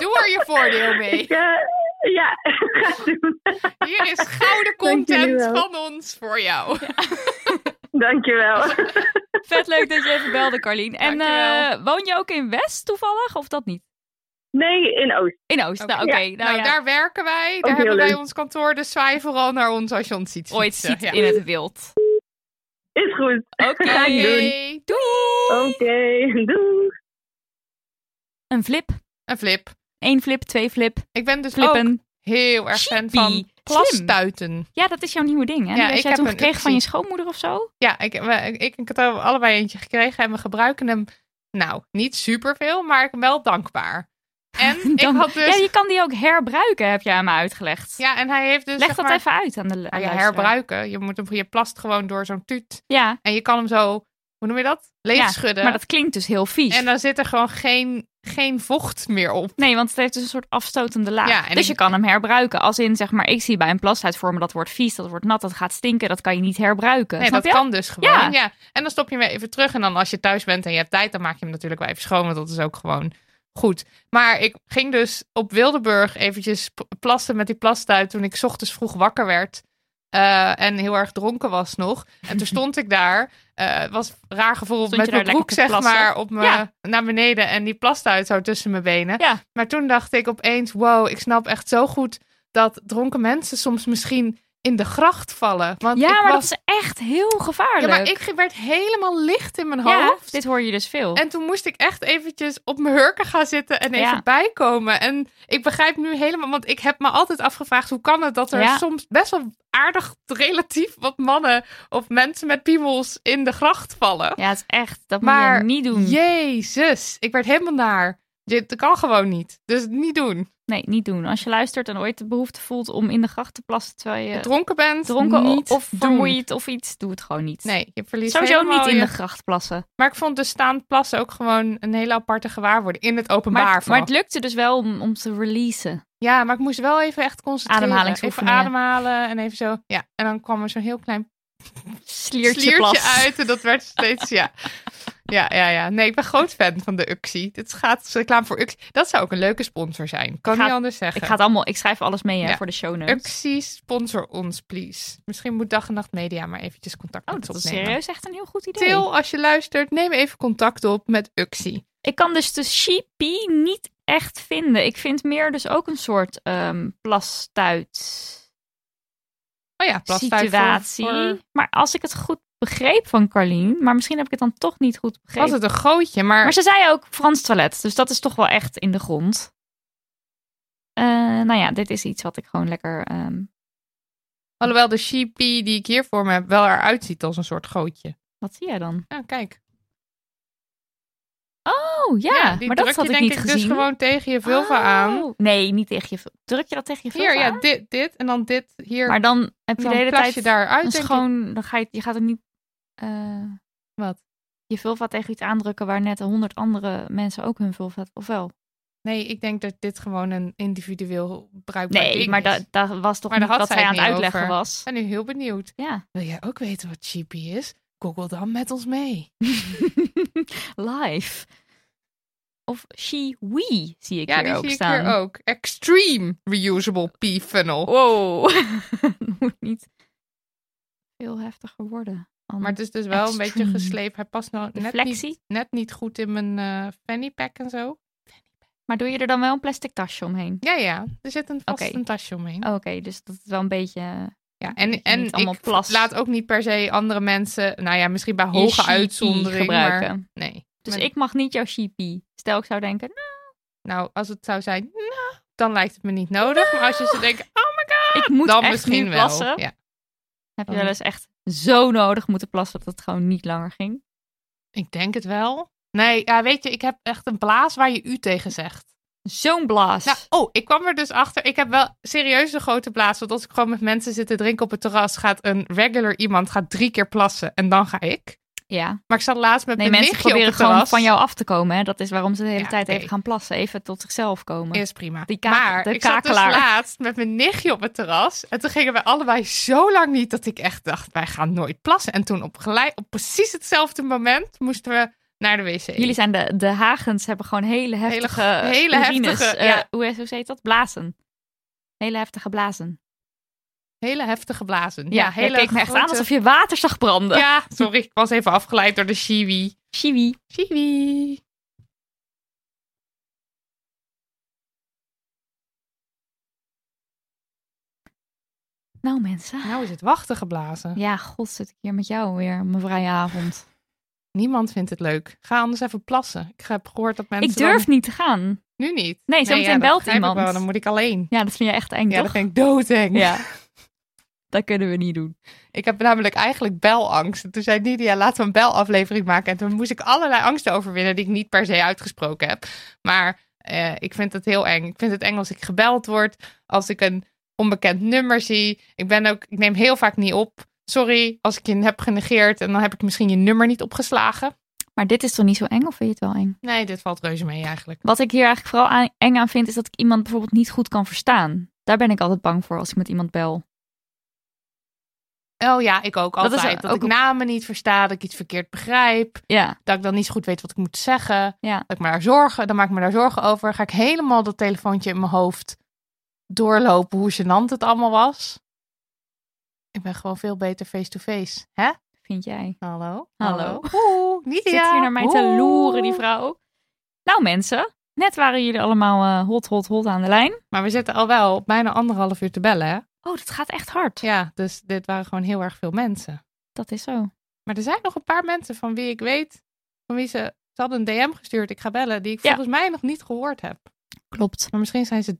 Doe er je voordeel mee.
Ik, eh, ja, ga doen.
Hier is gouden
Dank jullie
content
wel.
van ons voor jou.
Dankjewel.
Vet leuk dat je even belde, Carlien. En eh, woon je ook in West toevallig, of dat niet?
Nee, in Oost.
In Oost, nou oké. Nou, ja.
daar werken wij. Daar
heel
hebben wij
leuk.
ons kantoor. Dus zwaai vooral naar ons als je ons ziet.
Ooit
fietsen.
ziet in het wild.
Is goed.
Oké.
Ga ik doen.
Doei.
Oh.
Oké, doei.
Een flip.
Een flip.
Eén flip, twee flip.
Ik ben dus
Flippen.
ook heel erg fan van
Slim.
plastuiten.
Ja, dat is jouw nieuwe ding, hè?
Ja,
Ja,
ik
jij
heb
toen
een
gekregen van je
optie.
schoonmoeder of zo?
Ja, ik, we- ik, ik en Kat hebben allebei eentje gekregen en we gebruiken hem, nou, niet superveel, maar ik ben wel dankbaar. En
Dan-
ik had dus...
Ja, je kan die ook herbruiken, heb jij aan me uitgelegd.
Ja, en hij heeft dus.
Leg
zeg
dat
maar,
even uit aan de
Ja,
aan
je
luisteraar.
herbruiken. Je, moet hem, je plast gewoon door zo'n tuut.
Ja.
En je kan hem zo, hoe noem je dat?
Ja,
Leeg schudden.
maar dat klinkt dus heel vies.
En dan zit er gewoon geen, geen vocht meer op.
Nee, want het heeft dus een soort afstotende laag.
Ja, en
dus
ik-
je kan hem herbruiken. Als in, zeg maar, ik zie bij een plastuit voor me dat wordt vies, dat wordt nat, dat gaat stinken, dat kan je niet herbruiken.
Nee,
Snap
dat
je?
kan dus gewoon.
Ja.
Ja. En dan stop je hem weer even terug. En dan als je thuis bent en je hebt tijd, dan maak je hem natuurlijk wel even schoon. Want dat is ook gewoon goed. Maar ik ging dus op Wildeburg eventjes p- plassen met die plastuit toen ik 's ochtends vroeg wakker werd. eh, en heel erg dronken was nog. En toen stond ik daar. eh, Het was een raar gevoel
Stond je
met
daar
mijn broek,
lekker te
zeg
plassen?
maar, op me,
Ja.
naar beneden. En die plastuit zo tussen mijn benen. Maar toen dacht ik opeens, wow, ik snap echt zo goed dat dronken mensen soms misschien in de gracht vallen. Want
Ja,
ik
maar
was
dat is echt heel gevaarlijk.
ja, maar ik werd helemaal licht in mijn
Ja,
hoofd.
dit hoor je dus veel.
En toen moest ik echt eventjes op mijn hurken gaan zitten en even
Ja.
bijkomen. En ik begrijp nu helemaal, want ik heb me altijd afgevraagd hoe kan het dat er
Ja.
soms best wel aardig relatief wat mannen of mensen met piemels in de gracht vallen.
Ja, het is echt, dat moet
maar
je niet doen.
jezus, ik werd helemaal naar. Dit kan gewoon niet. Dus niet doen.
Nee, niet doen. Als je luistert en ooit de behoefte voelt om in de gracht te plassen terwijl je
Dronken bent,
dronken o-
niet
of
doen.
vermoeid of iets, doe het gewoon niet.
Nee, je verliest
Sowieso
helemaal
niet in
je-
de gracht plassen.
Maar ik vond dus staand plassen ook gewoon een hele aparte gewaarwording. In het openbaar.
Maar, maar
vooral.
het lukte dus wel om, om te releasen.
Ja, maar ik moest wel even echt concentreren. Even
Ademhalingsoefeningen.
ademhalen en even zo. Ja, en dan kwam er zo'n heel klein
Sliertje,
sliertje
plassen.
uit. En dat werd steeds, ja. Ja, ja, ja. Nee, ik ben groot fan van de Uxie. Dit gaat als reclame voor Uxie. Dat zou ook een leuke sponsor zijn. Kan
Ik ga-
niet anders zeggen.
Ik, ga het allemaal, ik schrijf alles mee hè,
Ja.
voor de show notes.
Uxie, sponsor ons, please. Misschien moet Dag en Nacht Media maar eventjes contact
Oh,
met
dat
ons
is
opnemen.
serieus echt een heel goed idee.
Til, als je luistert, neem even contact op met Uxie.
Ik kan dus de sheepie niet echt vinden. Ik vind meer dus ook een soort ehm plastuit
Oh ja, plastuit voor-
situatie.
voor-
Maar als ik het goed begreep van Carlien, maar misschien heb ik het dan toch niet goed begrepen.
Was het een gootje, maar...
Maar ze zei ook Frans toilet, dus dat is toch wel echt in de grond. Eh, nou ja, dit is iets wat ik gewoon lekker... ehm,
Alhoewel de sheepie die ik hier voor me heb wel eruit ziet als een soort gootje.
wat zie jij dan?
Ja, kijk.
Oh ja,
die
maar dat
druk
had
je
ik
denk
niet
ik
gezien.
dus gewoon tegen je vulva aan.
Oh, Nee, niet tegen je vulva. Druk je dat tegen je vulva
Hier, ja,
aan?
dit, dit en dan dit hier.
Maar dan heb je
Dan
de hele
plas
tijd
je daaruit,
een
denk ik.
schoon... Dan ga je, je gaat er niet... eh,
Wat?
Je vulva tegen iets aandrukken waar net honderd andere mensen ook hun vulva... Of wel?
Nee, ik denk dat dit gewoon een individueel bruikbaar
Nee,
ding is.
maar dat dat was toch
Maar daar
niet
had
wat
zij
zij aan
het
het
niet
uitleggen
over.
was?
Ik ben nu heel benieuwd.
Ja,
Wil jij ook weten wat sheepie is? Google dan met ons mee.
live. Of she, we zie ik
ja,
hier
die
ook
zie
staan.
ik hier ook. Extreme reusable pee-funnel.
Wow. Moet niet veel heftiger worden.
Maar het is dus wel een beetje geslepen. Hij past nou net
Deflectie?
niet, net niet goed in mijn eh, fanny pack en zo.
Maar doe je er dan wel een plastic tasje omheen?
Ja, ja. Er zit een, vast
Oké.
een tasje omheen.
Oké, dus dat is wel een beetje... eh,
Ja,
dat
en,
je
en
niet allemaal
ik
plas.
laat ook niet per se andere mensen, nou ja, misschien bij hoge
sheepie
uitzondering. maar-
gebruiken.
nee.
Dus ik mag niet jouw sheepie. Stel, ik zou denken,
Nou, als het zou zijn, nou, dan lijkt het me niet nodig. Maar als je
Nou,
ze denkt, oh my god,
ik moet
dan
echt
misschien
nu
wel.
plassen.
Ja.
Heb je
Dan-
wel eens echt zo nodig moeten plassen dat het gewoon niet langer ging?
Ik denk het wel. Nee, ja, weet je, ik heb echt een blaas waar je u tegen zegt.
Zo'n blaas.
Nou, oh, ik kwam er dus achter. Ik heb wel serieus een grote blaas. Want als ik gewoon met mensen zit te drinken op het terras, gaat een regular iemand gaat drie keer plassen en dan ga ik.
Ja.
Maar ik zat laatst met
Nee,
mijn nichtje
mensen
op
proberen
het
gewoon
terras.
van jou af te komen. Hè? Dat is waarom ze de hele
Ja,
tijd even
oké.
gaan plassen. Even tot zichzelf komen.
Is prima.
Die kaak-
maar
de
ik zat dus
kakelaar.
laatst met mijn nichtje op het terras. En toen gingen we allebei zo lang niet dat ik echt dacht, wij gaan nooit plassen. En toen op, gelijk, op precies hetzelfde moment moesten we naar de wc.
Jullie zijn de, de Hagens, hebben gewoon hele heftige
hele
urines.
heftige,
Eh,
ja.
hoe, hoe heet dat? Blazen. Hele heftige blazen.
Hele heftige blazen.
Ja,
Ja,
jij
hele
keek me echt aan
grote-
alsof je water zag branden.
Ja, sorry, ik was even afgeleid door de shiwi.
Shiwi.
Shiwi.
Nou mensen.
Nou is het wachten geblazen.
Ja, god zit ik hier met jou weer, mijn vrije avond.
Niemand vindt het leuk. Ga anders even plassen. Ik heb gehoord dat mensen
ik durf
dan-
niet te gaan.
Nu niet?
Nee,
ja,
zometeen
dat
belt
begrijp ik
iemand.
wel, dan moet ik alleen.
Ja, dat vind je echt eng,
Ja,
toch?
dat vind ik doodeng.
Ja. Dat kunnen we niet doen.
Ik heb namelijk eigenlijk belangst. En Toen zei Nidia, laten we een belaflevering maken. En toen moest ik allerlei angsten overwinnen die ik niet per se uitgesproken heb. Maar eh, ik vind het heel eng. Ik vind het eng als ik gebeld word, als ik een onbekend nummer zie. Ik ben ook, ik neem heel vaak niet op. Sorry als ik je heb genegeerd en dan heb ik misschien je nummer niet opgeslagen.
Maar dit is toch niet zo eng, of vind je het wel eng?
Nee, dit valt reuze mee eigenlijk.
Wat ik hier eigenlijk vooral aan- eng aan vind, is dat ik iemand bijvoorbeeld niet goed kan verstaan. Daar ben ik altijd bang voor als ik met iemand bel.
Oh ja, ik ook
Dat is
altijd. Dat,
ook
ik
een-
namen niet versta, dat ik iets verkeerd begrijp.
Ja.
Dat ik dan niet zo goed weet wat ik moet zeggen.
Ja.
Dat ik me daar zorgen, dan maak ik me daar zorgen over. Ga ik helemaal dat telefoontje in mijn hoofd doorlopen hoe gênant het allemaal was. Ik ben gewoon veel beter face-to-face. Hè?
Vind jij?
Hallo?
Hallo.
Oeh, niet
Zit hier naar mij te loeren, die vrouw. Nou mensen, net waren jullie allemaal eh, hot, hot, hot aan de lijn.
Maar we zitten al wel bijna anderhalf uur te bellen, hè?
Oh, dat gaat echt hard.
Ja, dus dit waren gewoon heel erg veel mensen.
Dat is zo.
Maar er zijn nog een paar mensen van wie ik weet, van wie ze, ze hadden een DM gestuurd, ik ga bellen, die ik volgens mij nog niet gehoord heb.
Klopt.
Maar misschien zijn ze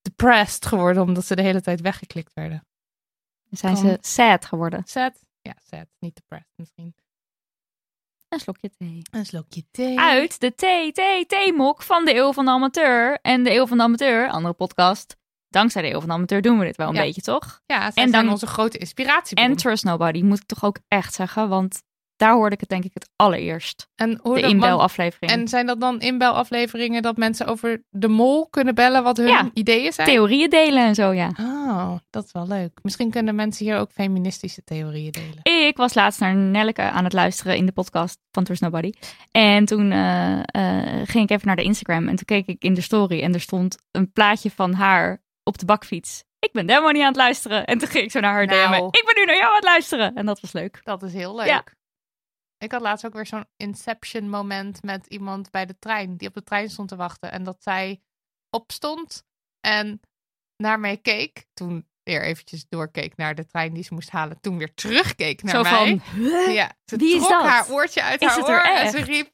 depressed geworden omdat ze de hele tijd weggeklikt werden.
Zijn
Kan.
ze sad geworden.
Sad? Ja, sad. Niet depressed misschien.
Een slokje thee.
Een slokje thee.
Uit de thee, thee, theemok van de Eeuw van de Amateur. En de Eeuw van de Amateur, andere podcast. Dankzij de Eeuw van de Amateur doen we dit wel een
Ja.
beetje, toch?
Ja, zij zijn
En dan-
onze grote inspiratie.
En Trust Nobody, moet ik toch ook echt zeggen. Want daar hoorde ik het denk ik het allereerst.
En hoe
de
dat-
inbelaflevering.
En zijn dat dan inbelafleveringen dat mensen over de mol kunnen bellen wat hun
Ja.
ideeën zijn?
Theorieën delen en zo, ja.
Oh, dat is wel leuk. Misschien kunnen mensen hier ook feministische theorieën delen.
Ik was laatst naar Nelleke aan het luisteren in de podcast van Trust Nobody. En toen eh, eh, ging ik even naar de Instagram. En toen keek ik in de story en er stond een plaatje van haar op de bakfiets. Ik ben helemaal niet aan het luisteren. En toen ging ik zo naar haar
Nou.
DM'en. Ik ben nu naar jou aan het luisteren. En dat was leuk.
Dat is heel leuk.
Ja.
Ik had laatst ook weer zo'n inception moment met iemand bij de trein. Die op de trein stond te wachten. En dat zij opstond en naar mij keek. Toen weer eventjes doorkeek naar de trein die ze moest halen. Toen weer terugkeek naar
Zo
mij.
van,
ja, ze
wie is
trok
dat?
haar oortje uit
Is
haar
het
oor
er
en ze
echt?
riep...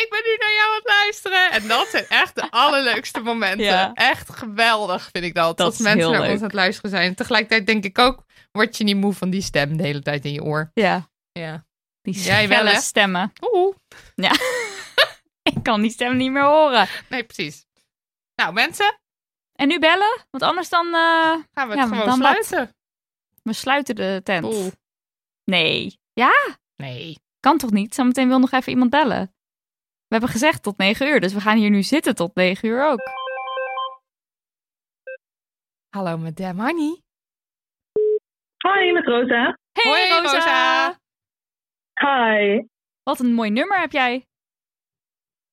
Ik ben nu naar jou aan het luisteren. En dat zijn echt de allerleukste momenten.
Ja.
Echt geweldig vind ik dat.
Dat
als
is
mensen
heel
naar
leuk.
ons aan het luisteren zijn. Tegelijkertijd denk ik ook, word je niet moe van die stem de hele tijd in je oor.
Ja.
Ja.
Die
Jij wel,
schelle
hè?
stemmen.
Oeh.
Ja. ik kan die stem niet meer horen.
Nee, precies. Nou, mensen,
En nu bellen? Want anders dan... eh,
gaan we
ja,
het gewoon
dan laat-
sluiten.
We sluiten de tent.
Oeh.
Nee. Ja?
Nee.
Kan toch niet? Zometeen wil nog even iemand bellen. We hebben gezegd tot 9 uur, dus we gaan hier nu zitten tot 9 uur ook.
Hallo, madame Honey.
Hoi, met Rosa.
Hey
Hoi,
Rosa.
Rosa.
Hi.
Wat een mooi nummer heb jij.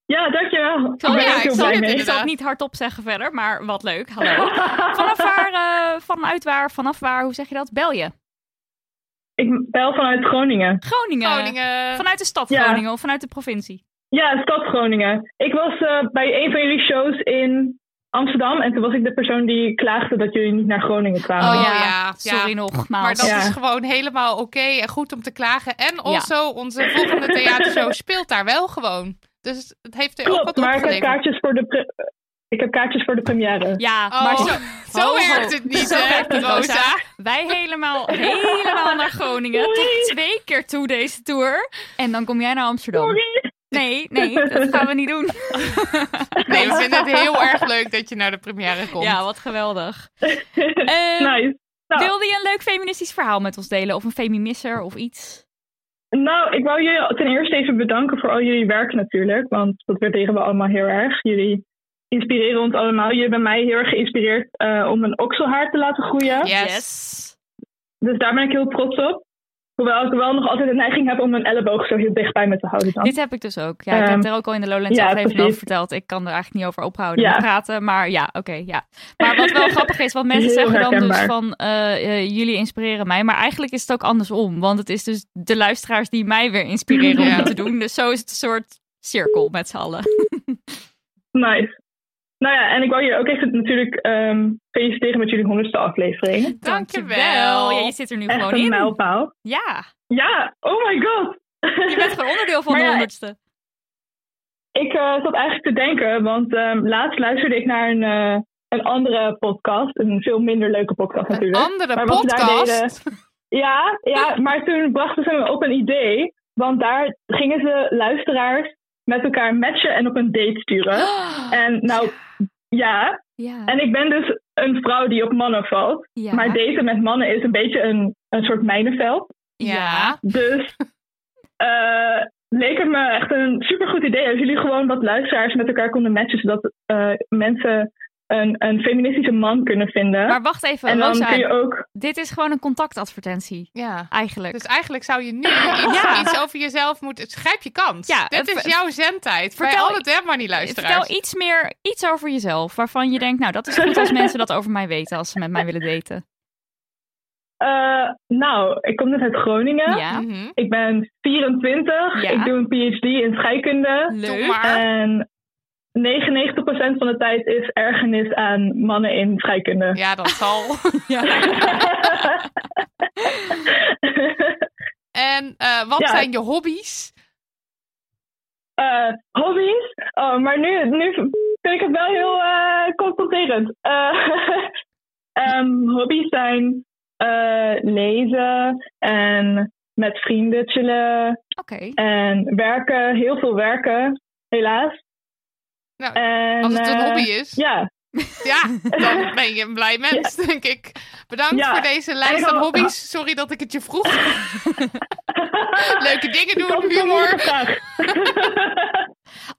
Ja, dankjewel.
Oh
ben
ja,
ook
ik
heel
zal,
blij
het,
mee.
ik zal het niet hardop zeggen verder, maar wat leuk. Hallo. Vanaf waar, eh, vanuit waar, vanaf waar, hoe zeg je dat? Bel je?
Ik bel vanuit Groningen.
Groningen.
Groningen.
Vanuit de stad
Ja.
Groningen of vanuit de provincie?
Ja, stad Groningen. Ik was eh, bij een van jullie shows in
Amsterdam en toen was ik de persoon die klaagde dat jullie niet naar Groningen kwamen.
Oh ja, ja.
sorry nogmaals.
Maar dat
Ja.
is gewoon helemaal oké en goed om te klagen. En also, onze volgende theatershow speelt daar wel gewoon. Dus het heeft er ook
Klopt,
wat
maar ik heb,
opgeleverd.
kaartjes voor de pre- ik heb kaartjes voor de première.
Ja,
Oh,
maar
zo- zo
Ho, ho.
werkt het niet,
Zo
hè,
werkt het,
Rosa.
Wij helemaal, helemaal naar Groningen. Tot twee keer toe deze tour. En dan kom jij naar Amsterdam. Nee, nee, dat gaan we niet doen.
Nee, we vinden het heel erg leuk dat je naar de première komt.
Ja, wat geweldig.
nice. Nou.
Ehm, Wilde je een leuk feministisch verhaal met ons delen? Of een feminisser of iets?
Nou, ik wou jullie ten eerste even bedanken voor al jullie werk natuurlijk. Want dat waarderen we allemaal heel erg. Jullie inspireren ons allemaal. Jullie hebben mij heel erg geïnspireerd eh, om een okselhaar te laten groeien.
Yes.
Dus daar ben ik heel trots op. Hoewel ik wel nog altijd de neiging heb om mijn elleboog zo heel dichtbij me te houden. Dan.
Dit heb ik dus ook. Ja, ik heb
Ehm,
er ook al in de Lowlands
ja,
aflevering
precies.
over verteld. Ik kan er eigenlijk niet over ophouden
Ja.
met praten. Maar ja, oké, ja. Maar wat wel grappig is, want mensen
Heel
zeggen dan dus
herkenbaar.
van... eh, eh, jullie inspireren mij. Maar eigenlijk is het ook andersom. Want het is dus de luisteraars die mij weer inspireren om
Ja.
het te doen. Dus zo is het een soort cirkel met z'n allen.
Nice. Nou ja, en ik wou jullie ook echt natuurlijk ehm, feliciteren met jullie honderdste aflevering.
Dankjewel. Ja, je zit er nu
Echt
gewoon
een
in.
mijlpaal.
Ja.
Ja, oh my god.
Je bent gewoon onderdeel van
Maar
de
ja,
honderdste.
Ik eh, zat eigenlijk te denken, want ehm, laatst luisterde ik naar een, eh, een andere podcast. Een veel minder leuke podcast natuurlijk.
andere
wat ze daar
podcast?
deden- ja, ja, maar toen brachten ze me op een idee. Want daar gingen ze luisteraars met elkaar matchen en op een date sturen. En nou, ja.
Ja.
En ik ben dus een vrouw die op mannen valt.
Ja.
Maar daten met mannen is een beetje een, een soort mijnenveld.
Ja.
Dus eh, leek het me echt een supergoed idee als jullie gewoon wat luisteraars met elkaar konden matchen, zodat eh, mensen een, een feministische man kunnen vinden.
Maar wacht even,
En dan
Rosa.
kun je ook...
Dit is gewoon een contactadvertentie.
Ja.
Eigenlijk.
Dus eigenlijk zou je nu iets,
Ja.
iets over jezelf moeten... Schrijf je kans.
Ja,
Dit
eh,
is
ver-
jouw zendtijd. Bij
vertel-
al het Demony luisteraars.
Eh, Vertel iets meer, iets over jezelf, waarvan je denkt, nou, dat is goed als mensen dat over mij weten, als ze met mij willen daten.
Eh, nou, ik kom net uit Groningen.
Ja.
Mhm.
Ik ben 24.
Ja.
Ik doe een PhD in scheikunde.
Leuk. Doe maar.
En 99% van de tijd is ergernis aan mannen in scheikunde.
Ja, dat zal. En eh, wat
Ja.
zijn je hobby's?
Eh, hobby's? Oh, maar nu, nu vind ik het wel heel eh confronterend. Eh, ehm, hobby's zijn eh, lezen en met vrienden chillen.
Oké.
En werken, heel veel werken, helaas.
Nou,
En,
als het een
eh,
hobby is.
Ja.
Ja, dan ben je een blij mens, denk ik. Bedankt
Ja.
voor deze
En
lijst
dan-
aan hobby's. Sorry dat ik het je vroeg. Leuke dingen
had
doen,
het nog
humor.
niet gevraagd.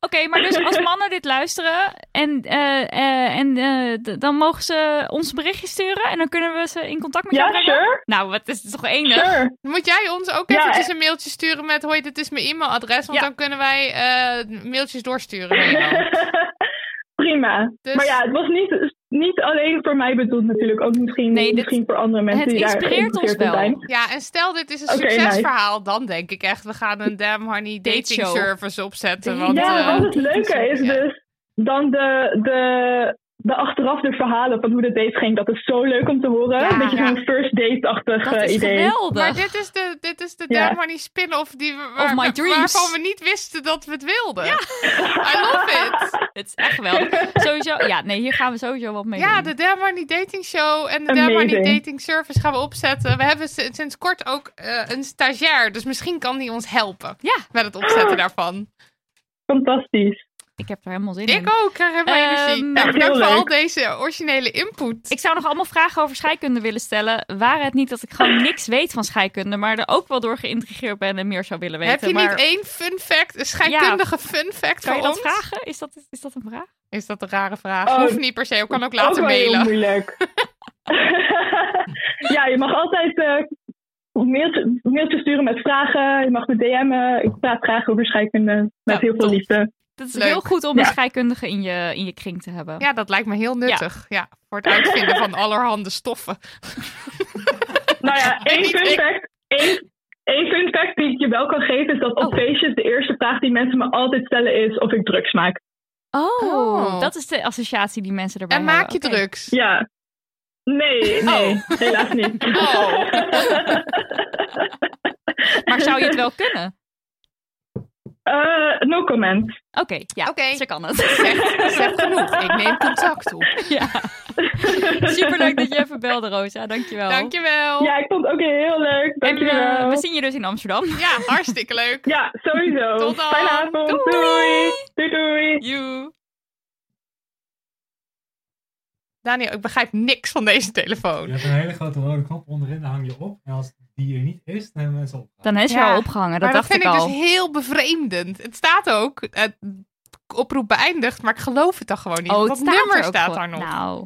Oké, maar dus als mannen dit luisteren en, eh, eh, en eh, d- dan mogen ze ons een berichtje sturen en dan kunnen we ze in contact met
Ja,
jou brengen.
sure.
Nou, wat is het toch enig?
Sure.
Moet jij ons ook
Ja,
eventjes
eh.
een mailtje sturen met... Hoi, dit is mijn e-mailadres. Want
Ja.
dan kunnen wij eh, mailtjes doorsturen. naar jou.
Prima.
Dus-
Maar ja, het was niet, niet alleen voor mij bedoeld natuurlijk. Ook misschien,
Nee, dit-
misschien voor andere mensen
het
die daar
inspireert ons
geïnteresseerd in
wel.
zijn.
Ja, en stel dit is een
Oké,
succesverhaal. Dan denk ik echt, we gaan een Damn Honey dating
Dateshow.
service opzetten.
Date-
Want,
Ja,
eh,
want het leuke is dus dan de, de, de achteraf de verhalen van hoe de date ging. Dat is zo leuk om te horen.
Ja,
Een beetje
ja.
zo'n first date-achtig
Dat
eh,
is
idee.
geweldig.
maar dit is de, dit is de
Ja.
Damn Honey spin-off die we, waar-
Of my dreams.
waarvan we niet wisten dat we het wilden. I love it!
Het is echt geweldig. sowieso, ja, nee, hier gaan we sowieso wat mee
Ja,
doen.
de Dermarnie Dating Show en de
Amazing.
Dermarnie Dating Service gaan we opzetten. We hebben si- sinds kort ook eh, een stagiair, dus misschien kan die ons helpen
Ja. Oh,
met het opzetten daarvan.
Fantastisch.
Ik heb er helemaal zin in.
Ik ook, krijg helemaal
Ehm,
energie.
echt
Nou,
heel
bedankt voor
leuk.
al deze originele input.
Ik zou nog allemaal vragen over scheikunde willen stellen. Waren het niet dat ik gewoon niks weet van scheikunde, maar er ook wel door geïntrigeerd ben en meer zou willen weten.
Heb je
maar
niet één fun fact, een scheikundige fun fact
Kan
voor
je dat
ons?
vragen? Is dat, is dat een vraag?
Is dat een rare vraag?
Oh,
Hoeft niet per se, ik kan ook
Ook
later
wel heel
mailen.
moeilijk. ja, je mag altijd eh mailtjes mailtjes sturen met vragen. Je mag me DM'en. Ik praat graag over scheikunde met
Nou,
heel veel
top.
liefde.
Dat is
Leuk.
heel goed om
Ja.
een scheikundige in je, in je kring te hebben.
Ja, dat lijkt me heel nuttig. Ja. voor het uitvinden van allerhande stoffen.
Nou ja, één
niet
fun
ik.
fact. Één, één fun fact
Oh.
die ik je wel kan geven is dat op feestjes de eerste vraag die mensen me altijd stellen is of ik drugs maak.
Oh, dat is de associatie die mensen erbij
En
hebben.
maak je
Oké. Oh.
drugs?
Ja. Nee, nee, helaas niet.
Oh.
Maar zou je het wel kunnen? Oh.
Eh, no comment.
Oké, ja, ze kan het.
Zeg, zeg genoeg. Ik neem contact op.
Superleuk dat je even belde, Rosa. Dankjewel.
Dankjewel.
Ja, ik vond het ook heel leuk. Dankjewel.
En eh, we zien je dus in Amsterdam.
Ja, hartstikke leuk.
Ja, sowieso.
Tot dan.
Fijne avond.
Doei.
Doei. Doei, doei.
You.
Daniel, ik begrijp niks van deze telefoon.
Je hebt een hele grote rode knop onderin, daar hang je op. En als die er niet is, dan hebben mensen op.
Dan is je
Ja.
al opgehangen,
maar
dat dacht
dat vind
ik
ik,
al.
dus heel bevreemdend. Het staat ook, eh, oproep beëindigd, maar ik geloof het dan gewoon niet.
Oh, het
Wat
staat er
nummer
ook
staat
voor.
daar nog?
Nou.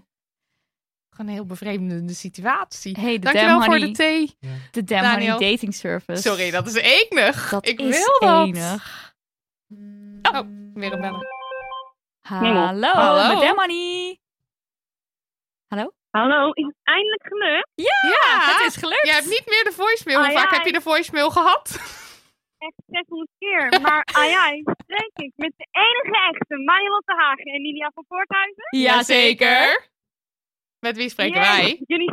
Gewoon een heel bevreemdende situatie.
Hey, de
Dankjewel
Dam
voor
Honey-
de thee.
De Dam
Daniel.
Honey Dating Service.
Sorry, dat is enig.
Dat
ik
is
wil dat.
enig.
Oh, weer een bellen.
Hallo,
Hallo.
met Dam Honey. Hallo?
Hallo, is het eindelijk gelukt?
Ja, het is gelukt.
Jij hebt niet meer de voicemail. Hoe
Ah,
vaak
ja,
heb je de voicemail gehad?
Echt 600 keer. Maar ah ja, hier spreek ik met de enige echte Marilotte Hagen en Lilia van Voorthuizen.
Jazeker. Met wie spreken
Yes,
wij?
Jullie,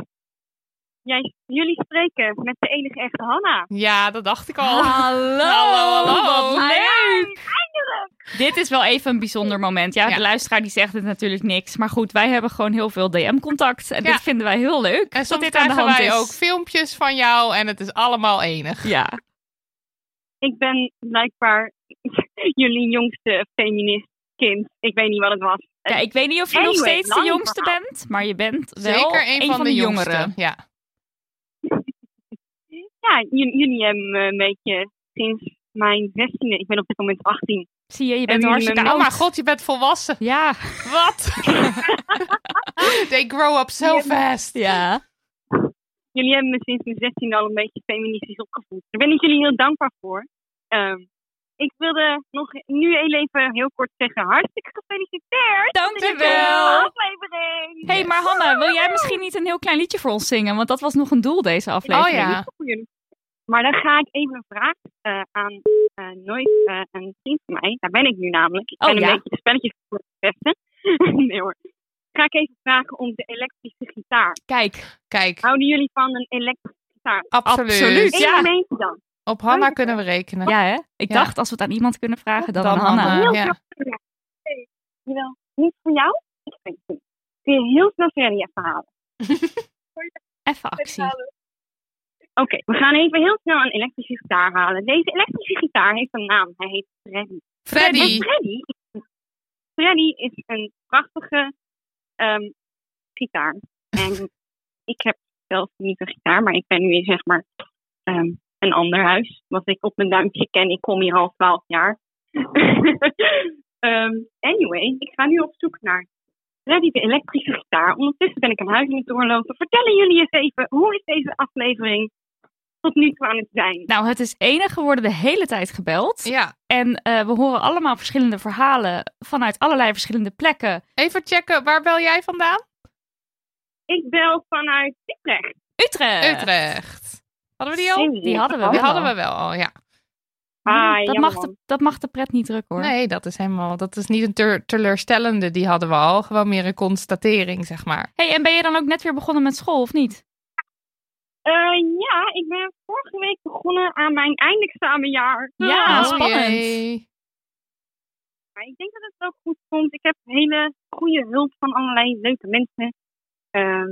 jij, jullie spreken met de enige echte Hanna.
Ja, dat dacht ik al.
Hallo,
hallo, hallo.
wat leuk.
Eindelijk!
Dit is wel even een bijzonder moment. Ja,
Ja.
de luisteraar die zegt het natuurlijk niks. Maar goed, wij hebben gewoon heel veel DM-contact. En
Ja.
dit vinden wij heel leuk.
En
dat
soms
dit aan de
krijgen
hand
wij
is.
ook filmpjes van jou en het is allemaal enig.
Ja.
Ik ben blijkbaar jullie
Eh,
jongste feminist kind. Ik weet niet wat het was.
Ja, ik weet niet of je nog
Anyway,
steeds de
lang
jongste
verhaal.
bent, maar je bent wel
Zeker een, van, de, jongeren.
jongeren.
Ja.
Ja, j- jullie hebben me een beetje sinds mijn 16e. Ik ben op dit moment 18.
Zie je, je
bent hartstikke
Oh
oud.
mijn god, je bent volwassen.
Ja.
Wat? They grow up so
Ja.
fast.
Ja.
jullie hebben me sinds mijn 16 al een beetje feministisch opgevoed. Daar ben ik jullie heel dankbaar voor. Ehm, ik wilde nog nu heel even heel kort zeggen, hartstikke gefeliciteerd!
Dankjewel.
Met de aflevering!
Hé, hey, maar Hanna, wil jij misschien niet een heel klein liedje voor ons zingen? Want dat was nog een doel
Oh
deze aflevering.
Oh Maar dan ga ik even een vraag eh, aan eh, nooit eh, een vriend van mij. Daar ben ik nu namelijk. Ik
Oh,
ben een
ja.
beetje de spelletjes voor het testen. nee hoor. Ga ik even vragen om de elektrische gitaar.
Kijk.
Kijk.
Houden jullie van een elektrische gitaar?
Absoluut. Absoluut,
Eén
ja.
momentje dan.
Op Hanna kunnen we rekenen.
Ja, hè? Ik
Ja.
dacht, als we het aan iemand kunnen vragen, dan,
Dan
aan Hanna.
Hanna, ja.
Ja. Hey, Jawel, niet voor jou. Ik weet het niet. Kun je heel snel verder even halen.
Even actie.
Oké, we gaan even heel snel een elektrische gitaar halen. Deze elektrische gitaar heeft een naam. Hij heet Freddy.
Freddy.
En Freddy, Freddy is een prachtige ehm, gitaar. En ik heb zelf niet een gitaar, maar ik ben nu in zeg maar ehm, een ander huis. Wat ik op mijn duimpje ken. Ik kom hier al twaalf jaar. Ehm, anyway, ik ga nu op zoek naar Freddy de elektrische gitaar. Ondertussen ben ik een huis aan het doorlopen. Vertellen jullie eens even, hoe is deze aflevering tot nu toe aan het zijn?
Nou, het is enig. We worden de hele tijd gebeld.
Ja.
En eh, we horen allemaal verschillende verhalen vanuit allerlei verschillende plekken.
Even checken, waar bel jij vandaan?
Ik bel vanuit Utrecht.
Utrecht.
Utrecht. Hadden we die al? Oh,
Die hadden we
Die
wel.
hadden we wel al, ja.
Ah,
Hmm, dat,
jammer,
mag
man.
de, dat mag de pret niet drukken hoor.
Nee, dat is helemaal. Dat is niet een ter- teleurstellende. Die hadden we al. Gewoon meer een constatering, zeg maar.
hey, en ben je dan ook net weer begonnen met school of niet?
Eh, ja, ik ben vorige week begonnen aan mijn eindexamenjaar.
Ja,
Ah.
spannend.
jee.
Maar ik denk dat het wel goed komt. Ik heb hele goede hulp van allerlei leuke mensen. Ehm,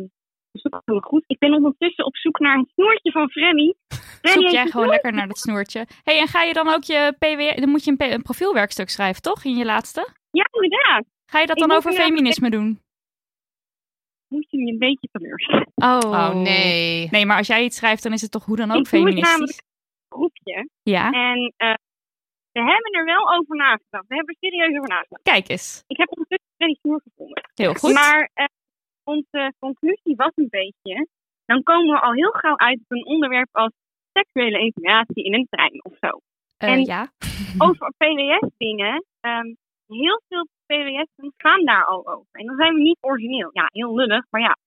dus dat is helemaal goed. Ik ben ondertussen op zoek naar een snoertje van Freddy.
Eh,
Freddy
Zoek
heeft
jij
een
gewoon lekker naar dat snoertje. hey, en ga je dan ook je PW... Dan moet je een, P- een profielwerkstuk schrijven, toch? In je laatste?
Ja, inderdaad.
Ga je dat
Ik
dan
moet
over
inderdaad-
feminisme doen?
Moet je me een beetje teleurstellen.
Oh.
Oh, nee.
Nee, maar als jij iets schrijft, dan is het toch hoe dan ook
ik doe het
feministisch?
namelijk een groepje.
Ja.
En eh, we hebben er wel over nagedacht. We hebben er serieus over nagedacht.
Kijk eens.
Ik heb ondertussen Freddy snoer gevonden.
Heel goed.
Maar eh, onze conclusie was een beetje. Dan komen we al heel gauw uit op een onderwerp als seksuele informatie in een trein of zo.
Eh,
en-
ja.
Over PWS-dingen. ehm, heel veel PWS'en gaan daar al over. En dan zijn we niet origineel. Ja, heel lullig, maar ja.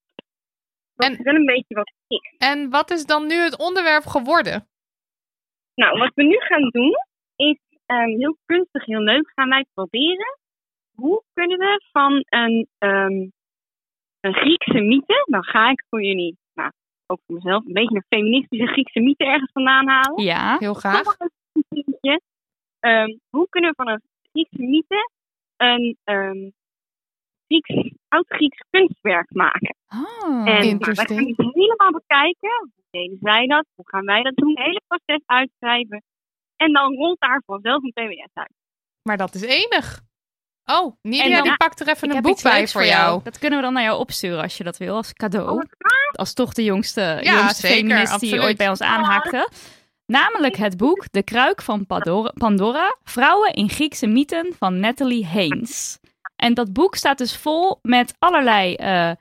Dat is wel een beetje wat het is.
En wat is dan nu het onderwerp geworden?
Nou, wat we nu gaan doen is ehm, heel kunstig, heel leuk. Gaan wij proberen hoe kunnen we van een, ehm, een Griekse mythe, dan ga ik voor jullie, nou, ook voor mezelf, een beetje een feministische Griekse mythe ergens vandaan halen.
Ja,
heel graag.
Toch wel een dingetje. Ehm, hoe kunnen we van een Griekse mythe een ehm, Grieks, oud-Grieks kunstwerk maken?
Ah,
Oh,
en nou, wij gaan het helemaal bekijken. Hoe deden zij dat? Hoe gaan wij dat doen? Het hele proces uitschrijven. En dan rolt daar vanzelf een PBS uit.
Maar dat is enig. Oh, Nidia
dan-
die pakt er even
Ik
een
heb
boek
iets leuks
bij voor jou.
Dat kunnen we dan naar jou opsturen als je dat wil, als cadeau. Als toch de jongste,
Ja,
jongste
zeker,
feminist die
absoluut.
ooit bij ons aanhaakte. Namelijk het boek De Kruik van Pador- Pandora, Vrouwen in Griekse mythen van Natalie Haynes. En dat boek staat dus vol met allerlei eh,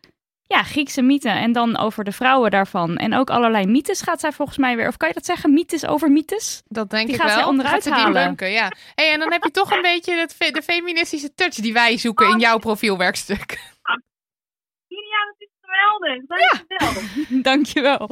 ja, Griekse mythen en dan over de vrouwen daarvan. En ook allerlei mythes gaat zij volgens mij weer, of kan je dat zeggen, mythes over mythes?
Dat denk
die
ik
gaat
wel.
Zij onderuit
Gaat ze die
halen.
bunken, ja. Hey, en dan heb je toch een beetje het fe- de feministische touch die wij zoeken
Ah.
in jouw profielwerkstuk.
Julia, dat is geweldig. Dat is geweldig.
Dankjewel.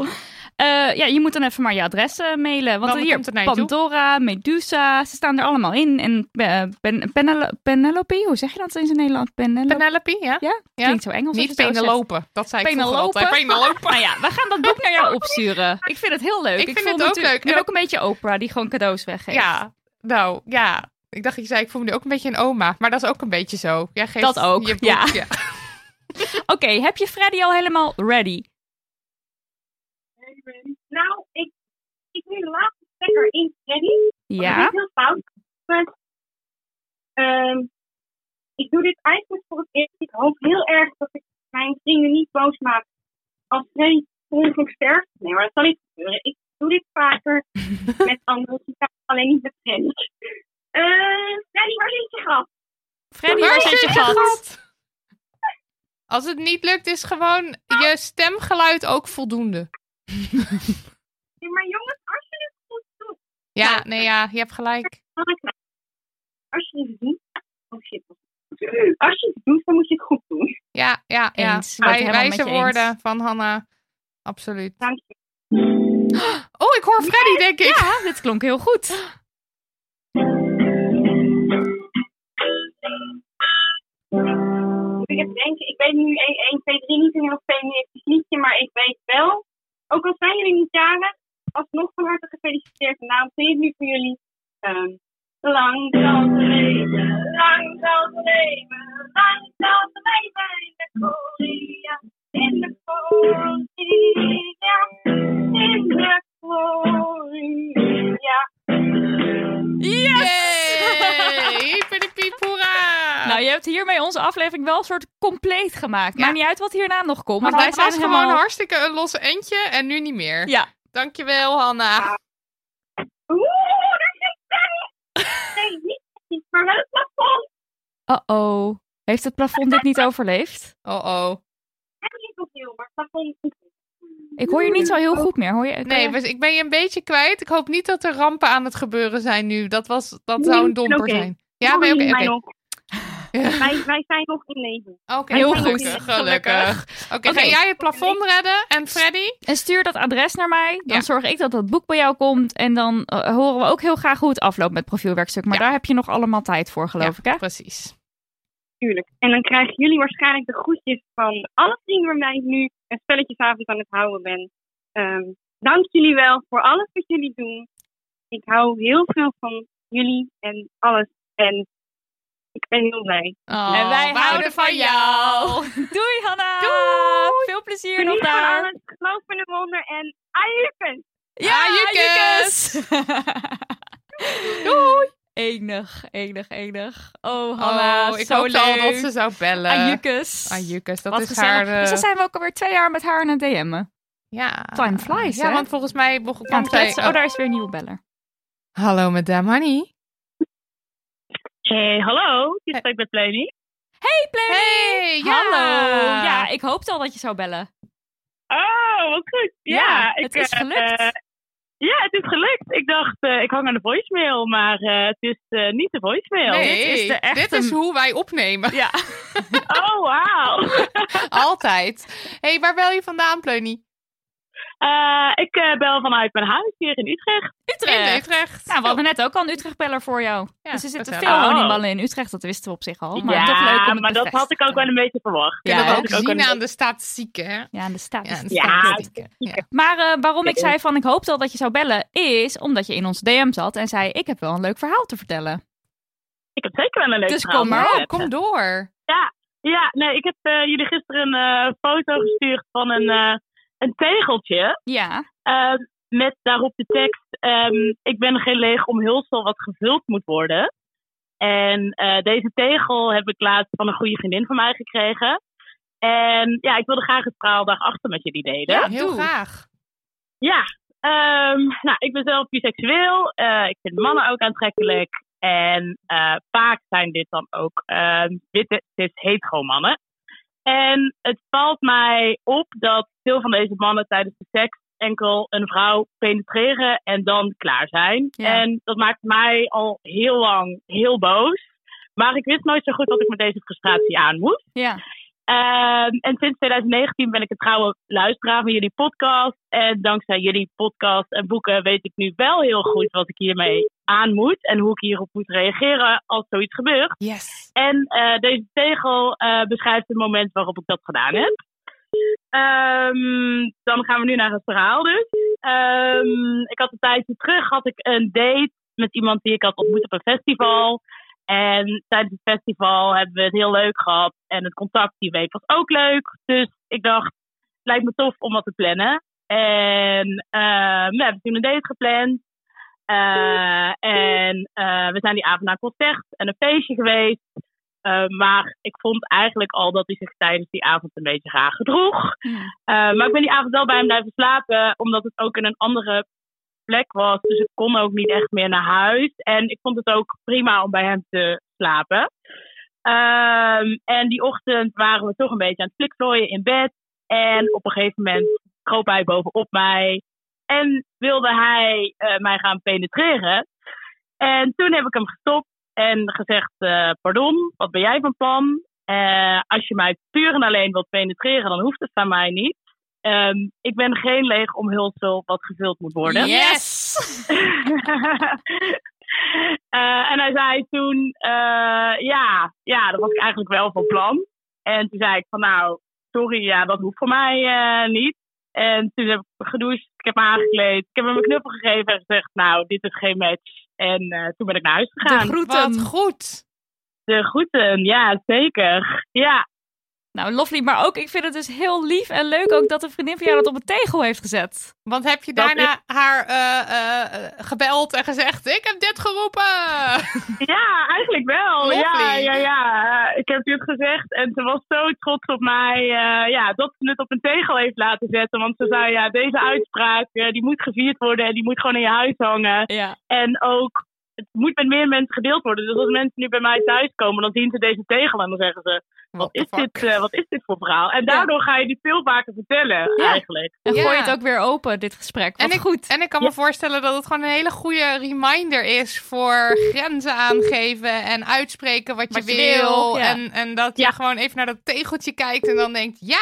Eh ja, je moet dan even maar je adres eh, mailen. Want
Dan
hier,
komt het naar je toe.
Pandora, Medusa, ze staan er allemaal in. En eh, ben, Penel- Penelope, hoe zeg je dat eens in Nederland? Penelope?
Penelope, ja.
Ja,
Ja.
klinkt zo Engels. als je
Niet
het zo zegt.
Penelope. Dat zei ik vroeger
Penelope.
altijd. Penelope.
nou ja, we gaan dat boek naar jou opsturen. Ik vind het heel leuk.
Ik vind
voel
het
me
ook leuk.
natuurlijk Nu
En
ook een beetje Oprah, die gewoon cadeaus weggeeft.
Ja, nou ja. Ik dacht, ik zei, ik voel me nu ook een beetje een oma. Maar dat is ook een beetje zo. Jij geeft
Dat ook,
je boek,
ja. Oké, heb je Freddy al helemaal ready?
Nou, ik, ik nu de laatste stekker in Freddy.
Ja.
Dat is heel fout. want, ehm, ik doe dit eigenlijk voor het eerst. Ik hoop heel erg dat ik mijn vrienden niet boos maak als Freddy ongeluk sterft. Nee, maar dat zal niet gebeuren. Ik doe dit vaker met anderen. Ik kan alleen niet met Freddy. Eh, Freddy, waar zit je gat?
Freddy,
Waar
waar zit je
zit je
gat?
Als het niet lukt, is gewoon je stemgeluid ook voldoende.
Nee, maar jongens, als je het goed doet,
Ja, nee, ja, je hebt gelijk.
dan kan ik het. Als je het doet, oh shit. Als je het doet, dan moet je het goed doen.
Ja, ja, ja.
Eens. Ik ben het
Wij,
helemaal met
wijze
je eens.
woorden van Hanna. Absoluut.
Dank je.
Oh, ik hoor Freddy, denk ik.
Ja, dit klonk heel goed.
Moet ik even denken, ik weet nu 1, 1 2, 3 niet een heel feministisch liedje, maar ik weet wel, ook al zijn jullie niet jaren, alsnog van harte gefeliciteerd. En daarom zing ik nu voor jullie. ehm, lang zal ze leven, lang zal ze leven, lang zal ze leven in de Korea, in de Korea, in de Korea.
Yes! Hyperdipiep, hoera!
Nou, je hebt hiermee onze aflevering wel een soort compleet gemaakt. Maakt niet uit wat hierna nog komt.
Want
wij
dat
zijn
was
helemaal...
gewoon hartstikke een los eentje en nu niet meer.
Ja.
Dankjewel, Hanna.
Oeh, daar zit Freddy! Nee, niet Freddy, maar wel het plafond.
Uh-oh. Heeft het plafond dit niet overleefd?
Oh-oh.
Freddy is opnieuw, maar het plafond is niet.
Ik hoor je niet zo heel goed meer. Hoor je, kan
Nee,
je-
we- ik ben je een beetje kwijt. Ik hoop niet dat er rampen aan het gebeuren zijn nu. Dat, was, dat zou een domper
Oké.
zijn. Ja, ben je oké?
Sorry, maar
Oké.
nog. Wij, wij zijn nog in leven.
Oké,
Heel
gelukkig,
goed.
Gelukkig. Oké,
Oké.
ga jij het plafond redden en Freddy?
En stuur dat adres naar mij. Dan zorg ik dat dat boek bij jou komt. En dan eh, horen we ook heel graag hoe het afloopt met profielwerkstuk. Maar daar heb je nog allemaal tijd voor, geloof ik, hè?
precies.
Tuurlijk. En dan krijgen jullie waarschijnlijk de groetjes van alle vrienden waarmee ik nu een spelletjesavond aan het houden ben. Ehm, dank jullie wel voor alles wat jullie doen. Ik hou heel veel van jullie en alles. En ik ben heel blij.
en wij houden van jou. Oh, Doei, Hanna. Doei. Veel plezier nog
Jullie van
daar.
alles. Geloof in een wonder en ajupen!
Ja,
Jukes.
Jukes. Doei. Enig, enig, enig. Oh, Hanna,
ik
zo
hoopte al
leuk.
dat ze zou bellen.
Ajukes.
Ajukes, dat
Wat
is
gezellig.
haar... eh,
Dus dan zijn we ook alweer twee jaar met haar aan het DM'en.
Ja.
Time flies,
Ja,
hè?
want volgens mij begon
Aan
kwam
het
zij-
kletsen. Oh, daar is weer een nieuwe beller.
Hallo, madame Honey.
Hey, hallo. Je spreekt met Pleni.
Hey, Play.
Hey, ja.
Hallo. Ja, ik hoopte al dat je zou bellen.
Oh, wat goed. Ja,
Ja,
ik,
het is
eh,
gelukt.
eh, ja, het is gelukt. Ik dacht, eh, ik hang aan de voicemail, maar eh, het is eh, niet de voicemail.
Nee, dit is, hoe wij opnemen.
Ja.
Oh, wauw.
Altijd. hey, waar bel je vandaan, Pleunie?
Eh, ik eh, bel vanuit mijn huis hier in Utrecht.
Utrecht. Nou, we hadden net ook al een Utrechtbeller voor jou. dus er zitten veel
Oh.
honingbalen in Utrecht, dat wisten we op zich al. Maar
ja,
toch leuk om het
maar dat
bevestigd
had ik ook wel een beetje verwacht.
Ja,
dat
hè?
had ik ook wel
Zien
een
aan de statistieken, hè?
Ja, aan de statistieken.
Ja,
Maar eh, waarom ik
Ja.
zei van ik hoopte al dat je zou bellen, is omdat je in ons DM zat en zei ik heb wel een leuk verhaal te vertellen.
Ik heb zeker wel een leuk
Dus
verhaal.
kom maar op,
kom
door.
Ja, ja nee, ik heb eh, jullie gisteren een eh, foto gestuurd van een, eh, een tegeltje.
Ja.
Eh, met daarop de tekst, ehm, ik ben geen leeg omhulsel wat gevuld moet worden. En eh, deze tegel heb ik laatst van een goede vriendin van mij gekregen. En ja, ik wilde graag het verhaal daarachter met jullie delen.
Ja, heel graag.
Ja, ehm, nou, ik ben zelf biseksueel. Eh, ik vind mannen ook aantrekkelijk. En eh, vaak zijn dit dan ook ehm witte, dit hetero mannen. En het valt mij op dat veel van deze mannen tijdens de seks enkel een vrouw penetreren en dan klaar zijn.
Ja.
En dat maakt mij al heel lang heel boos. Maar ik wist nooit zo goed wat ik met deze frustratie aan moest.
Ja.
Ehm, en sinds 2019 ben ik een trouwe luisteraar van jullie podcast. En dankzij jullie podcast en boeken weet ik nu wel heel goed wat ik hiermee aan moet. En hoe ik hierop moet reageren als zoiets gebeurt.
Yes.
En eh, deze tegel eh, beschrijft het moment waarop ik dat gedaan heb. Ehm, dan gaan we nu naar het verhaal dus. Ehm, ik had een tijdje terug had ik een date met iemand die ik had ontmoet op een festival. En tijdens het festival hebben we het heel leuk gehad. En het contact die week was ook leuk. Dus ik dacht, lijkt me tof om wat te plannen. En ehm, we hebben toen een date gepland. Eh, en eh, we zijn die avond naar een concert en een feestje geweest. Eh, maar ik vond eigenlijk al dat hij zich tijdens die avond een beetje raar gedroeg. Eh, maar ik ben die avond wel bij hem blijven slapen, omdat het ook in een andere plek was. Dus ik kon ook niet echt meer naar huis. En ik vond het ook prima om bij hem te slapen. Ehm, en die ochtend waren we toch een beetje aan het flikvlooien in bed. En op een gegeven moment kroop hij bovenop mij. En wilde hij eh, mij gaan penetreren. En toen heb ik hem gestopt en gezegd: eh, Pardon, wat ben jij van plan? Eh, als je mij puur en alleen wilt penetreren, dan hoeft het van mij niet. Ehm, ik ben geen leeg omhulsel wat gevuld moet worden.
Yes!
Eh, en hij zei toen, eh, ja, ja, dat was ik eigenlijk wel van plan. En toen zei ik van, nou, sorry, ja, dat hoeft voor mij eh, niet. En toen heb ik gedoucht, ik heb me aangekleed, ik heb hem een knuffel gegeven en gezegd, nou, dit is geen match. En eh, toen ben ik naar huis gegaan.
Wat goed.
De groeten, ja, zeker. Ja.
Nou, lovely, maar ook ik vind het dus heel lief en leuk ook dat een vriendin van jou dat op een tegel heeft gezet.
Want heb je daarna haar eh, eh, eh, gebeld en gezegd: Ik heb dit geroepen.
Ja, eigenlijk wel. Ja,
Lovely.
ja, ja. Ik heb dit gezegd en ze was zo trots op mij eh, ja, dat ze het op een tegel heeft laten zetten. Want ze zei, ja, deze uitspraak eh, die moet gevierd worden en die moet gewoon in je huis hangen. En ook, het moet met meer mensen gedeeld worden. Dus als mensen nu bij mij thuis komen, dan zien ze deze tegel en dan zeggen ze, wat is, dit, eh, wat is dit voor verhaal? En daardoor ga je dit veel vaker vertellen
Ja.
eigenlijk.
En
Ja.
gooi het ook weer open, dit gesprek. Wat
En ik,
goed.
en ik kan me voorstellen dat het gewoon een hele goede reminder is voor grenzen aangeven en uitspreken wat je,
Wat je
wil.
wil, ja.
en, en dat je gewoon even naar dat tegeltje kijkt en dan denkt: Ja,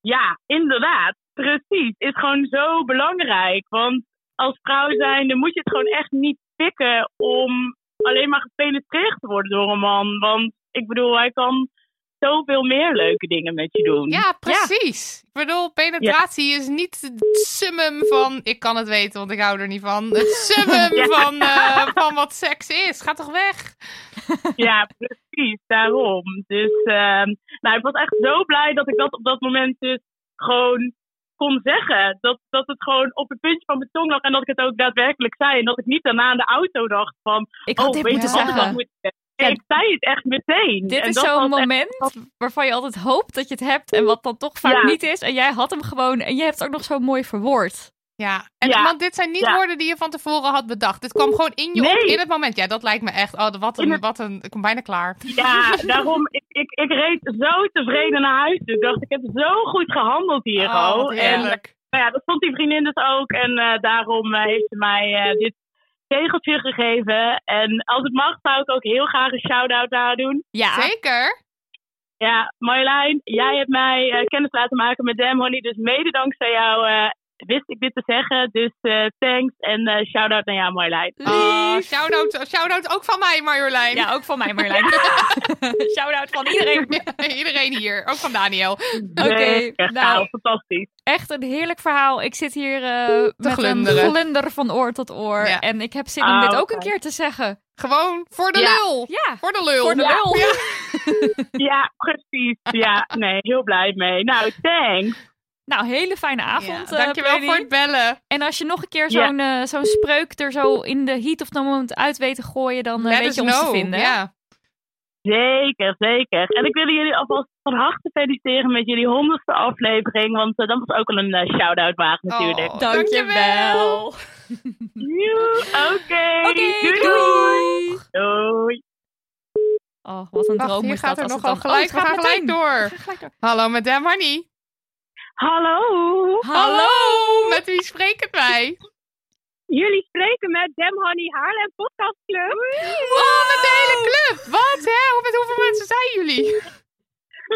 Ja, inderdaad. Precies. Is gewoon zo belangrijk. Want als vrouw zijnde moet je het gewoon echt niet pikken om alleen maar gepenetreerd te worden door een man. Want ik bedoel, hij kan zoveel meer leuke dingen met je doen.
ja precies. Ik bedoel, penetratie is niet het summum van. Ik kan het weten, want ik hou er niet van. Het summum
Ja.
van, eh, van wat seks is. Ga toch weg.
Ja, precies, daarom. Dus ehm, nou, ik was echt zo blij dat ik dat op dat moment dus gewoon kon zeggen. Dat, dat het gewoon op het puntje van mijn tong lag en dat ik het ook daadwerkelijk zei. En dat ik niet daarna aan de auto dacht van,
Ik had
oh,
dit
weet je
moeten
wat ik
zeggen.
moet zeggen? Nee, Ik zei het echt meteen.
Dit
En
is
dat was
zo'n
echt-
moment waarvan je altijd hoopt dat je het hebt en wat dan toch vaak
Ja.
niet is. En jij had hem gewoon en je hebt het ook nog zo mooi verwoord.
Ja, en,
Ja.
want dit zijn niet
Ja.
woorden die je van tevoren had bedacht. Dit kwam gewoon in je op
Nee.
in het moment. Ja, dat lijkt me echt. Oh, wat een, wat een. Ik kom bijna klaar.
Ja, daarom, ik, ik, ik reed zo tevreden naar huis. Dus ik dacht, ik heb zo goed gehandeld hier,
Oh,
Ro.
wat
En
heerlijk.
nou ja, dat vond die vriendin dus ook. En eh, daarom eh, heeft ze mij eh, dit tegeltje gegeven. En als het mag, zou ik ook heel graag een shout-out naar haar doen.
Ja.
Zeker.
Ja, Marjolein, jij hebt mij eh, kennis laten maken met Dam Honey. Dus mede dankzij jou eh, wist ik dit te zeggen. Dus eh, thanks en eh shout-out naar jou, Marjolein.
Ah, shout-out, shout-out ook van mij, Marjolein.
Ja, ook van mij, Marjolein. shout-out van iedereen.
iedereen hier, ook van Daniel.
Oké, Nee, echt nou. gaaf,
fantastisch.
Echt een heerlijk verhaal. Ik zit hier eh, met
glunderen.
een glunder van oor tot oor. En ik heb zin om
Ah,
dit ook
oké.
een keer te zeggen.
Gewoon voor de lul.
Ja.
Voor de lul.
Voor de
Ja.
lul.
Ja.
Ja, precies. Ja, nee, heel blij mee. Nou, thanks.
Nou, hele fijne avond.
Ja,
eh,
dankjewel
Brady.
voor het bellen.
En als je nog een keer
Ja.
zo'n eh, zo'n spreuk er zo in de heat of the moment uit weet te gooien, dan eh,
Let
weet
us
je ons
know,
te vinden.
ja.
Zeker, zeker. En ik wil jullie alvast van harte feliciteren met jullie honderdste aflevering. Want eh, dat was ook al een eh, shout-out waard natuurlijk.
Oh,
Oh, dankjewel.
Joe, Oké, doei,
doei.
Doei.
Oh, wat een
Wacht,
droom
hier
is
gaat
dat.
er
als het
nogal
dan-
gelijk. we
Oh, het
gaan
gaat
gelijk
meteen.
door. Hallo met Dem Honey.
Hallo.
Hallo.
Met wie spreken wij?
Jullie spreken met Dem Honey Haarlem Podcast Club.
Oh, met de hele club. Wat, hè? Hoe- Met hoeveel mensen zijn jullie?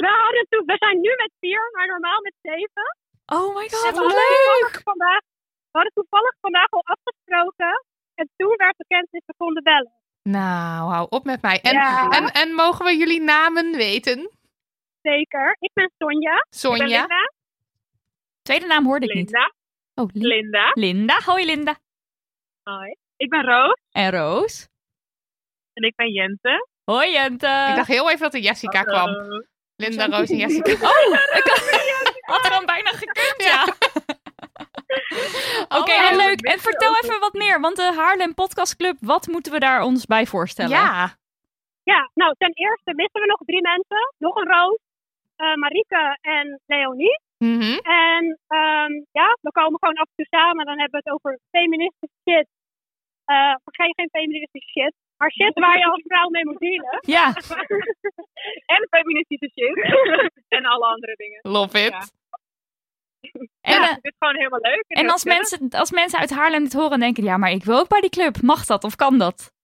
We, hadden toen, we zijn nu met vier, maar normaal met zeven.
Oh my god,
En we hadden
wat
toevallig
leuk.
Vandaag, we hadden toevallig vandaag al afgesproken. En toen werd bekend dat we konden bellen.
Nou, hou op met mij. En,
Ja.
en, en mogen we jullie namen weten?
Zeker. Ik ben Sonja.
Sonja.
Ik ben Linda.
Tweede naam hoorde ik niet.
Linda.
Oh, Lin-
Linda.
Linda. Hoi Linda.
Hoi. Ik ben Roos.
En Roos.
En ik ben Jente.
Hoi Jente.
Ik dacht heel even dat er Jessica kwam. Linda, Roos en Jessica.
Oh, ik had er dan bijna gekund, ja. Oké,
Oh,
en
ja.
leuk. En vertel even wat meer, want de Haarlem Podcast Club, wat moeten we daar ons bij voorstellen?
Ja.
Ja, nou, ten eerste missen we nog drie mensen. Nog een Roos, eh Marieke en Leonie.
Mhm.
En ehm, ja, we komen gewoon af en toe samen. Dan hebben we het over feministische shit. Eh vergeet geen feministische shit. Maar shit waar je als vrouw mee moet dealen.
Ja.
en feministische shit. en alle andere dingen.
Love it.
En, eh,
dit is gewoon helemaal leuk.
en als, mensen, als mensen uit Haarlem dit horen en denken, ja, maar ik wil ook bij die club. Mag dat of kan dat?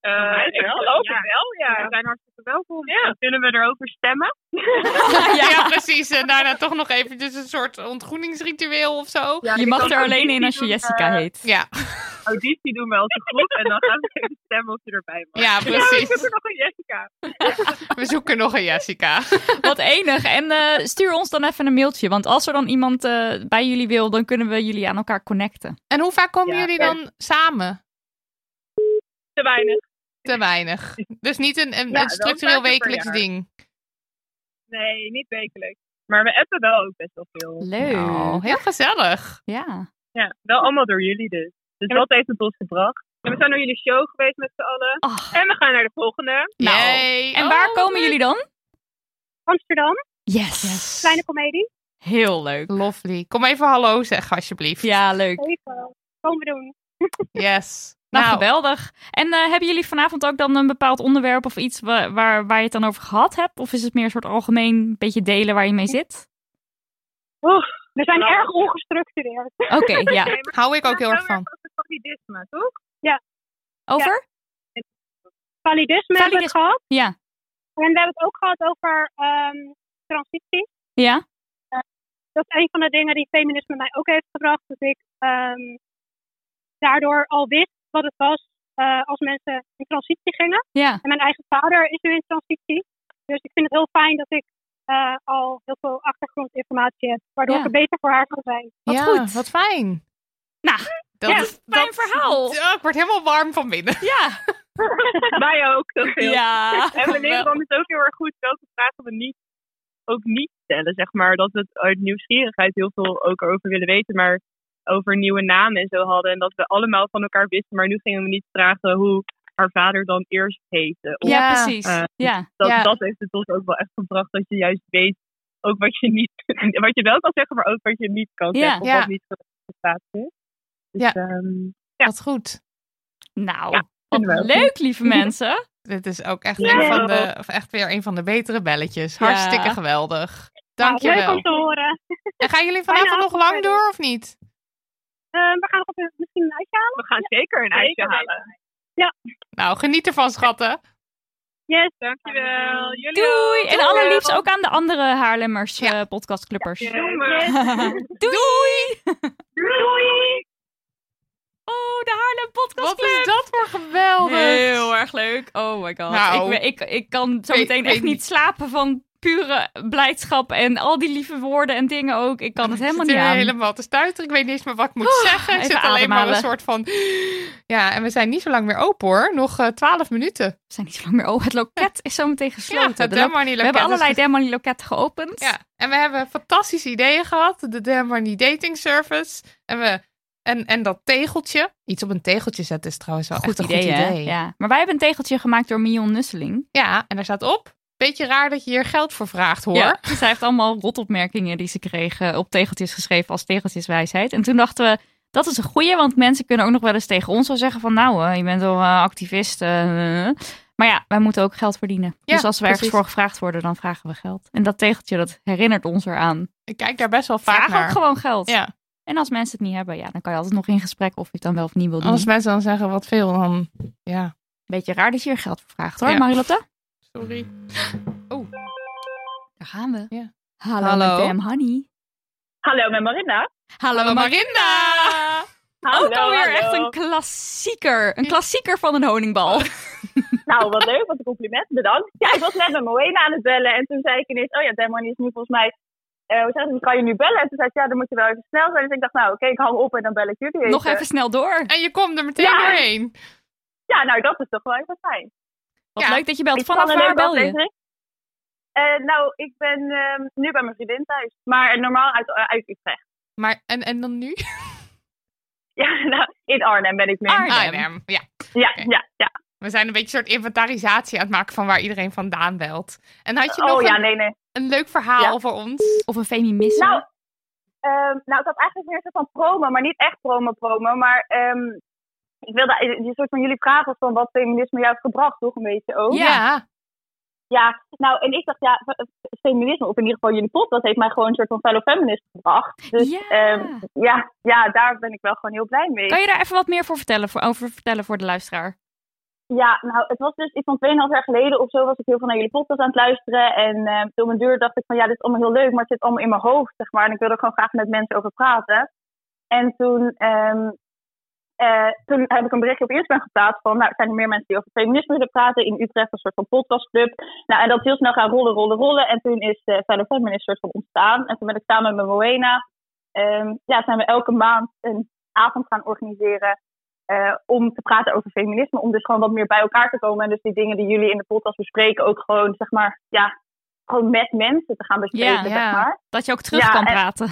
Eh, ik geloof het wel, ja. We zijn hartstikke welkom. Dan kunnen we erover stemmen.
ja. precies. En daarna toch nog eventjes een soort ontgroeningsritueel of zo.
je mag er alleen in als je Jessica heet.
Ja.
eh, Auditie doen we als een groep en dan gaan we even stemmen of je erbij mag.
Ja, precies.
we zoeken nog een Jessica.
We zoeken nog een Jessica.
Wat enig. En eh, stuur ons dan even een mailtje. Want als er dan iemand eh, bij jullie wil, dan kunnen we jullie aan elkaar connecten.
En hoe vaak komen
Ja,
jullie
ja.
dan samen?
Te weinig.
Te weinig. Dus niet een, een,
Ja,
een
wel
structureel
vaker per
wekelijks
jaar.
ding.
Nee, niet wekelijks. Maar we appen wel ook best wel veel.
Leuk.
Nou, heel gezellig.
Ja.
Ja, wel allemaal door jullie dus. Dus dat heeft het ons gebracht. En we zijn naar jullie show geweest met z'n allen. En we gaan naar de volgende.
Nou, en
Oh.
waar komen jullie dan?
Amsterdam,
Yes.
kleine komedie.
Heel leuk.
Lovely. Kom even hallo zeggen, alsjeblieft.
Ja, leuk.
Even. Komen we doen.
Yes.
Nou,
Nou.
geweldig. En eh, hebben jullie vanavond ook dan een bepaald onderwerp of iets wa- waar, waar je het dan over gehad hebt? Of is het meer een soort algemeen beetje delen waar je mee zit?
we zijn erg ongestructureerd.
Oké, ja.
Hou ik ook heel erg van.
Validisme, toch? Ja.
Over?
Validisme hebben we het gehad.
Ja.
En we hebben het ook gehad over ehm, transitie.
Ja.
Eh, dat is een van de dingen die feminisme mij ook heeft gebracht. Dat ik ehm, daardoor al wist wat het was eh, als mensen in transitie gingen.
Ja.
En mijn eigen vader is nu in transitie. Dus ik vind het heel fijn dat ik eh, al heel veel achtergrondinformatie heb. Waardoor
Ja.
ik er beter voor haar kan zijn.
Wat ja, goed. Wat fijn.
Nou,
dat
Ja,
is
fijn verhaal.
Ja, ik word helemaal warm van binnen.
Ja.
Wij ook, dat
veel. Ja,
En we leren dan
geweldig.
het ook heel erg goed welke vragen we niet, ook niet stellen, zeg maar. Dat we het uit nieuwsgierigheid heel veel ook over willen weten, maar over nieuwe namen en zo hadden. En dat we allemaal van elkaar wisten, maar nu gingen we niet vragen hoe haar vader dan eerst heette. Of,
Ja, precies.
eh,
Ja.
Dat,
Ja.
dat heeft het ons ook wel echt gebracht, dat je juist weet ook wat je niet, wat je wel kan zeggen, maar ook wat je niet kan
Ja.
zeggen. Of
Ja.
wat niet geplaatst is. Dus,
Ja.
ehm,
Wat goed.
Nou,
vinden we
wat
ook.
leuk lieve mensen.
Dit is ook echt,
Ja.
een van de, of echt weer een van de betere belletjes.
Ja.
Hartstikke
Nou,
geweldig. Dankjewel.
horen.
En gaan jullie vanavond nog lang door of niet?
Eh, we gaan nog misschien een ijsje halen. We gaan zeker een ijsje halen.
Nou, geniet ervan, schatten.
Yes, dankjewel. Jullie
Doei!
ook.
En allerliefst ook aan de andere Haarlemmers eh, podcastclubbers.
Doen we.
Doei!
Doei!
Oh, de Haarlem Podcast
Wat is dat voor geweldig?
Heel erg leuk. Oh my god.
Nou.
ik, ben- ik, ik kan zo
Weet-
meteen
weet
echt niet
niet.
slapen van pure blijdschap en al die lieve woorden en dingen ook. Ik kan het helemaal
Ik
niet
zit hier
aan.
helemaal te stuiteren. Ik weet niet eens meer wat ik moet
Oh,
zeggen. Ik
even
zit alleen maar een
ademhalen.
soort van... Ja, en we zijn niet zo lang meer open hoor. Nog eh, twaalf minuten.
We zijn niet zo lang meer open. Het loket is zo meteen gesloten.
het
De lo-
Denmark-loket
we hebben
is
allerlei
ges-
Denmark loketten geopend.
Ja, en we hebben fantastische ideeën gehad. De Denmark Dating Service. En, we, en, en dat tegeltje. Iets op een tegeltje zetten is trouwens wel
Goed
echt
idee,
een goed
hè?
idee.
Ja. Maar wij hebben een tegeltje gemaakt door Mion Nusseling.
Ja, en daar staat op. Beetje raar dat je hier geld voor vraagt hoor.
Ja, zij heeft allemaal rotopmerkingen die ze kregen op tegeltjes geschreven als tegeltjeswijsheid. En toen dachten we, dat is een goeie, want mensen kunnen ook nog wel eens tegen ons wel zeggen van nou, eh, je bent wel eh, activist. eh, eh. maar ja, wij moeten ook geld verdienen.
Ja,
dus als we ergens
precies.
voor gevraagd worden, dan vragen we geld. En dat tegeltje, dat herinnert ons eraan.
Ik kijk daar best wel vaak
Vraag
naar.
ook gewoon geld.
Ja.
En als mensen het niet hebben, ja, dan kan je altijd nog in gesprek of je het dan wel of niet wil doen.
Als mensen dan zeggen wat veel, dan ja.
Beetje raar dat je er geld voor vraagt hoor,
Ja.
Marilotte.
Sorry. Oh.
Daar gaan we.
Ja.
Hallo,
Hallo.
met Dam Honey.
Hallo, met Marinda.
Hallo
Marinda!
Ah. ook alweer
hallo.
echt een klassieker. Een klassieker van een honingbal.
Nou, wat leuk, wat een compliment, bedankt. Ja, ik was net met Moena aan het bellen en toen zei ik ineens, oh ja, Demon is nu volgens mij, eh, hoe zeg je, kan je nu bellen? En toen zei ze, ja, dan moet je wel even snel zijn. Dus ik dacht, nou oké, ik hang op en dan bel ik jullie
Nog even snel door.
En je komt er meteen
Ja.
doorheen.
Ja, nou, dat is toch wel even fijn.
Wat leuk dat je belt.
Ik vond
Vanaf
het een
waar
leuke
bel je?
aflevering. Eh, nou, ik ben ehm, nu bij mijn vriendin thuis, maar normaal uit, eh, uit Utrecht.
Maar en, en dan nu?
Ja, nou, in Arnhem ben ik nu.
Arnhem, Ja.
Ja, ja, ja.
We zijn een beetje een soort inventarisatie aan het maken van waar iedereen vandaan belt. En had je
Oh,
nog
ja,
een,
nee, nee.
een leuk verhaal voor ons?
Of een feminisme?
Nou, ehm, nou, ik had eigenlijk meer een soort van promo, maar niet echt promo-promo. Maar ehm, ik wilde eh, die soort van jullie vraag was van wat feminisme jou heeft gebracht, toch een beetje ook?
Ja.
Ja, nou, en ik dacht, ja, f- f- feminisme, of in ieder geval jullie podcast, heeft mij gewoon een soort van fellow feminist gebracht. Dus
Ja.
ehm, ja, ja, daar ben ik wel gewoon heel blij mee.
Kan je daar even wat meer voor vertellen, voor, over vertellen voor de luisteraar?
Ja, nou, het was dus iets van 2,5 jaar geleden of zo was ik heel veel naar jullie podcast aan het luisteren. En eh, toen mijn duur dacht ik van ja, dit is allemaal heel leuk, maar het zit allemaal in mijn hoofd, zeg maar. En ik wil er gewoon graag met mensen over praten. En toen, ehm, eh, toen heb ik een berichtje op Instagram geplaatst van, nou, zijn er meer mensen die over feminisme willen praten? In Utrecht een soort van podcastclub. Nou, en dat is heel snel gaan rollen, rollen, rollen. En toen is eh Fellow Feminist soort van ontstaan. En toen ben ik samen met Moena, ehm, ja, zijn we elke maand een avond gaan organiseren eh, om te praten over feminisme. Om dus gewoon wat meer bij elkaar te komen. En dus die dingen die jullie in de podcast bespreken ook gewoon, zeg maar, ja, gewoon met mensen te gaan bespreken,
Ja,
zeg maar.
dat je ook terug
Ja,
kan
en-
praten.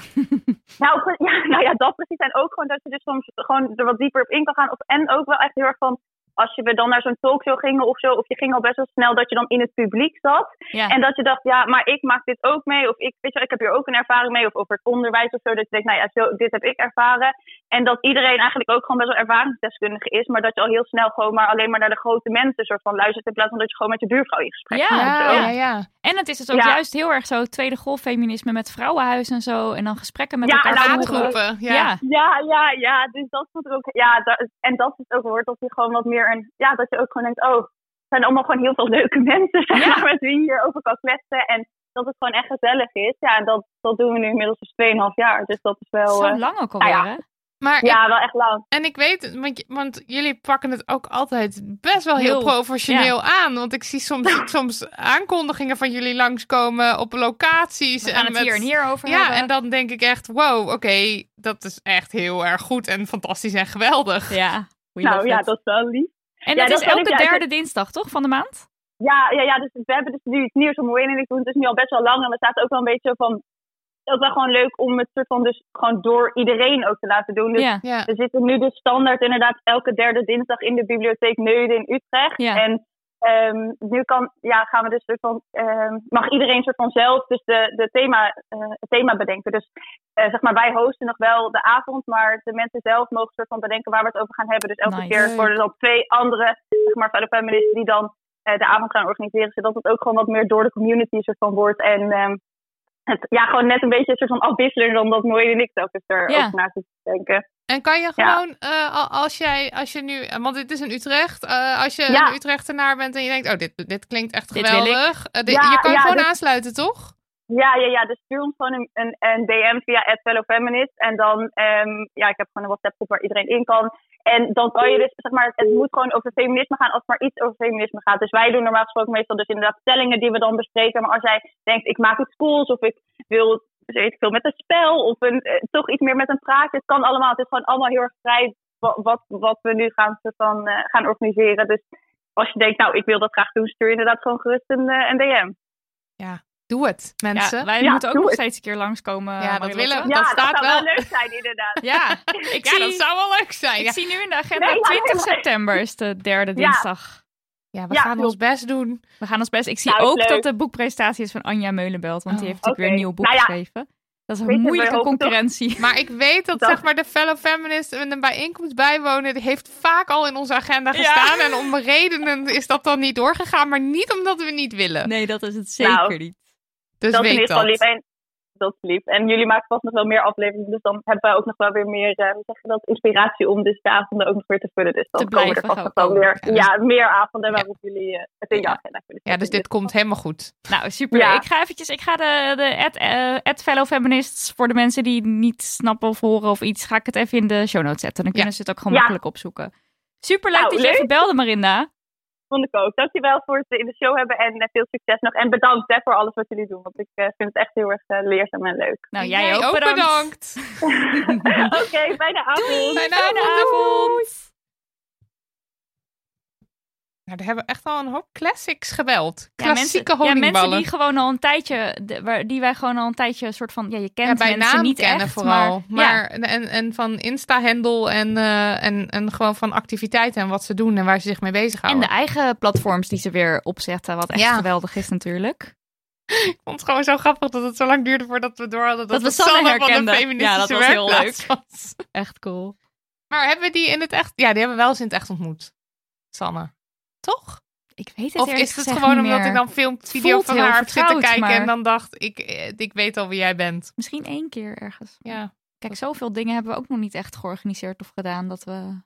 Nou, pre- ja, nou ja, dat precies. En ook gewoon dat je dus soms gewoon er wat dieper op in kan gaan. Of, en ook wel echt heel erg van, als je we dan naar zo'n talkshow gingen of zo, of je ging al best wel snel dat je dan in het publiek zat.
Ja.
En dat je dacht, ja, maar ik maak dit ook mee. Of ik, weet je, wel, ik heb hier ook een ervaring mee. Of over het onderwijs of zo. Dat je denkt, nou ja, zo, dit heb ik ervaren. En dat iedereen eigenlijk ook gewoon best wel ervaringsdeskundige is. Maar dat je al heel snel gewoon maar alleen maar naar de grote mensen soort van luistert. In plaats van dat je gewoon met je buurvrouw in gesprek gaat. of zo.
En het is dus ook
Ja.
juist heel erg zo tweede golf feminisme met vrouwenhuis en zo. En dan gesprekken met
ja,
elkaar
en
voeren.
laadgroepen,
Ja.
ja, ja, ja. Dus dat voelt er ook. Ja, da- en dat is ook wordt dat je gewoon wat meer een. Ja, dat je ook gewoon denkt, oh, het zijn allemaal gewoon heel veel leuke mensen zeg maar, met wie je hierover kan kletsen. En dat het gewoon echt gezellig is. Ja, en dat, dat doen we nu inmiddels dus 2,5 jaar. Dus dat is wel.
Zo
eh,
lang ook
nou ja.
alweer, hè?
Maar
ja,
ik-
wel echt lang.
En ik weet, het, want, je- want jullie pakken het ook altijd best wel heel,
Heel,
professioneel
ja.
aan. Want ik zie soms, soms aankondigingen van jullie langskomen op locaties.
We gaan het hier en hier over
Ja,
hebben.
en dan denk ik echt, wow, oké, dat is echt heel erg goed en fantastisch en geweldig.
Ja,
Nou ja, dat is wel lief.
En
Ja,
dat, is
kan
elke
ik je uit-
derde dinsdag, toch, van de maand?
Ja, ja, ja, dus we hebben dus nu iets nieuws om Wayne en ik doen. Het is nu al best wel lang en we zaten ook wel een beetje zo van... Ook wel gewoon leuk om het soort van dus gewoon door iedereen ook te laten doen. Dus
Ja. Ja.
we zitten nu dus standaard inderdaad elke derde dinsdag in de bibliotheek Neude in Utrecht.
Ja.
En ehm, nu kan, ja, gaan we dus soort van, ehm, mag iedereen soort van zelf dus de, de thema, eh, het thema bedenken. Dus eh, zeg maar, wij hosten nog wel de avond, maar de mensen zelf mogen soort van bedenken waar we het over gaan hebben. Dus elke
Nice.
keer worden er dan twee andere, zeg maar, fellow feministen die dan eh, de avond gaan organiseren. Zodat het ook gewoon wat meer door de community soort van wordt. En ehm, het, ja, gewoon net een beetje een soort van afwisseling dan dat mooie niks telkens dus er
Ja.
ook na zit te denken.
En kan je
Ja.
gewoon, eh, al- als jij, als je nu, want dit is in Utrecht, eh, als je
Ja.
een Utrechtenaar bent en je denkt, oh, dit, dit klinkt echt
Dit wil ik.
geweldig. eh, dit-
Ja,
je kan
ja,
gewoon
dit-
aansluiten, toch?
Ja, ja, ja. Dus stuur ons gewoon een, een, een DM via @fellowfeminist en dan, ehm, ja, ik heb gewoon een WhatsApp groep waar iedereen in kan. En dan kan je dus, zeg maar, het moet gewoon over feminisme gaan als het maar iets over feminisme gaat. Dus wij doen normaal gesproken meestal dus inderdaad stellingen die we dan bespreken. Maar als jij denkt, ik maak iets cools of ik wil, weet ik veel, met een spel of een, eh, toch iets meer met een praatje. Het kan allemaal. Het is gewoon allemaal heel erg vrij wat, wat, wat we nu gaan, soort van, eh, gaan organiseren. Dus als je denkt, nou, ik wil dat graag doen, stuur inderdaad gewoon gerust een, eh, een DM.
Ja, doe het, mensen.
Ja, wij
Ja,
moeten ook
doe
nog
het.
steeds een keer langskomen.
Ja, dat
Marilotte.
willen- Ja, dat dat staat zou wel wel. leuk
zijn, inderdaad.
Ja, ik
Ja,
zie,
dat zou wel leuk zijn.
Ik
ja.
zie nu in de agenda
Nee, ja,
20
helemaal-
september is de derde
Ja.
dinsdag.
Ja, we Ja, gaan ons klopt. best doen.
We gaan ons best. Ik zie
Nou, is
ook
leuk.
dat de boekpresentatie is van Anja Meulenbelt, want die
Oh,
heeft natuurlijk weer een nieuw boek
Nou ja,
geschreven. Dat is
weet
een
je, we
moeilijke
hopen toch-
concurrentie.
Maar ik weet dat,
Dat-
zeg maar, de fellow feminist en een bijeenkomst bijwonen, die heeft vaak al in onze agenda gestaan. En om redenen is dat dan niet doorgegaan, maar niet omdat we niet willen.
Nee, dat is het
zeker Nou, niet. dat
Dus
is in
weet
ieder geval
dat.
lief. En, dat is lief. En jullie maken vast nog wel meer afleveringen. Dus dan hebben wij ook nog wel weer meer eh, hoe zeg je dat, inspiratie om dus de avonden ook nog weer te vullen. Dus dan
Te
komen er vast
blijven gaan
nog wel
komen.
weer
Ja,
ja,
dus-
meer avonden waarop jullie eh, het in je agenda kunnen
Ja, dus dit komt helemaal goed.
Nou, super. Ik ga eventjes, ik ga de, de ad, eh, ad fellow feminists, voor de mensen die niet snappen of horen of iets, ga ik het even in de show notes zetten. Dan kunnen ze het ook gewoon
Ja.
makkelijk opzoeken. Super leuk
Nou,
dat je
leuk.
even belde, Marinda.
Vond ik ook. Dankjewel voor het in de show hebben en eh, veel succes nog. En bedankt hè, voor alles wat jullie doen. Want ik eh, vind het echt heel erg eh, leerzaam en leuk.
Nou, jij Jij ook ook bedankt. bedankt.
Oké, bijna avond.
Fijne
avond.
Nou, daar hebben we echt al een hoop classics gebeld.
Ja,
Klassieke
mensen, ja, mensen
honingballen.
die gewoon al een tijdje, de- waar- die wij gewoon al een tijdje een soort van, ja, je kent
ja, bij
mensen
naam
niet
kennen
echt,
vooral.
maar, ja.
en, en van Insta-handle en, eh, en, en gewoon van activiteiten en wat ze doen en waar ze zich mee
En
bezighouden.
de eigen platforms die ze weer opzetten, wat echt
Ja.
geweldig is natuurlijk.
Ik vond het gewoon zo grappig dat het zo lang duurde voordat we door hadden dat,
Dat we
het
Sanne
van de
herkenden.
feministische
Ja, dat was heel
werkplaats
leuk.
was.
Echt cool.
Maar hebben we die in het echt... Ja, die hebben we wel eens in het echt ontmoet. Sanne. Toch?
Ik weet het
Of
eerlijk
is het
gezegd
gewoon
niet
omdat
meer.
ik dan film,
Het
video
voelt
van
heel
haar heb zitten
vertrouwd,
kijken
maar
en dan dacht ik, eh, ik weet al wie jij bent.
Misschien één keer ergens.
Ja.
Kijk, zoveel dingen hebben we ook nog niet echt georganiseerd of gedaan dat we...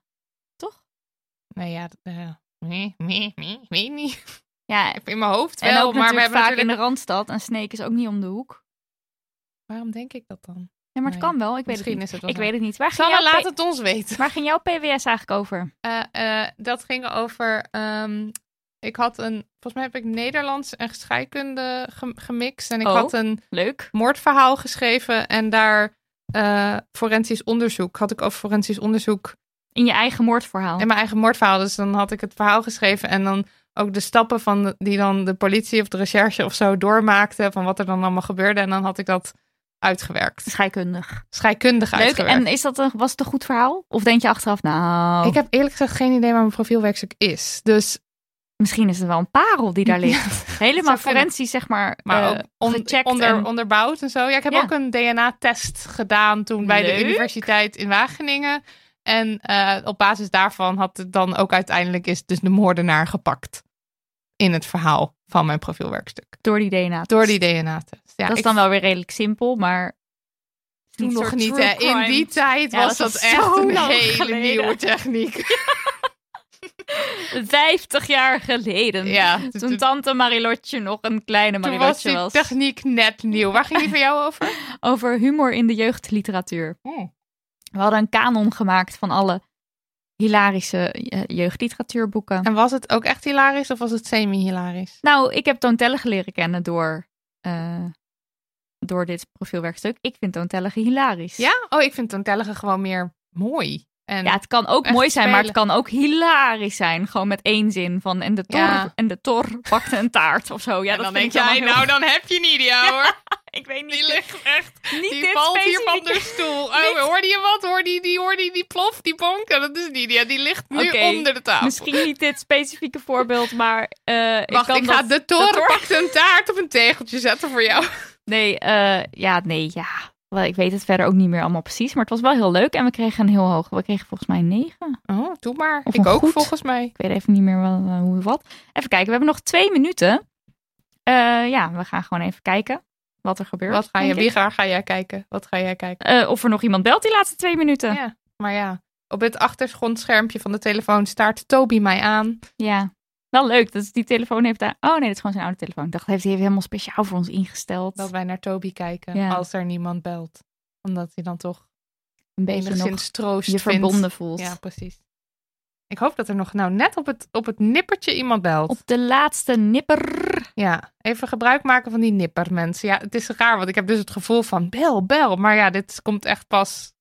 Nee, ja. dat- eh, nee, nee, nee, weet niet.
Ja,
in mijn hoofd
en
wel, maar
ook
we
natuurlijk
hebben
vaak in
natuurlijk...
de Randstad en Sneek is ook niet om de hoek.
Waarom denk ik dat dan?
Ja, maar het
Nee.
kan wel. Ik weet
Misschien
het niet.
is het wel
ik
zo.
weet het niet. Waar ging
Sanne,
jouw
laat
P-
het ons weten.
Waar ging jouw PWS eigenlijk over?
Eh, eh, dat ging over. ehm, ik had een. Volgens mij heb ik Nederlands en scheikunde gem- gemixt. En ik
Oh,
had een
leuk.
moordverhaal geschreven. En daar eh, forensisch onderzoek. Had ik over forensisch onderzoek.
In je eigen moordverhaal.
In mijn eigen moordverhaal. Dus dan had ik het verhaal geschreven. En dan ook de stappen van de- die dan de politie of de recherche of zo doormaakte. Van wat er dan allemaal gebeurde. En dan had ik dat uitgewerkt.
Scheikundig.
Scheikundig
Leuk.
uitgewerkt.
En is dat een, was het een goed verhaal? Of denk je achteraf, nou...
Ik heb eerlijk gezegd geen idee waar mijn profielwerkstuk is. Dus
Misschien is het wel een parel die daar ligt.
Zou
Helemaal
kunnen.
forensisch, zeg maar.
Maar
eh,
ook on-
gecheckt
onder,
en-
onderbouwd en zo. Ja, ik heb
Ja.
ook een DNA-test gedaan toen bij
Leuk.
de universiteit in Wageningen. En eh, op basis daarvan had het dan ook uiteindelijk is dus de moordenaar gepakt. In het verhaal van mijn profielwerkstuk.
Door die DNA. -test.
Door die DNA-test. Ja,
dat is
ik-
dan wel weer redelijk simpel, maar.
toen
Een
nog
soort
niet.
true
hè. In
crime.
die tijd
Ja,
was dat,
is
echt
zo
een
lang
hele
geleden.
nieuwe techniek.
50 jaar geleden.
Ja,
toen tante Marilotje nog een kleine
Toen was
Marilotje
die
was.
techniek net nieuw. Waar ging die van jou over?
Over humor in de jeugdliteratuur.
Oh.
We hadden een kanon gemaakt van alle hilarische eh, jeugdliteratuurboeken.
En was het ook echt hilarisch of was het semi-hilarisch?
Nou, ik heb Toontellige leren kennen door, eh, door dit profielwerkstuk. Ik vind Toontellige hilarisch.
Ja? Oh, ik vind Toontellige gewoon meer mooi. En
ja, het kan ook
echt
mooi zijn, maar het
spelen.
kan ook hilarisch zijn. Gewoon met één zin van en de tor,
Ja.
en de tor pakte een taart of zo. Ja,
En
dat
dan
vind
denk
ik
jij,
allemaal
nou
heel-
dan heb je niet ja hoor.
Ik weet niet.
Die ligt echt,
Niet
die
dit
valt hier van
specifieke-
de stoel. Oh, hoorde je wat? Hoorde je die, hoorde je die plof, die bonk? Ja, dat is niet ja. Die ligt nu
Oké,
onder de tafel.
Misschien niet dit specifieke voorbeeld, maar eh, ik
Wacht,
kan
ik ga
dat-
de toren
dat-
pakt een taart op een tegeltje zetten voor jou.
Nee, eh, ja, nee, ja. Wel, Ik weet het verder ook niet meer allemaal precies, maar het was wel heel leuk en we kregen een heel hoog. We kregen volgens mij een 9.
Oh, doe maar.
Hm. Of
ik
een
ook
goed.
volgens mij.
Ik weet even niet meer wel, eh, hoe wat. Even kijken, we hebben nog twee minuten. Eh, ja, we gaan gewoon even kijken. wat er gebeurt.
Wat ga je,
denk
wie
ik.
ga, ga jij kijken? Wat ga jij kijken?
Eh, of er nog iemand belt die laatste twee minuten.
Ja, maar ja. Op het achtergrondschermpje van de telefoon staart Toby mij aan.
Ja. Wel leuk, dat is die telefoon heeft daar... Oh nee, dat is gewoon zijn oude telefoon. Ik dacht, heeft hij heeft helemaal speciaal voor ons ingesteld.
Dat wij naar Toby kijken
Ja.
als er niemand belt. Omdat hij dan toch
Een beetje
enigszins
nog
troost
je
vindt.
verbonden voelt.
Ja, precies. Ik hoop dat er nog nou net op het, op het nippertje iemand belt. Op
de laatste nipper.
Ja, even gebruik maken van die nipper, mensen. Ja, het is raar, want ik heb dus het gevoel van bel, bel. Maar ja, dit komt echt pas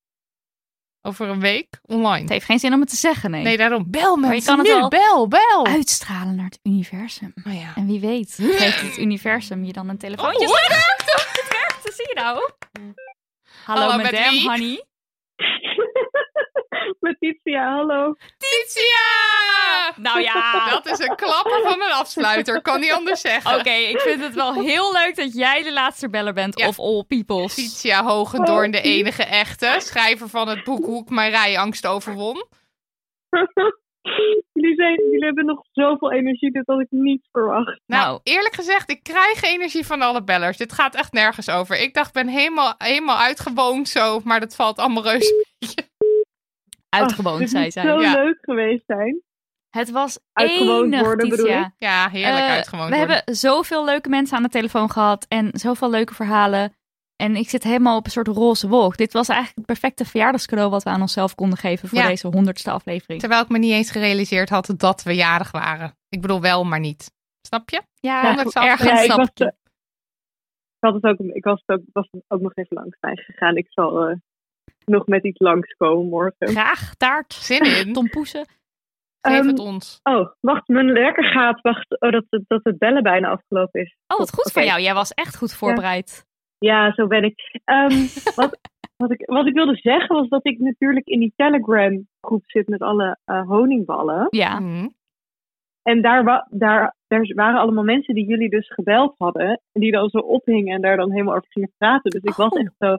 over een week online.
Het heeft geen zin om het te zeggen, nee.
Nee, daarom. Bel
Maar je
mensen
kan het
nu,
wel
bel, bel. Oh
Uitstralen naar het universum.
ja.
En wie weet, geeft het universum je dan een telefoontje.
Oh, het
werkt! Het werkt, zie je nou? Hallo,
Hallo, met
madame,
wie?
honey.
Letitia, hallo.
Titia!
Nou ja.
Dat is een klapper van een afsluiter. Kan niet anders zeggen.
Oké, ik vind het wel heel leuk dat jij de laatste beller bent of all peoples.
Titia Hogendoorn, de enige echte. Schrijver van het boek Hoe ik mijn rijangst overwon.
jullie, zijn, jullie hebben nog zoveel energie, dit had ik niet verwacht.
Nou, eerlijk gezegd, ik krijg energie van alle bellers. Dit gaat echt nergens over. Ik dacht, ik ben helemaal, helemaal uitgewoond zo, maar dat valt allemaal reuze
Uitgewoond,
dit
zei
moet
zij.
zo
Ja.
leuk geweest zijn.
Het was
Uitgewoond
enig,
worden, bedoel
Titia.
ik?
Ja, heerlijk
Eh,
uitgewoond
We
worden.
hebben zoveel leuke mensen aan de telefoon gehad en zoveel leuke verhalen. En ik zit helemaal op een soort roze wolk. Dit was eigenlijk het perfecte verjaardagscadeau wat we aan onszelf konden geven voor
Ja.
deze honderdste aflevering.
Terwijl ik me niet eens gerealiseerd had dat we jarig waren. Ik bedoel wel, maar niet. Snap je?
Ja,
Honderdste
ergens
aflevering.
snap
ik. Was, eh, ik had het ook, ik was, het ook, was het ook nog even langs bij gegaan. Ik zal eh, nog met iets langskomen morgen.
Graag, taart.
Zin in.
Tompoesen.
Geef
Ehm,
het ons.
Oh, wacht, mijn lekker gaat. Wacht, oh, dat, dat het bellen bijna afgelopen is.
Oh, wat goed
Oké.
van jou. Jij was echt goed voorbereid.
Ja, zo ben ik. Ehm, wat, wat ik. Wat ik wilde zeggen was dat ik natuurlijk in die Telegram groep zit met alle eh, honingballen.
Ja.
En daar, wa- daar, daar waren allemaal mensen die jullie dus gebeld hadden. En die dan zo ophingen en daar dan helemaal over gingen praten. Dus ik was echt zo,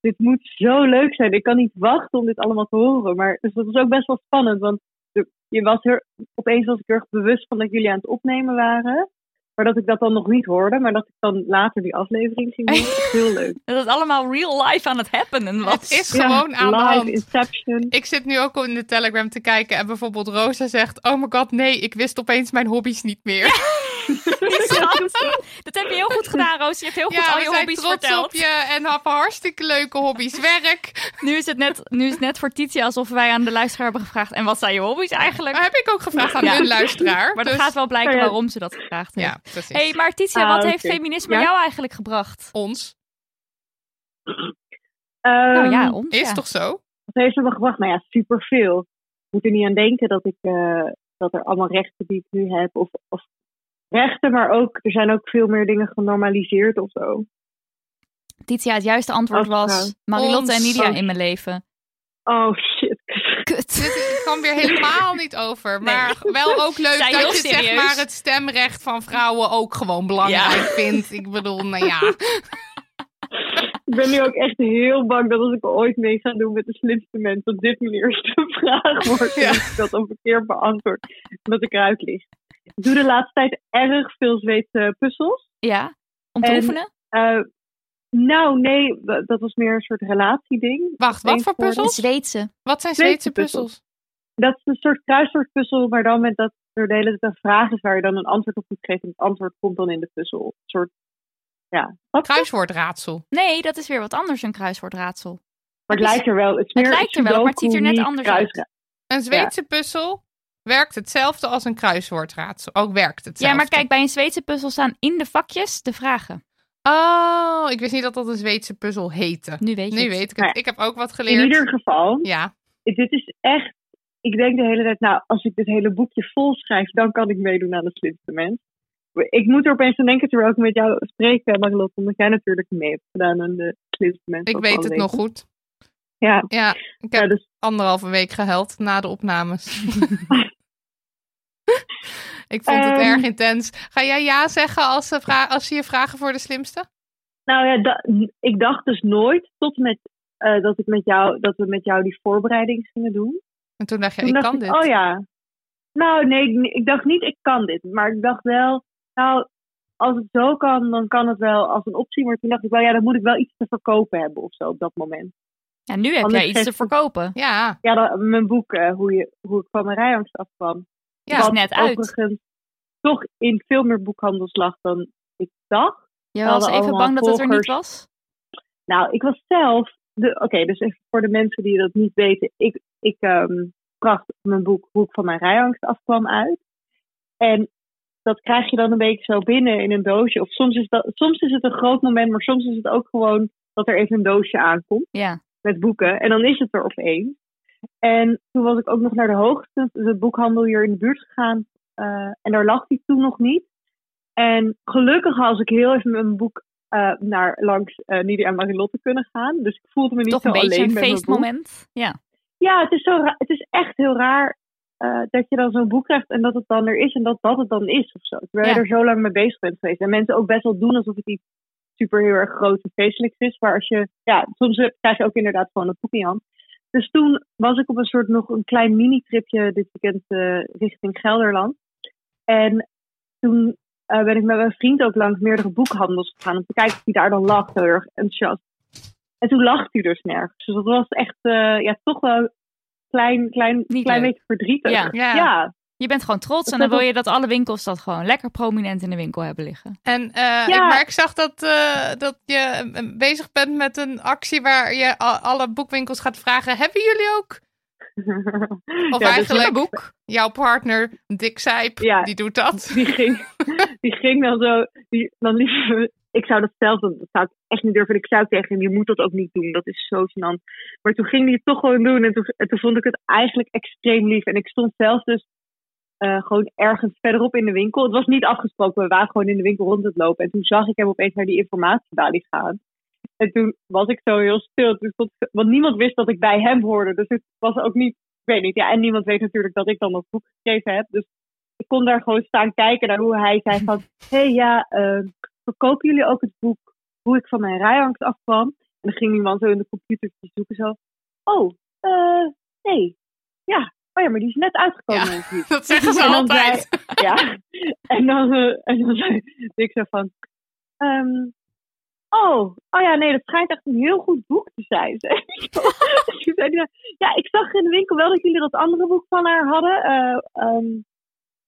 dit moet zo leuk zijn. Ik kan niet wachten om dit allemaal te horen. Maar dus dat was ook best wel spannend. Want er- je was er, opeens was ik heel erg bewust van dat jullie aan het opnemen waren. Maar dat ik dat dan nog niet hoorde. Maar dat ik dan later die aflevering ging doen. Echt Heel leuk.
Dat het allemaal real life aan het happenen was.
Het is gewoon aan de hand.
Inception.
Ik zit nu ook in de Telegram te kijken en bijvoorbeeld Rosa zegt: Oh my god, nee, ik wist opeens mijn hobby's niet meer.
Schat, dat heb je heel goed gedaan, Roos. Je hebt heel goed
Ja, we
al je
zijn
hobby's
trots
verteld.
op je en hebben hartstikke leuke hobby's. Werk.
Nu is, het net, nu is het net voor Titia alsof wij aan de luisteraar hebben gevraagd. En wat zijn je hobby's eigenlijk?
Maar heb ik ook gevraagd aan hun luisteraar,
Maar dat
dus-
gaat wel blijken
Ja, ja.
waarom ze dat gevraagd heeft.
Ja, precies.
hey, maar Titia,
Ah,
wat
oké.
heeft feminisme
Ja?
jou eigenlijk gebracht?
Ons.
nou ja,
Ehm,
ons.
Is
ja.
toch zo?
Wat heeft het me gebracht? Nou ja, superveel. Ik moet er niet aan denken dat, ik, eh, dat er allemaal rechten die ik nu heb. Of, of rechten, maar ook, er zijn ook veel meer dingen genormaliseerd of zo.
Titia, het juiste antwoord
Oh,
was
nou.
Marilotte en
Ons.
Nidia
Oh.
in mijn leven.
Oh shit.
Dit kwam weer helemaal niet over. Maar wel ook leuk
Zij heel
dat je zeg
serieus.
maar het stemrecht van vrouwen ook gewoon belangrijk
Ja.
vindt. Ik bedoel, nou ja.
Ik ben nu ook echt heel bang dat als ik ooit mee ga doen met de slimste mens, dat dit mijn eerste vraag wordt. En dat ik dat dan verkeerd beantwoord. Dat ik eruit lig. Ik doe de laatste tijd erg veel Zweedse puzzels.
Ja, om te
En,
oefenen?
eh, nou, nee, wa- dat was meer een soort relatieding.
Wacht, wat voor puzzels?
Zweedse.
Wat zijn Zweedse puzzels?
Dat is een soort kruiswoordpuzzel, maar dan met dat er de hele tijd een vraag is waar je dan een antwoord op moet geven. En het antwoord komt dan in de puzzel. Een soort, ja.
Kruiswoordraadsel.
Nee, dat is weer wat anders, een kruiswoordraadsel.
Maar het lijkt er wel. Het, is
Het
meer
lijkt er wel, maar het ziet er net
sudoku,
anders
niet
uit.
kruisra-
Een Zweedse puzzel werkt hetzelfde als een kruiswoordraadsel. Ook werkt hetzelfde.
Ja, maar kijk, bij een Zweedse puzzel staan in de vakjes de vragen.
Oh, ik wist niet dat dat een Zweedse puzzel heette.
Nu weet je
Nu
het.
weet ik
Nou
het.
ja.
Ik heb ook wat geleerd.
In ieder geval.
Ja.
Dit is echt. Ik denk de hele tijd, nou, als ik dit hele boekje vol schrijf, dan kan ik meedoen aan de slimste mens. Ik moet er opeens aan denken terwijl ik met jou spreek, eh, Marilotte, omdat jij natuurlijk mee hebt gedaan aan de slimste mens.
Ik
ook
weet
al
het
weten.
nog goed.
Ja. dus-
Ja, ik heb anderhalve week gehuild na de opnames. ik vond het
Ehm.
erg intens. Ga jij ja zeggen als ze, vra- als ze je vragen voor de slimste?
Nou ja, da- ik dacht dus nooit tot en met, eh, dat, ik met jou, dat we met jou die voorbereiding gingen doen.
En toen dacht je,
Toen
ik
dacht
kan
ik,
dit.
Oh ja. Nou, nee, ik, ik dacht niet, ik kan dit. Maar ik dacht wel, nou, als het zo kan, dan kan het wel als een optie. Maar toen dacht ik wel, ja, dan moet ik wel iets te verkopen hebben of zo op dat moment.
Ja, nu heb
Anders
jij iets te
geeft-
verkopen.
Ja.
Ja, dat- mijn boek, eh, hoe, je, hoe ik van mijn rijangst afkwam.
Ja, is net uit.
overigens toch in veel meer boekhandels lag dan ik dacht.
Je
We hadden
was even
allemaal
bang dat het er niet
volgers.
was?
Nou, ik was zelf. de- Oké, dus even voor de mensen die dat niet weten. Ik, ik ehm, bracht mijn boek Hoe ik van mijn rijangst afkwam uit. En dat krijg je dan een beetje zo binnen in een doosje. Of soms is, dat, soms is het een groot moment, maar soms is het ook gewoon dat er even een doosje aankomt
Ja.
met boeken. En dan is het er opeens. En toen was ik ook nog naar de Dus hoogste de boekhandel hier in de buurt gegaan. eh, en daar lag die toen nog niet. En gelukkig had ik heel even mijn boek eh, naar langs eh Nidia en Marilotte kunnen gaan. Dus ik voelde me niet
Toch
zo
een beetje
alleen
een
met mijn boek.
feestmoment. Ja.
Ja, het is, zo ra- het is echt heel raar eh, dat je dan zo'n boek krijgt en dat het dan er is en dat dat het dan is of zo. Terwijl
Ja.
je er zo lang mee bezig bent geweest. En mensen ook best wel doen alsof het iets super heel erg groot en feestelijks is. Maar als je, ja, soms heb- krijg je ook inderdaad gewoon een boek in je hand. Dus toen was ik op een soort nog een klein mini-tripje dit weekend eh, richting Gelderland. En toen eh, ben ik met mijn vriend ook langs meerdere boekhandels gegaan om te kijken of hij daar dan lag, heel erg enthousiast. En toen lag hij dus nergens. Dus dat was echt eh, ja, toch wel een klein, klein, klein
leuk.
beetje verdrietig.
Ja.
ja.
Je bent gewoon trots
Dat
en dan
dat
wil je
ook-
dat alle winkels dat gewoon lekker prominent in de winkel hebben liggen.
En, eh, ik, maar ik zag dat, eh, dat je eh, bezig bent met een actie waar je a- alle boekwinkels gaat vragen: hebben jullie ook? Of
Ja, dus mijn
eigenlijk boek. jouw partner, Dick Zijp, die doet dat.
Die ging, die ging dan zo. Die, dan liep, ik zou dat zelf doen. Dat zou ik echt niet durven. Ik zou tegen hem, je moet dat ook niet doen. Dat is zo gênant. Maar toen ging hij het toch gewoon doen. En toen, en toen vond ik het eigenlijk extreem lief. En ik stond zelf dus eh, gewoon ergens verderop in de winkel. Het was niet afgesproken. We waren gewoon in de winkel rond het lopen. En toen zag ik hem opeens naar die informatiebalie gaan. En toen was ik zo heel stil. Toen stond, want niemand wist dat ik bij hem hoorde. Dus het was ook niet, ik weet niet. Ja, en niemand weet natuurlijk dat ik dan dat boek geschreven heb. Dus ik kon daar gewoon staan kijken naar hoe hij zei van... Hé hey, ja, eh, verkopen jullie ook het boek Hoe ik van mijn rijangst afkwam? En dan ging iemand zo in de computer zoeken zo... Oh, eh, nee. Ja, oh ja, maar die is net uitgekomen. natuurlijk.
dat zeggen ze
En dan
altijd.
zei- ja, en dan, eh, en dan zei ik zo van... ehm, Oh, oh ja, nee, dat schijnt echt een heel goed boek te zijn. zei ik. Dus toen zei hij, ja, ik zag in de winkel wel dat jullie dat andere boek van haar hadden. eh, ehm,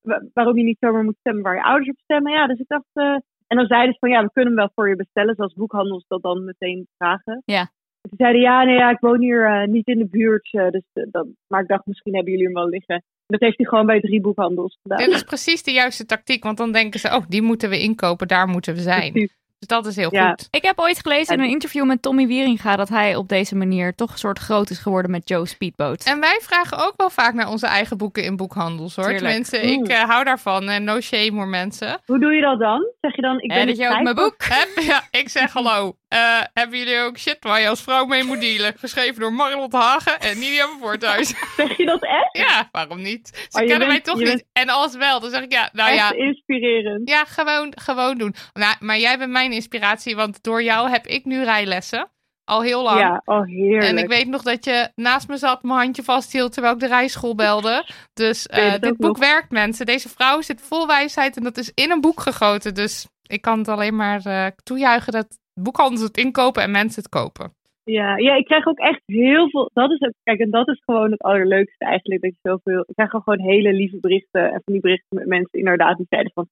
wa- waarom je niet zomaar moet stemmen waar je ouders op stemmen. Ja, dus ik dacht... eh, en dan zeiden ze van, ja, we kunnen hem wel voor je bestellen. Zoals boekhandels dat dan meteen vragen.
Ja.
En Toen zeiden ja, nee, ja, ik woon hier eh, niet in de buurt. eh, dus, eh, dat, maar ik dacht, misschien hebben jullie hem wel liggen. Dat heeft hij gewoon bij drie boekhandels gedaan.
Dit is precies de juiste tactiek, want dan denken ze: oh, die moeten we inkopen, daar moeten we zijn. Dus dat is heel goed.
Ik heb ooit gelezen in een interview met Tommy Wieringa dat hij op deze manier toch een soort groot is geworden met Joe Speedboat.
En wij vragen ook wel vaak naar onze eigen boeken in boekhandels hoor.
Tuurlijk.
Tenminste, ik eh, hou daarvan. En no shame hoor mensen.
Hoe doe je dat dan? Zeg je dan, ik
Eh,
ben
dat
de
je ook
tijd-
mijn Heb- ja, ik zeg hallo. Eh, hebben jullie ook shit waar je als vrouw mee moet dealen? Geschreven door Marilot Hagen en Nidia van Voorthuis.
Zeg je dat echt?
Ja, waarom niet? Ze
Oh, je
kennen mij
bent-
toch
je
niet.
bent-
En als wel, dan zeg ik ja, nou
Echt
ja.
inspirerend.
Ja, gewoon, gewoon doen. Nou, maar jij bent mijn inspiratie, want door jou heb ik nu rijlessen. Al heel lang.
Ja, oh heerlijk.
En ik weet nog dat je naast me zat, mijn handje vasthield terwijl ik de rijschool belde. Dus eh,
Weet het
dit
ook nog.
boek werkt, mensen. Deze vrouw zit vol wijsheid en dat is in een boek gegoten. Dus ik kan het alleen maar eh, toejuichen dat boekhandels het inkopen en mensen het kopen.
Ja, ja, ik krijg ook echt heel veel. Dat is ook, kijk, en dat is gewoon het allerleukste eigenlijk. Dat je zoveel. Ik krijg ook gewoon hele lieve berichten. En van die berichten met mensen inderdaad die zeiden van.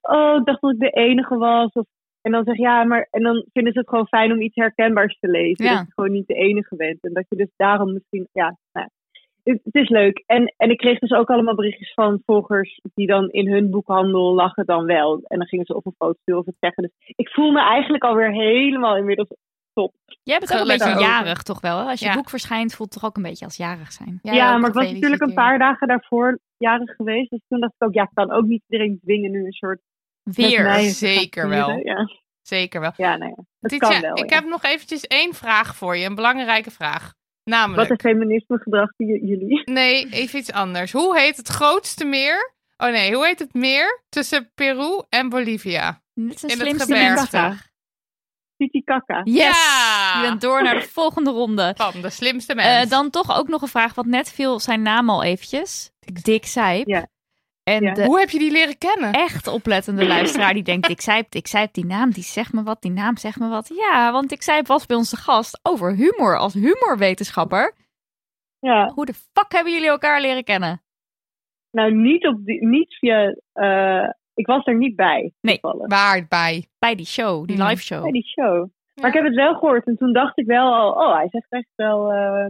Oh, ik dacht dat ik de enige was. Of, en dan zeg je, ja, maar. En dan vinden ze het gewoon fijn om iets herkenbaars te lezen.
Ja.
Dat je gewoon niet de enige bent. En dat je dus daarom misschien. Ja, nou, ja. het, het is leuk. En, en ik kreeg dus ook allemaal berichtjes van volgers die dan in hun boekhandel lachen dan wel. En dan gingen ze op een foto sturen of het zeggen. Dus ik voel me eigenlijk alweer helemaal inmiddels top.
Jij bent ook een
Gelukkig
beetje
over.
jarig toch wel? Hè? Als je
Ja.
boek verschijnt voelt het toch ook een beetje als jarig zijn.
Ja, maar ik was natuurlijk een paar dagen daarvoor jarig geweest. Dus toen dacht ik ook, ja, ik kan ook niet iedereen dwingen nu een soort... met
Weer,
mij te gaan
zeker wel.
vieren. Ja.
Zeker wel.
Ja, nou ja. Het
Titia,
kan wel,
ik
ja.
heb nog eventjes één vraag voor je, een belangrijke vraag.
Wat
Namelijk,
een feminisme gedrag die j- jullie...
nee, even iets anders. Hoe heet het grootste meer? Oh nee, hoe heet het meer tussen Peru en Bolivia?
Dit is een
in het
slimste
gebergte.
vraag.
Titicaca.
Yes!
Ja!
Je bent door naar de volgende ronde. Eh,
Van de slimste
dan toch ook nog een vraag, want net viel zijn naam al eventjes. Dick Zijp. En de
Hoe heb je die leren kennen?
Echt oplettende luisteraar die denkt, ik zei, ik zei die naam, die zegt me wat, die naam zegt me wat. Ja, want ik zei was bij onze gast over humor als humorwetenschapper.
Ja.
Hoe de fuck hebben jullie elkaar leren kennen?
Nou, niet, op die, niet via. eh, ik was er niet bij. Mhm.
Nee.
Waar bij?
Bij die show, die live show.
Bij die show. Maar ik heb het wel gehoord en toen dacht ik wel al, oh, hij zegt echt wel eh,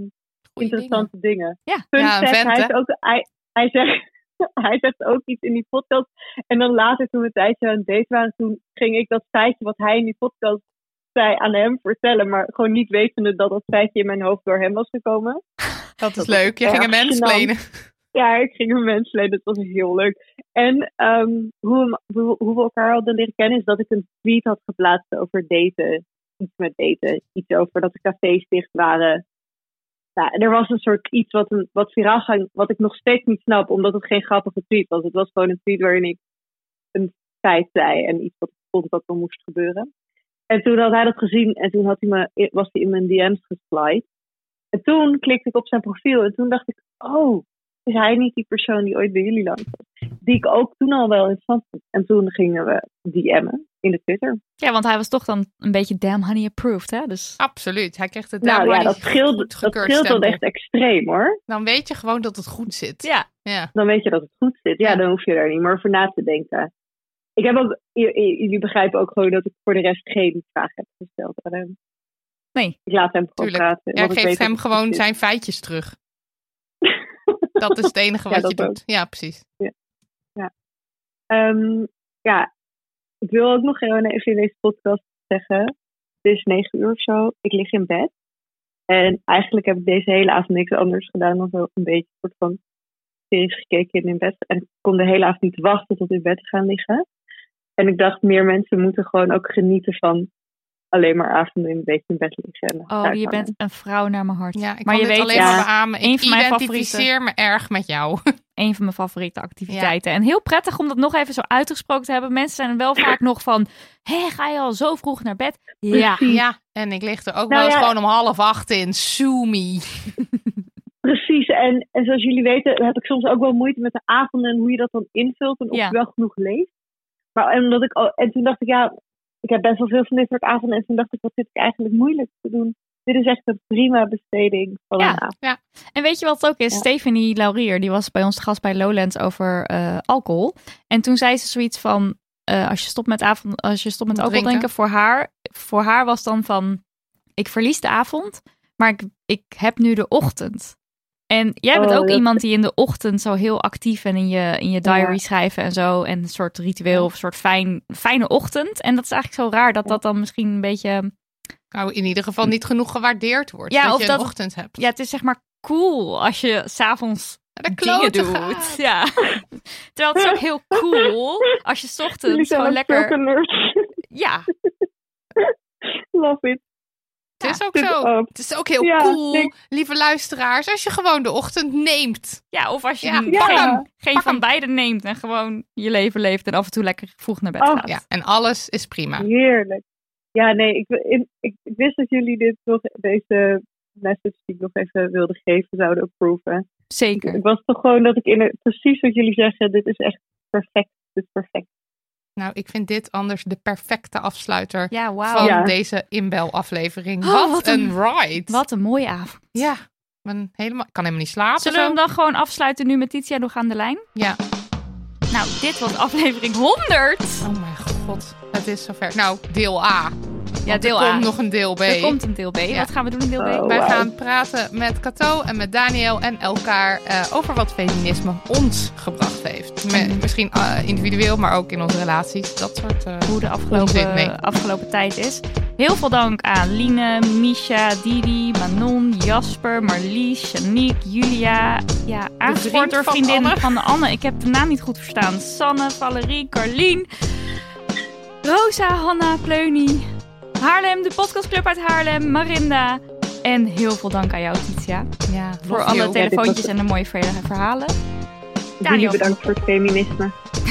interessante dingen.
Ja,
Fun
Ja, een
fact,
vent,
hij,
hè?
is ook, hij, hij, zegt, hij zegt ook iets in die podcast. En dan later, toen we een tijdje aan het date waren, toen ging ik dat feitje wat hij in die podcast zei aan hem vertellen. Maar gewoon niet wetende dat dat feitje in mijn hoofd door hem was gekomen.
Dat is leuk. Je ging een
erg
mens plenen.
Ja, ik ging een mens leden. Dat was heel leuk. En ehm, hoe, we, hoe- hoe we elkaar hadden leren kennen is dat ik een tweet had geplaatst over daten. Iets met daten. Iets over dat de cafés dicht waren. Ja, en er was een soort iets wat, een, wat viraal ging, wat ik nog steeds niet snap, omdat het geen grappige tweet was. Het was gewoon een tweet waarin ik een feit zei en iets wat ik vond dat er moest gebeuren. En toen had hij dat gezien en toen had hij me, was hij in mijn DM's geslide. En toen klikte ik op zijn profiel en toen dacht ik, oh, is hij niet die persoon die ooit bij jullie langs was? Die ik ook toen al wel interessant vond. En toen gingen we DM'en in de Twitter.
Ja, want hij was toch dan een beetje damn honey approved, hè? Dus...
Absoluut. Hij kreeg de
nou ja,
Damn
dat
Honey
scheelt, dat
goedgekeurd
scheelt dan
stempel.
echt extreem hoor.
Dan weet je gewoon dat het goed zit.
Ja.
ja.
Dan weet je dat het goed zit. Ja, dan hoef je daar niet meer over na te denken. Ik heb ook, j- j- jullie begrijpen ook gewoon dat ik voor de rest geen vraag heb gesteld aan hem.
Nee.
Ik laat hem gewoon
Tuurlijk.
praten.
Jij
want ik weet
geeft
dat
hem
het goed
gewoon
zit.
zijn feitjes terug. dat is het enige
Ja,
wat
dat
je doet.
ook.
Ja, precies.
Ja. Ehm, ja, ik wil ook nog gewoon even in deze podcast zeggen. Het is negen uur of zo. Ik lig in bed. En eigenlijk heb ik deze hele avond niks anders gedaan dan zo een beetje een soort van series gekeken en in bed. En ik kon de hele avond niet wachten tot in bed te gaan liggen. En ik dacht, meer mensen moeten gewoon ook genieten van alleen maar avonden een beetje in bed liggen. en
Oh,
uithangen.
je bent een vrouw naar mijn hart.
Ja, ik
maar
kan
je
dit
weet, dus-
alleen maar beamen.
een
Ik
van mijn
identificeer
favoriete,
me erg met jou.
een van mijn favoriete activiteiten. En heel prettig om dat nog even zo uitgesproken te hebben. Mensen zijn er wel vaak nog van, hé, ga je al zo vroeg naar bed? Ja.
ja. En ik lig er
Nou
ook wel eens
ja.
gewoon om half acht in. Sumi.
Precies, en, en zoals jullie weten heb ik soms ook wel moeite met de avonden en hoe je dat dan invult en of
Ja.
je wel genoeg leest. Maar en omdat ik al, en toen dacht ik, ja, ik heb best wel veel van dit soort avonden en toen dacht ik, wat zit ik eigenlijk moeilijk te doen? Dit is echt een prima besteding van een avond.
Ja.
En weet je wat het ook is? Stephanie Laurier, die was bij ons te gast bij Lowlands over eh, alcohol. En toen zei ze zoiets van, eh, als je stopt met, avond, als je stopt met alcohol
Drinken.
drinken, voor haar, voor haar was dan van, ik verlies de avond, maar ik, ik heb nu de ochtend. En jij bent
Oh,
ook
dat-
iemand die in de ochtend zo heel actief en in je, in je diary
Ja.
schrijven en zo. En een soort ritueel of een soort fijn, fijne ochtend. En dat is eigenlijk zo raar dat dat dan misschien een beetje...
Nou, in ieder geval niet genoeg gewaardeerd wordt.
Ja,
dat
of
je
dat-
een ochtend hebt.
Ja, het is zeg maar cool als je s'avonds dingen
kloten
doet. Ja. Terwijl het is ook heel cool als je 's
Jullie
ochtends
zijn
eh, gewoon
ook
lekker...
zulke nerds.
Ja.
Love it.
Het is ook
dit
zo.
ook.
Het is ook heel
Ja,
cool,
ik-
lieve luisteraars, als je gewoon de ochtend neemt.
Ja, of als je
Ja,
geen,
pak hem.
geen van beide neemt en gewoon je leven leeft en af en toe lekker vroeg naar bed
Oh.
gaat.
Ja, en alles is prima.
Heerlijk. Ja, nee, ik, wi- in- ik, ik wist dat jullie dit nog, deze message die ik nog even wilde geven zouden approven.
Zeker.
Ik was toch gewoon dat ik in precies wat jullie zeggen, dit is echt perfect. Dit is perfect.
Nou, ik vind dit anders de perfecte afsluiter
Ja, wauw.
van
Ja.
deze inbelaflevering.
Oh,
wat,
wat
een,
een-
ride.
Wat een mooie avond.
Ja, ik ben helemaal, ik kan helemaal niet slapen.
Zullen we hem
zo.
dan gewoon afsluiten nu met Titia nog aan de lijn?
Ja.
Nou, dit was aflevering 100.
Oh mijn god, het is zover. Nou, deel A.
Ja, deel
er
A.
komt nog een deel B.
Er komt een deel B.
Ja.
Wat gaan we doen in deel B?
Wij gaan praten met Cato en met Daniel en elkaar eh, over wat feminisme ons gebracht heeft. Me- misschien eh, individueel, maar ook in onze relaties. Dat soort eh
hoe de
onzin. Nee.
afgelopen, afgelopen tijd is. Heel veel dank aan Line, Misha, Didi, Manon, Jasper, Marlies, Janique, Julia. Ja, aangespoord
van
vriendin
Anne.
van Anne. Ik heb de naam niet goed verstaan. Sanne, Valerie, Carlien, Rosa, Hanna, Pleunie, Haarlem, de podcastclub uit Haarlem, Marinda. En heel veel dank aan jou, Titia.
Ja,
voor
love you.
alle
Ja, dit was
telefoontjes
het.
en de mooie ver- verhalen.
jullie
Daniel,
bedankt voor het feminisme.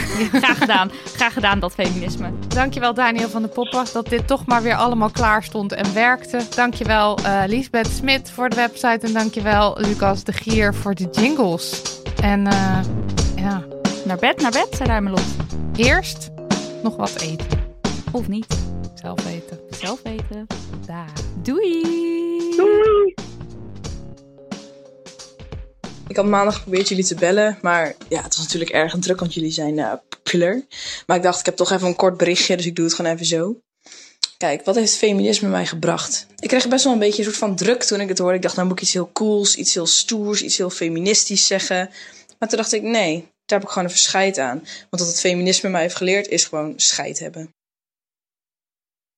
graag gedaan. Graag gedaan, dat feminisme.
Dankjewel Daniel van de Poppen dat dit toch maar weer allemaal klaar stond en werkte. Dankjewel eh Liesbeth Smit voor de website en dankjewel Lucas de Gier voor de jingles. En eh, ja,
Naar bed, naar bed, zei Ruimelot.
Eerst nog wat eten.
Of niet.
Zelf weten.
Zelf weten.
Daar.
Doei!
Doei! Ik had maandag geprobeerd jullie te bellen, maar ja, het was natuurlijk erg druk, want jullie zijn eh, populair. Maar ik dacht, ik heb toch even een kort berichtje, dus ik doe het gewoon even zo. Kijk, wat heeft feminisme mij gebracht? Ik kreeg best wel een beetje een soort van druk toen ik het hoorde. Ik dacht, nou moet ik iets heel cools, iets heel stoers, iets heel feministisch zeggen. Maar toen dacht ik, nee, daar heb ik gewoon een verscheid aan. Want wat het feminisme mij heeft geleerd, is gewoon scheid hebben.